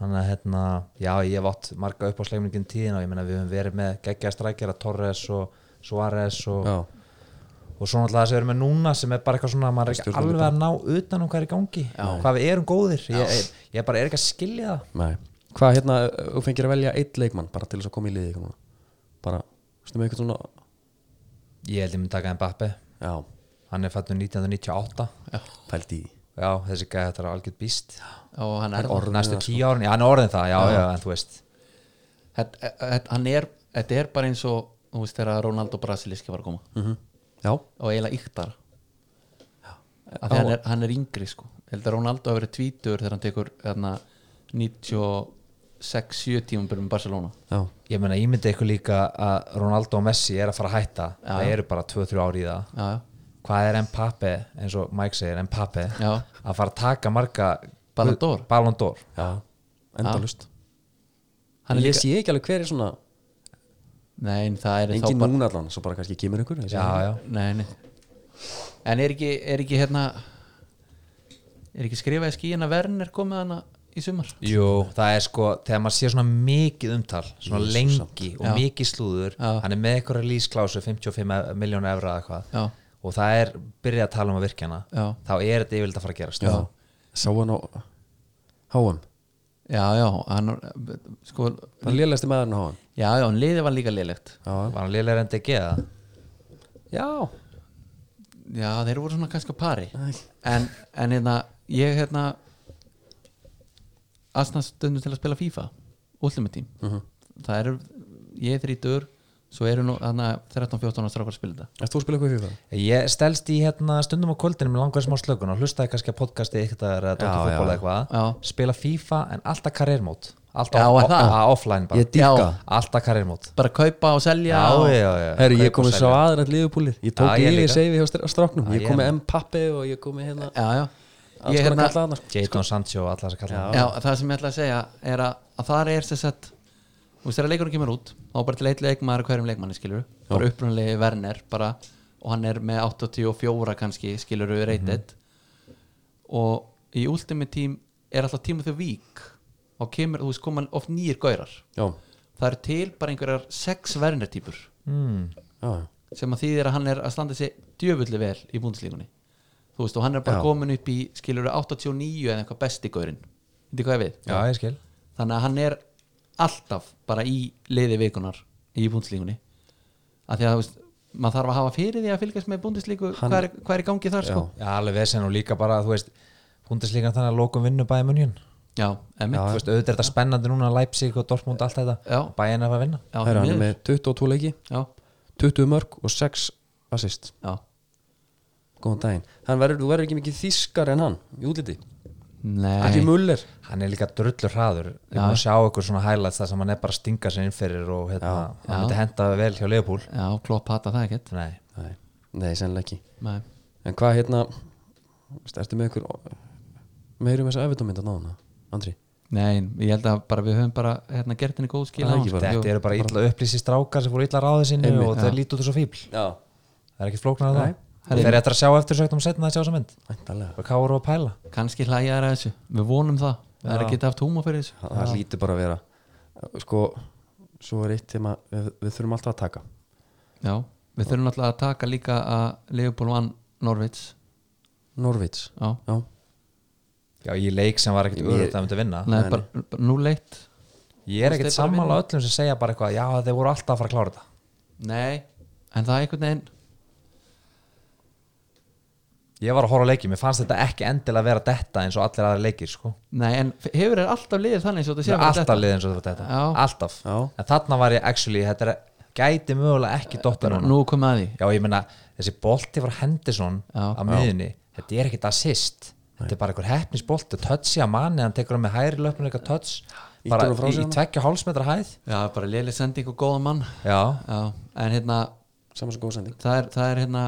[SPEAKER 3] Þannig að hérna, já ég hef átt marga upp á sleimningin tíðin og ég meina við höfum verið með geggja strækjara Torres og Suárez og
[SPEAKER 1] Já.
[SPEAKER 3] og svo náttúrulega það sem við erum með núna sem er bara eitthvað svona að maður er ekki
[SPEAKER 1] Stjórnum
[SPEAKER 3] alveg að ná utan um hvað er í gangi hvað við erum góðir ég, ég, ég bara er ekki að skilja það
[SPEAKER 1] Nei. Hvað hérna, uh, þú fengir að velja eitt leikmann bara til þess að koma í liði núna. bara, stum við eitthvað svona
[SPEAKER 3] ég held ég myndi taka Mbappe
[SPEAKER 1] Já,
[SPEAKER 3] hann er fættur 1998
[SPEAKER 1] pælt í því.
[SPEAKER 3] já þessi gæði þetta er algjörð býst
[SPEAKER 2] og hann er
[SPEAKER 1] Orðin
[SPEAKER 3] næstu
[SPEAKER 1] það,
[SPEAKER 3] tíu árin, já hann er orðin það já, já, en þú veist
[SPEAKER 2] Þetta- þetta- hann er, þetta er bara eins og þú veist þegar Ronaldo Brasiliski var að koma
[SPEAKER 1] mm Já,
[SPEAKER 2] og eiginlega yktar af því hann er, hann er yngri sko Ég held að Ronaldo hafi verið tvítur þegar hann tekur hérna, 96-7 tímum byrjum með Barcelona
[SPEAKER 1] já,
[SPEAKER 3] ég meina ímyndi ykkur líka að Ronaldo og Messi er að fara að hætta það eru bara 2-3 ári í það
[SPEAKER 2] já, já,
[SPEAKER 3] hvað er Mbappe, eins og Mike segir Mbappe,
[SPEAKER 2] Já.
[SPEAKER 3] að fara að taka marga
[SPEAKER 2] Ballon d'Or.
[SPEAKER 3] Ballon d'Or
[SPEAKER 1] já. endalust
[SPEAKER 2] Hann er
[SPEAKER 1] Ég sé ekki alveg hver er svona
[SPEAKER 2] nei, en það er
[SPEAKER 1] engin núna allan, svo bara kannski kemur ykkur
[SPEAKER 3] já, já,
[SPEAKER 2] nei, nei. en er ekki, er ekki hérna er ekki skrifað í skíin að Vern er komið hana í sumar
[SPEAKER 3] Jú, það er sko, þegar maður sé svona mikið umtal, svona lengi og mikið slúður,
[SPEAKER 2] Já.
[SPEAKER 3] hann er með eitthvað release-klásu 55 miljónu evra eða eitthvað
[SPEAKER 2] Já.
[SPEAKER 3] og það er, byrjað að tala um að virka hana
[SPEAKER 2] Já.
[SPEAKER 3] þá er þetta yfirlega að fara að gerast
[SPEAKER 1] já. Sá hann á HM
[SPEAKER 2] já, já, hann sko,
[SPEAKER 1] Það lélæsti maðurinn á HM
[SPEAKER 2] já, já, hann liðið var líka liðlegt
[SPEAKER 1] Já,
[SPEAKER 3] Var hann lélega reyndi ekki eða?
[SPEAKER 1] já.
[SPEAKER 2] já, þeir voru svona kannski á pari en, en hérna, ég hérna aðstæðan stundum til að spila FIFA útlum með tím
[SPEAKER 3] Mhm.
[SPEAKER 2] það eru, ég er þrítur svo eru nú þarna 13-14 ára strákar að spila þetta
[SPEAKER 1] Erst þú að spila eitthvað í FIFA?
[SPEAKER 3] Ég stelst í hérna stundum á kvöldinu með langar smá slökun og hlustaði kannski að podcasti eitthvað eða Dóttir
[SPEAKER 1] Já,
[SPEAKER 3] fútból
[SPEAKER 1] já.
[SPEAKER 3] eitthvað,
[SPEAKER 2] Já.
[SPEAKER 3] spila FIFA en alltaf karriérmót
[SPEAKER 2] Já,
[SPEAKER 3] alltaf
[SPEAKER 2] er það?
[SPEAKER 3] á- á- offline bara,
[SPEAKER 1] Ég dýrka
[SPEAKER 2] Já.
[SPEAKER 1] það.
[SPEAKER 3] alltaf karriérmót
[SPEAKER 2] bara kaupa og selja og...
[SPEAKER 3] já, já,
[SPEAKER 1] Herru, ég
[SPEAKER 3] Kaupa
[SPEAKER 1] komið
[SPEAKER 3] og
[SPEAKER 1] svo
[SPEAKER 3] selja.
[SPEAKER 1] aðrætt liðupúlir Ég tók
[SPEAKER 3] Já, ég
[SPEAKER 1] liðið
[SPEAKER 3] líka.
[SPEAKER 1] seifi hjá str- stráknum Ég
[SPEAKER 3] ég
[SPEAKER 1] komið M-pappi og ég komið hérna
[SPEAKER 2] já, já.
[SPEAKER 1] Alls
[SPEAKER 2] Ég,
[SPEAKER 3] sko
[SPEAKER 1] konar
[SPEAKER 2] hérna,
[SPEAKER 1] kalla þarna
[SPEAKER 3] Jadon Sancho og alla þess að kalla
[SPEAKER 2] já, það sem ég ætla að segja er að, að það er þess að þú veist þegar leikurinn kemur út þá er bara til eitt leikmaður af hverjum leikmanni skilur bara upprunalegi Werner bara, og hann er með 84 kannski skilur reytið og í Ultimate Team er alltaf tíma þau vík og kemur, þú veist, koma oft nýjir gaurar
[SPEAKER 1] Já,
[SPEAKER 2] það eru til bara einhverjar sex Werner típur
[SPEAKER 3] mm.
[SPEAKER 1] já, já
[SPEAKER 2] sem að þýðir að hann er að standa sér djöfulli vel í búndeslíkunni þú veist og hann er bara
[SPEAKER 1] Já.
[SPEAKER 2] komin upp í skilur 89 eða eitthvað besti gaurinn þetta er hvað ég við
[SPEAKER 3] Já, ég skil
[SPEAKER 2] þannig að hann er alltaf bara í liði vikunar í búndislíkunni að því að þú veist, maður þarf að hafa fyrir því að fylgjast með búndislíku
[SPEAKER 1] Hann-
[SPEAKER 2] hvað, er- hvað er í gangi þar sko
[SPEAKER 3] Já, alveg vesen og líka bara, þú veist Bundesliga þannig að lokum vinnu bæði munjun
[SPEAKER 2] já, emmitt
[SPEAKER 3] Þú veist, auðvitað er þetta spennandi núna Leipzig og Dortmund, allt þetta
[SPEAKER 2] Já.
[SPEAKER 3] Bæðin er að vinna
[SPEAKER 2] já,
[SPEAKER 1] Herra,
[SPEAKER 2] því
[SPEAKER 1] hann er
[SPEAKER 2] miður.
[SPEAKER 1] með 22 leiki
[SPEAKER 2] já,
[SPEAKER 1] 20 mörg og 6 assist
[SPEAKER 2] já,
[SPEAKER 1] góðan daginn, hann verður, þú verður ekki mikið þýskar en hann í útliti, ekki
[SPEAKER 2] nei
[SPEAKER 1] muller
[SPEAKER 3] Hann er líka drullur hraður
[SPEAKER 2] Já.
[SPEAKER 3] Við erum að sjá ykkur svona highlights þar sem hann er bara að stinga sér innferir og hérna,
[SPEAKER 2] Já.
[SPEAKER 3] hann myndi henda vel hjá Leopold
[SPEAKER 2] já, klopp hata það ekkert
[SPEAKER 3] Nei,
[SPEAKER 1] nei, nei, sennilega ekki
[SPEAKER 2] nei,
[SPEAKER 1] en hvað hérna veist, ertu með ykkur meirum þess að efitómynda náðuna, Andri
[SPEAKER 2] nei, ég held að bara við höfum bara hérna, gert henni góð skil
[SPEAKER 1] Það er
[SPEAKER 2] á
[SPEAKER 1] ekki
[SPEAKER 2] hann,
[SPEAKER 1] bara-
[SPEAKER 2] sko.
[SPEAKER 3] þetta eru bara illa upplýsi strákar sem fóru illa ráðið sinni
[SPEAKER 1] Einmitt.
[SPEAKER 3] og það lítur þessu fíbl
[SPEAKER 1] já,
[SPEAKER 3] Það er ekki flóknar að
[SPEAKER 1] Nei.
[SPEAKER 3] það Og Þeir eru eftir að sjá eftir sögtum setna að sjá þessa mynd
[SPEAKER 1] væntalega
[SPEAKER 3] Hvað káur og pæla?
[SPEAKER 2] kannski hlæja þær að þessu, við vonum það það er að geta haft húma fyrir þessu
[SPEAKER 1] það, það lítur bara að vera sko, svo er eitt tema við, við þurfum alltaf að taka
[SPEAKER 2] já, við þurfum náttúrulega að taka líka að Leopold vann Norvits
[SPEAKER 1] Norvits,
[SPEAKER 2] já,
[SPEAKER 1] já,
[SPEAKER 3] Já, í leik sem var ekkert
[SPEAKER 1] Ég-
[SPEAKER 3] öðrugt að myndi vinna
[SPEAKER 2] nei, bara, bara núleitt
[SPEAKER 3] Ég er
[SPEAKER 2] Þú veist,
[SPEAKER 3] ekkert
[SPEAKER 2] þeir bara
[SPEAKER 3] sammála öllum sem segja bara eitthvað Já, þeir voru alltaf að fara að klára þetta
[SPEAKER 2] nei, en það er einhvern veginn
[SPEAKER 3] Ég var að horfa á leiki, mér fannst þetta ekki endilega vera detta eins og allir aðra leikir sko.
[SPEAKER 2] Nei, en f- hefur þér alltaf liðið þannig svo þetta sé
[SPEAKER 3] Mér
[SPEAKER 2] bara
[SPEAKER 3] Alltaf
[SPEAKER 2] þetta?
[SPEAKER 3] liðið eins og þetta var detta
[SPEAKER 2] Já.
[SPEAKER 3] Alltaf
[SPEAKER 1] Já.
[SPEAKER 3] En þarna var ég actually, þetta er, gæti mögulega ekki dotta núna
[SPEAKER 2] Nú komið að því
[SPEAKER 3] Já, ég meina, þessi bolti frá Henderson
[SPEAKER 2] Já.
[SPEAKER 3] á miðunni, þetta er ekkert assist Þetta er bara einhver hefnisbolti, touchi að manni hann tekur hann með hægri löpun eitthvað touch
[SPEAKER 1] Ýtir
[SPEAKER 3] bara
[SPEAKER 1] honum frá
[SPEAKER 3] í,
[SPEAKER 1] sér
[SPEAKER 3] í
[SPEAKER 1] hann?
[SPEAKER 3] tvekja hálsmetra hæð
[SPEAKER 2] Já, bara liðið sending og góðan mann
[SPEAKER 3] Já,
[SPEAKER 2] Já, en hérna
[SPEAKER 1] saman sem góðsending
[SPEAKER 2] það er, það er hérna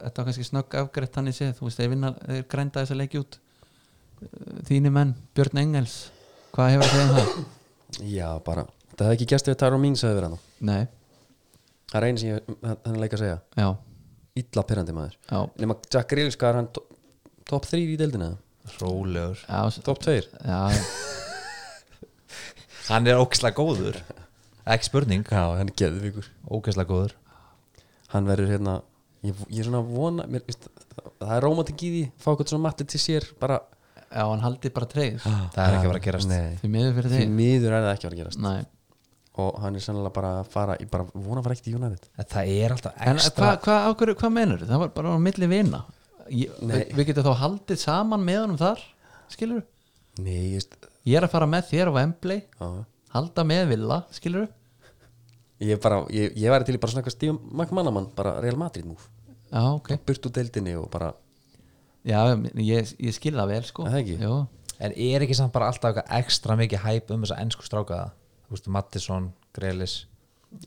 [SPEAKER 2] þetta var kannski snögg afgreitt þannig séð þú veist, þeir vinna, þeir grænda þess að leikja út þínu menn, Björn Engels hvað hefur að segja um það?
[SPEAKER 1] já, bara, þetta hefði ekki gæst við Tyrone Mings að vera hann
[SPEAKER 2] Nei,
[SPEAKER 1] það er einu sem ég, hann er leik að segja
[SPEAKER 2] já,
[SPEAKER 1] illa pyrrandi maður
[SPEAKER 2] já,
[SPEAKER 1] nema Jack Grealish, hvað er hann to- top 3 í deildina
[SPEAKER 3] rólegur
[SPEAKER 2] já, s-
[SPEAKER 1] top 2
[SPEAKER 2] já
[SPEAKER 3] Hann er óksla góður Ekki spurning,
[SPEAKER 1] já, hann er geðvíkur
[SPEAKER 3] óksla góður
[SPEAKER 1] hann verður hérna ég, ég er svona að vona mér, veist, það, það er rómatik í því fá eitthvað svona matti til sér bara
[SPEAKER 2] já, hann haldið bara treyð
[SPEAKER 3] Það er ekki að vera að gerast
[SPEAKER 1] Nei.
[SPEAKER 2] því miður fyrir
[SPEAKER 1] því
[SPEAKER 2] þeir
[SPEAKER 1] miður er það ekki að vera að gerast
[SPEAKER 2] Nei,
[SPEAKER 1] og hann er sennilega bara að fara ég bara vona að fara ekkert í United
[SPEAKER 3] En Það er alltaf
[SPEAKER 2] en
[SPEAKER 3] ekstra
[SPEAKER 2] hvað hva, hva, hva menur það var bara á milli vina Ég-
[SPEAKER 1] Nei.
[SPEAKER 2] við getum þá haldið saman með honum þar skilur
[SPEAKER 1] nei, ég veist
[SPEAKER 2] ég er að fara með þér á Wembley
[SPEAKER 1] já.
[SPEAKER 2] halda með Villa, skilur
[SPEAKER 1] ég er bara ég, ég væri til í bara svona eitthvað Steve McManaman bara Real Madrid move
[SPEAKER 2] já, ok
[SPEAKER 1] burt úr deildinni og bara
[SPEAKER 2] já, ég, ég skil það vel sko
[SPEAKER 1] Er það ekki?
[SPEAKER 2] Jú.
[SPEAKER 3] En er ekki samt bara alltaf eitthvað ekstra mikið hæp um þess að ennsku strákaða? Þú veist, Mattisson, Grelis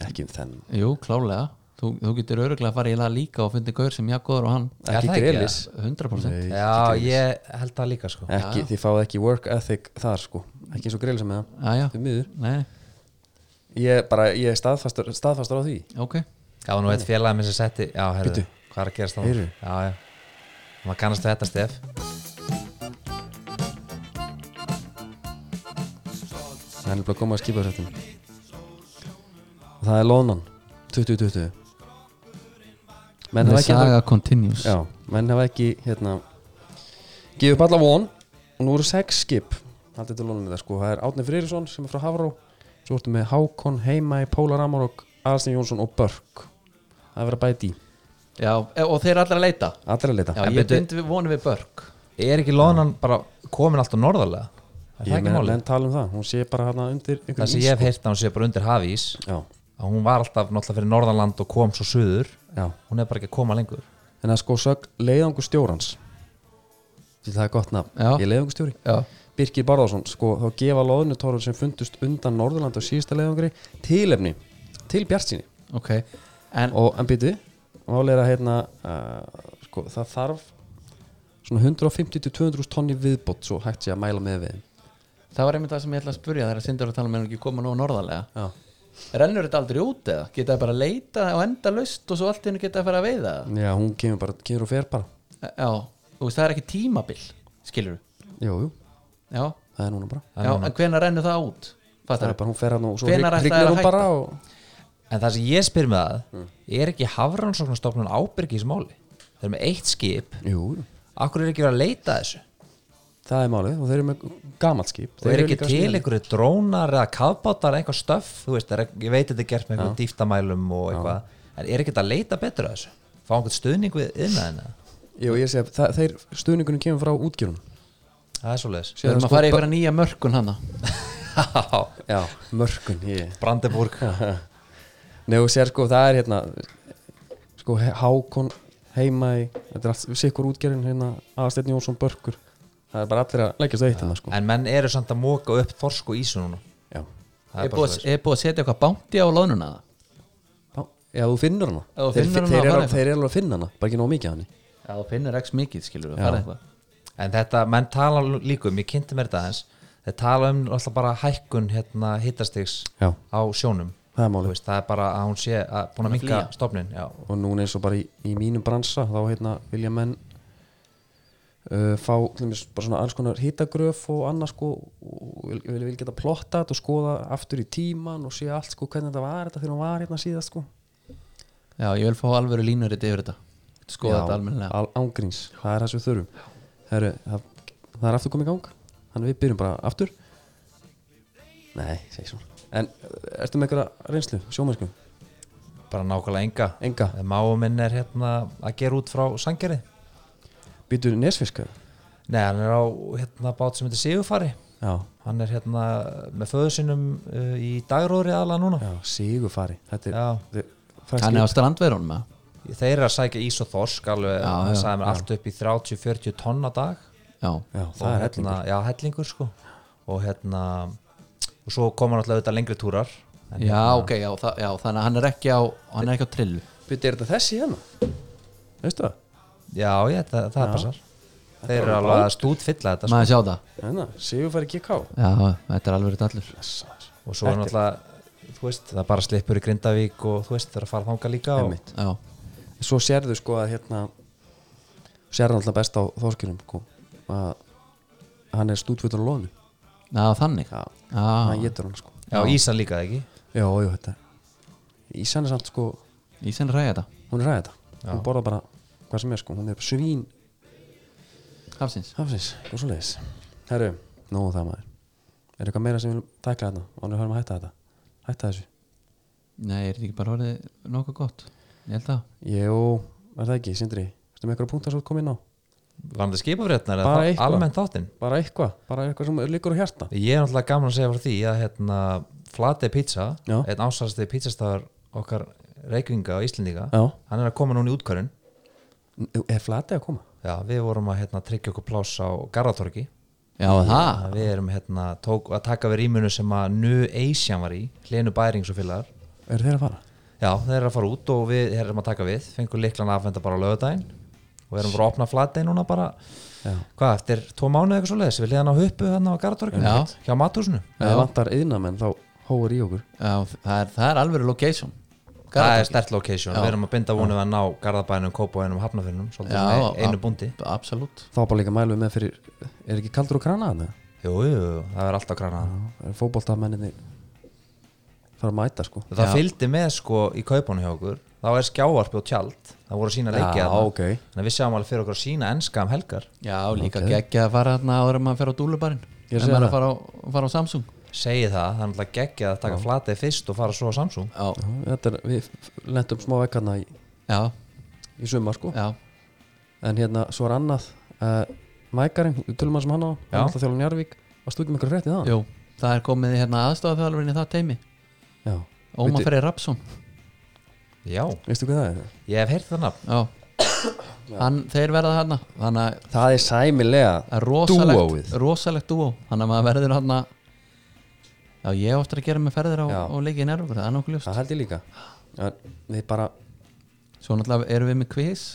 [SPEAKER 1] ekki um þenn
[SPEAKER 2] Jú, klálega þú, þú getur öruglega að fara í það líka og fundi gaur sem jakkuður og hann
[SPEAKER 3] Er
[SPEAKER 1] ekki
[SPEAKER 3] það ekki,
[SPEAKER 1] Grealis
[SPEAKER 2] 100%
[SPEAKER 1] Nei.
[SPEAKER 3] Já, ég held það líka sko
[SPEAKER 1] ekki þið fáið ekki work ethic þar sko ekki eins og Grealis með það
[SPEAKER 2] já, já,
[SPEAKER 1] þið miður
[SPEAKER 2] nei,
[SPEAKER 1] ég bara ég er staðfastur, staðfastur á því
[SPEAKER 2] ok
[SPEAKER 3] Já, nú eitt félagið minn sem setti Já, heyrðu,
[SPEAKER 1] Bíddu.
[SPEAKER 3] hvað er að gerast það?
[SPEAKER 1] Heyrðu.
[SPEAKER 3] Já, já Maður kannast við þetta, Stef
[SPEAKER 1] hann er bara komað að skipa sér og það er Lónan 2020 menn
[SPEAKER 2] The
[SPEAKER 1] hafa ekki
[SPEAKER 2] saga continues
[SPEAKER 1] Já, menn hafa ekki hérna gefið upp alla von og nú eru sex skip haldið til lónum þetta sko, það er Átni Frýrisson sem er frá Hafró svo ertu með Hákon, Heimæ, Póla Ramorok Aðarstein Jónsson og Börk það er verið að bæta í,
[SPEAKER 2] já, e- og þeir eru allir að leita
[SPEAKER 1] allir að leita
[SPEAKER 2] já,
[SPEAKER 3] En
[SPEAKER 2] ég
[SPEAKER 3] byrju-
[SPEAKER 2] byndi við vonum við Börk
[SPEAKER 3] Er ekki Lónan bara komin alltaf norðarlega? Er það
[SPEAKER 1] ég
[SPEAKER 3] ekki
[SPEAKER 1] menn,
[SPEAKER 3] málið?
[SPEAKER 1] menn tala um það, hún sé bara hérna undir
[SPEAKER 3] Það sem ég hef heyrt að hún sé bara undir hafís
[SPEAKER 1] ís- Já,
[SPEAKER 3] að hún var alltaf náttúrulega fyrir norðanland og kom svo suður
[SPEAKER 1] já,
[SPEAKER 3] hún er bara ekki að koma lengur
[SPEAKER 1] en það er sko sög leiðangur stjórans því það er gott nafn,
[SPEAKER 2] Já.
[SPEAKER 1] ég er leiðangur stjóri
[SPEAKER 2] já,
[SPEAKER 1] Birgir Barðarsson, sko, þá gefa loðnutorður sem fundust undan Norðurland á síðasta leiðangri tilefni, til Bjartsýni
[SPEAKER 2] ok en,
[SPEAKER 1] og en býtu málið er að hérna uh, sko, það þarf svona 150-200 tonni viðbót svo hægt sé að mæla með við
[SPEAKER 2] það var einmitt það sem ég ætla að spurja þegar Sindar var að tala með hann ekki koma nú norðarlega
[SPEAKER 1] já.
[SPEAKER 2] Rennur þetta aldrei út eða? Geta það bara að leita og enda laust og svo allt í hennu geta það að fara að veiða það?
[SPEAKER 1] já, hún kemur bara, kemur og fer bara
[SPEAKER 2] Já, þú veist það er ekki tímabil, skilur
[SPEAKER 1] jú, jú,
[SPEAKER 2] Já,
[SPEAKER 1] það er núna bara
[SPEAKER 2] já en hvenær rennur það út?
[SPEAKER 1] það
[SPEAKER 2] Fattar
[SPEAKER 1] er bara, hún fer hann og svo
[SPEAKER 2] Hvenær ætlaði
[SPEAKER 1] hrygnir
[SPEAKER 2] að
[SPEAKER 1] hún
[SPEAKER 2] hætta?
[SPEAKER 1] bara og,
[SPEAKER 3] En það sem ég spyr með það
[SPEAKER 1] Mm.
[SPEAKER 3] er ekki hafrannsóknarstofnun ábyrgi í þessu máli? Þeir eru með eitt skip
[SPEAKER 1] jú, jú.
[SPEAKER 3] Akkur er ekki verið að leita að þessu?
[SPEAKER 1] það er málið og þeir eru með gamalt skip
[SPEAKER 3] og
[SPEAKER 1] Þeir
[SPEAKER 3] er
[SPEAKER 1] eru
[SPEAKER 3] ekki
[SPEAKER 1] líka
[SPEAKER 3] til
[SPEAKER 1] smíðaðir.
[SPEAKER 3] einhverju drónar eða kafbátar eitthvað stöf, þú veist, er, ég veit þetta er gert með einhverjum dýftamælum og eitthvað en er ekki þetta að leita betur að þessu fá einhvern stuðning við innæðina
[SPEAKER 1] Jú, ég sé að það, þeir stuðningunum kemur frá útgjörun
[SPEAKER 3] það er svo leiðis
[SPEAKER 2] Við erum að fara yfir að nýja mörkun hana
[SPEAKER 1] Já, mörkun ég.
[SPEAKER 3] Brandenburg
[SPEAKER 1] Nei, og sér sko, það er hérna sko, He- Hákon heima í, þetta er allt sikkur útgjörun hérna, Aðsteinn Jónsson Börkur það er bara allir að leggjast eitt hérna sko
[SPEAKER 3] en menn eru samt að móka upp þorsku ísu núna
[SPEAKER 1] Já,
[SPEAKER 3] það
[SPEAKER 2] Er
[SPEAKER 3] er bara
[SPEAKER 2] búið
[SPEAKER 3] svo
[SPEAKER 2] að- er búið að setja eitthvað bánti á lónuna það?
[SPEAKER 1] Þá- Já, þú finnur hana
[SPEAKER 2] Já, þú
[SPEAKER 1] Þeir-
[SPEAKER 2] finnur hana hérna.
[SPEAKER 1] þeir,
[SPEAKER 2] að
[SPEAKER 1] eru,
[SPEAKER 2] fara
[SPEAKER 1] þeir eru alveg að finna hana, bara ekki nóg mikið af henni
[SPEAKER 2] Já, þú finnur x mikið skilur við, það er eitthvað
[SPEAKER 3] en þetta, menn tala líkum, ég kynnti mér þetta aðeins þeir tala um alltaf bara hækkun hérna hittastigs
[SPEAKER 1] Já,
[SPEAKER 3] á sjónum
[SPEAKER 1] það er
[SPEAKER 3] Þú
[SPEAKER 1] málið
[SPEAKER 3] veist, það er bara að hún sé að búin að minka stofnin já,
[SPEAKER 1] og núna eins og bara í, í mínum bransa þá hérna vilja menn uh, fá tlumis, bara svona alls konar hittagröf og annað sko og vil, vil, vil geta plotta þetta og skoða aftur í tíman og sé allt sko hvernig þetta var þetta þegar hún var hérna síðast sko
[SPEAKER 2] Já, ég vil fá alvöru línuriti yfir þetta Skoða þetta almennilega
[SPEAKER 1] al, ángríns, það er það sem við þurfum Heru, það, það er aftur komið í gang þannig að við byrjum bara aftur nei, segi svona en uh, ertu með einhverja reynslu, sjómennsku
[SPEAKER 3] bara nákvæmlega enga
[SPEAKER 1] enga,
[SPEAKER 3] máum minn er hérna að gera út frá sangjari
[SPEAKER 1] býtur nesfisk eða?
[SPEAKER 3] Nei, hann er á hérna bát sem heitir Sigurfari
[SPEAKER 1] já,
[SPEAKER 3] Hann er hérna með föður sinum uh, í dagróðri aðla núna
[SPEAKER 1] já, sigurfari þetta er
[SPEAKER 3] Já,
[SPEAKER 2] Hann er á
[SPEAKER 1] Þannig
[SPEAKER 2] strandverunum eða?
[SPEAKER 3] þeir eru að sækja ís og þorsk alveg,
[SPEAKER 2] Já,
[SPEAKER 3] hann
[SPEAKER 2] já,
[SPEAKER 3] sagði mér allt upp í 30-40 tonn á dag
[SPEAKER 2] Já,
[SPEAKER 1] Já,
[SPEAKER 3] Og
[SPEAKER 1] það er hellingur
[SPEAKER 3] hérna, Já, hellingur sko og hérna og svo koma hann alltaf auðvitað lengri túrar en, hérna-
[SPEAKER 2] já ok, já, það, já, þannig að hann er ekki á hann er ekki á trillu
[SPEAKER 1] Býtti, er þetta þessi hérna? Veistu það?
[SPEAKER 3] Já, já, það, það er passar Þeir eru
[SPEAKER 1] alveg
[SPEAKER 3] alveg að stútfylla þetta sko.
[SPEAKER 2] Maður sjá það
[SPEAKER 1] Hérna, Sigurfæri GK
[SPEAKER 2] Já, þetta er alveg allur
[SPEAKER 3] og svo er náttúrulega þú veist, það bara slippur í Grindavík og þú veist, þeir eru að fara þanga líka og,
[SPEAKER 1] Einmitt.
[SPEAKER 2] Já,
[SPEAKER 1] Svo sérðu sko að hérna sérðu alltaf best á þorskinum sko, að hann er stútvöldur á lónu
[SPEAKER 2] já þannig
[SPEAKER 1] Já.
[SPEAKER 2] Já,
[SPEAKER 1] hann getur hann sko
[SPEAKER 3] Já, Ísan líka eða ekki
[SPEAKER 1] Já, jú, þetta Ísan er samt sko,
[SPEAKER 2] Ísinn ræði þetta
[SPEAKER 1] hún er ræða þetta hún borða bara hvað sem er sko, hún er svín
[SPEAKER 2] Hafsins
[SPEAKER 1] hafsins og svo leiðis Herru, nú það maður Er eitthvað meira sem við viljum tækla þarna og hann er höfum að hætta þetta Hætta þessu
[SPEAKER 2] Nei, er þetta ekki bara orðið nokkuð gott? Ég held það
[SPEAKER 1] Jú, er það ekki, Sindri Ertu með eitthvað punktar svo komið inn á?
[SPEAKER 3] Varandi skipafrétnar
[SPEAKER 1] Bara
[SPEAKER 3] eða þá-
[SPEAKER 1] eitthvað.
[SPEAKER 3] almennt þáttinn
[SPEAKER 1] bara eitthvað, bara eitthvað sem liggur á hjarta
[SPEAKER 3] Ég er náttúrulega gaman að segja frá því að hérna, Flate Pizza,
[SPEAKER 1] Já.
[SPEAKER 3] einn ásvarsti pizzastafar okkar reikvinga og Íslendinga
[SPEAKER 1] Já.
[SPEAKER 3] hann er að koma núna í útkvörun
[SPEAKER 1] er flatið að koma?
[SPEAKER 3] Já, við vorum að hérna, tryggja okkur pláss á Garðatorki
[SPEAKER 2] Já,
[SPEAKER 1] Ah.
[SPEAKER 2] það
[SPEAKER 3] Við erum hérna, tók, að taka við rýmunu sem að nu Asian var í, Hlenu Bærings og félagar
[SPEAKER 1] eru þeir að fara?
[SPEAKER 3] Já, þeir eru að fara út og við erum að taka við fengum liklan aðfenda bara á lögadaginn og erum bara að opna Flate núna bara
[SPEAKER 1] Já.
[SPEAKER 3] hvað, eftir tvo mánuð eitthvað svo leiðis við liðan á huppu hérna á Garðatorkinu
[SPEAKER 2] Já.
[SPEAKER 3] hjá Matúsinu
[SPEAKER 1] ef það vantar yðnamenn þá hóður í okkur
[SPEAKER 2] Já, það er, það er alveg location
[SPEAKER 3] það er stert location, við erum að binda vonum að ná Garðabænum, Kópavænum, Hafnafjörnum svolítið
[SPEAKER 2] Já,
[SPEAKER 3] með einu
[SPEAKER 2] ab-
[SPEAKER 3] búndi
[SPEAKER 2] Absolutt
[SPEAKER 1] þá bara líka mælum við með fyrir er ekki kaldur og krana þannig?
[SPEAKER 3] jú, jú, jú, það er alltaf kranað
[SPEAKER 1] er fótboltamenninni fara að mæta sko
[SPEAKER 3] það fylgdi með sko í kaupunum hjá okkur þá er skjávarpi og tjald það voru sína leikið þarna.
[SPEAKER 1] ok
[SPEAKER 3] þannig að við sjáum alveg fyrir okkur að sína enska um helgar
[SPEAKER 2] Já, líka okay. geggja að fara þarna áður en maður fer á dúlubarinn
[SPEAKER 1] Ég
[SPEAKER 2] En
[SPEAKER 1] segi
[SPEAKER 2] maður
[SPEAKER 1] það.
[SPEAKER 2] fara á, fara á Samsung
[SPEAKER 3] segi það, það er alltaf geggjað að taka flatið fyrst og fara svo á Samsung
[SPEAKER 2] Já,
[SPEAKER 1] þetta er, við lendum smá vekkarna í,
[SPEAKER 2] já,
[SPEAKER 1] í sumar sko
[SPEAKER 2] já
[SPEAKER 1] en hérna svo er annað uh, mækarinn, tölum um hann sem hann á hann er alltaf þjálfum Jarvík varst þú ekki með einhverja frétt í það?
[SPEAKER 2] Jú, það er komið hérna aðstofafjálfurinn í það teimi
[SPEAKER 1] já
[SPEAKER 2] Óma
[SPEAKER 1] Veitu-
[SPEAKER 2] Freyr Rapsson
[SPEAKER 3] já,
[SPEAKER 1] veistu hvað það er?
[SPEAKER 3] ég hef heyrt það nafn
[SPEAKER 2] Já, hann, þeir verða hérna Þannig að
[SPEAKER 1] það er sæmilega
[SPEAKER 2] það er rosalegt
[SPEAKER 1] Dúóið.
[SPEAKER 2] Rosalegt dúó Þannig að maður verður hérna Já, ég oftar að gera með ferðir á,
[SPEAKER 1] Já.
[SPEAKER 2] á leikið nervur Það er nokkuð ljóst
[SPEAKER 1] það held ég líka en við bara
[SPEAKER 2] Svo náttúrulega erum við með quiz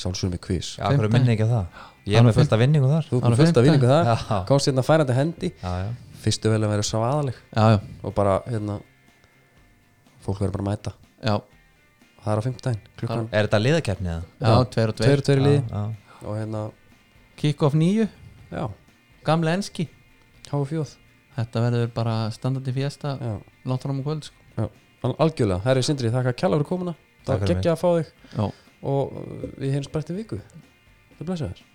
[SPEAKER 1] sjálfsögum við kvís
[SPEAKER 3] já, hverju minni ekki að það ég er með fullt af vinningu þar
[SPEAKER 1] þú
[SPEAKER 2] Hann
[SPEAKER 1] erum
[SPEAKER 2] er
[SPEAKER 1] fullt af
[SPEAKER 2] fimmtán.
[SPEAKER 1] vinningu það
[SPEAKER 3] Já.
[SPEAKER 1] komst hérna færandi hendi
[SPEAKER 3] já, já.
[SPEAKER 1] fyrstu vel að vera svo aðaleg
[SPEAKER 2] Já, já,
[SPEAKER 1] og bara hérna fólk verður bara að mæta
[SPEAKER 2] já,
[SPEAKER 1] það er á 15 klukkan
[SPEAKER 3] er þetta liðakefni eða?
[SPEAKER 2] já, tveir og tveir
[SPEAKER 1] tveir og tveir í liði
[SPEAKER 3] Já, já.
[SPEAKER 1] og hérna
[SPEAKER 2] Kickoff nýju,
[SPEAKER 1] já
[SPEAKER 2] gamla enski
[SPEAKER 1] háu fjóð
[SPEAKER 2] Þetta verður bara standandi fjesta
[SPEAKER 1] já,
[SPEAKER 2] Látt fram á kvöld sko.
[SPEAKER 1] já. Al algjörlega herri Sindri þakka kjalla fyrir komuna
[SPEAKER 3] Takk
[SPEAKER 1] það
[SPEAKER 3] fyrir
[SPEAKER 1] gekkja að fá þig
[SPEAKER 2] Já,
[SPEAKER 1] og uh, við heimst breytti viku það blessa þér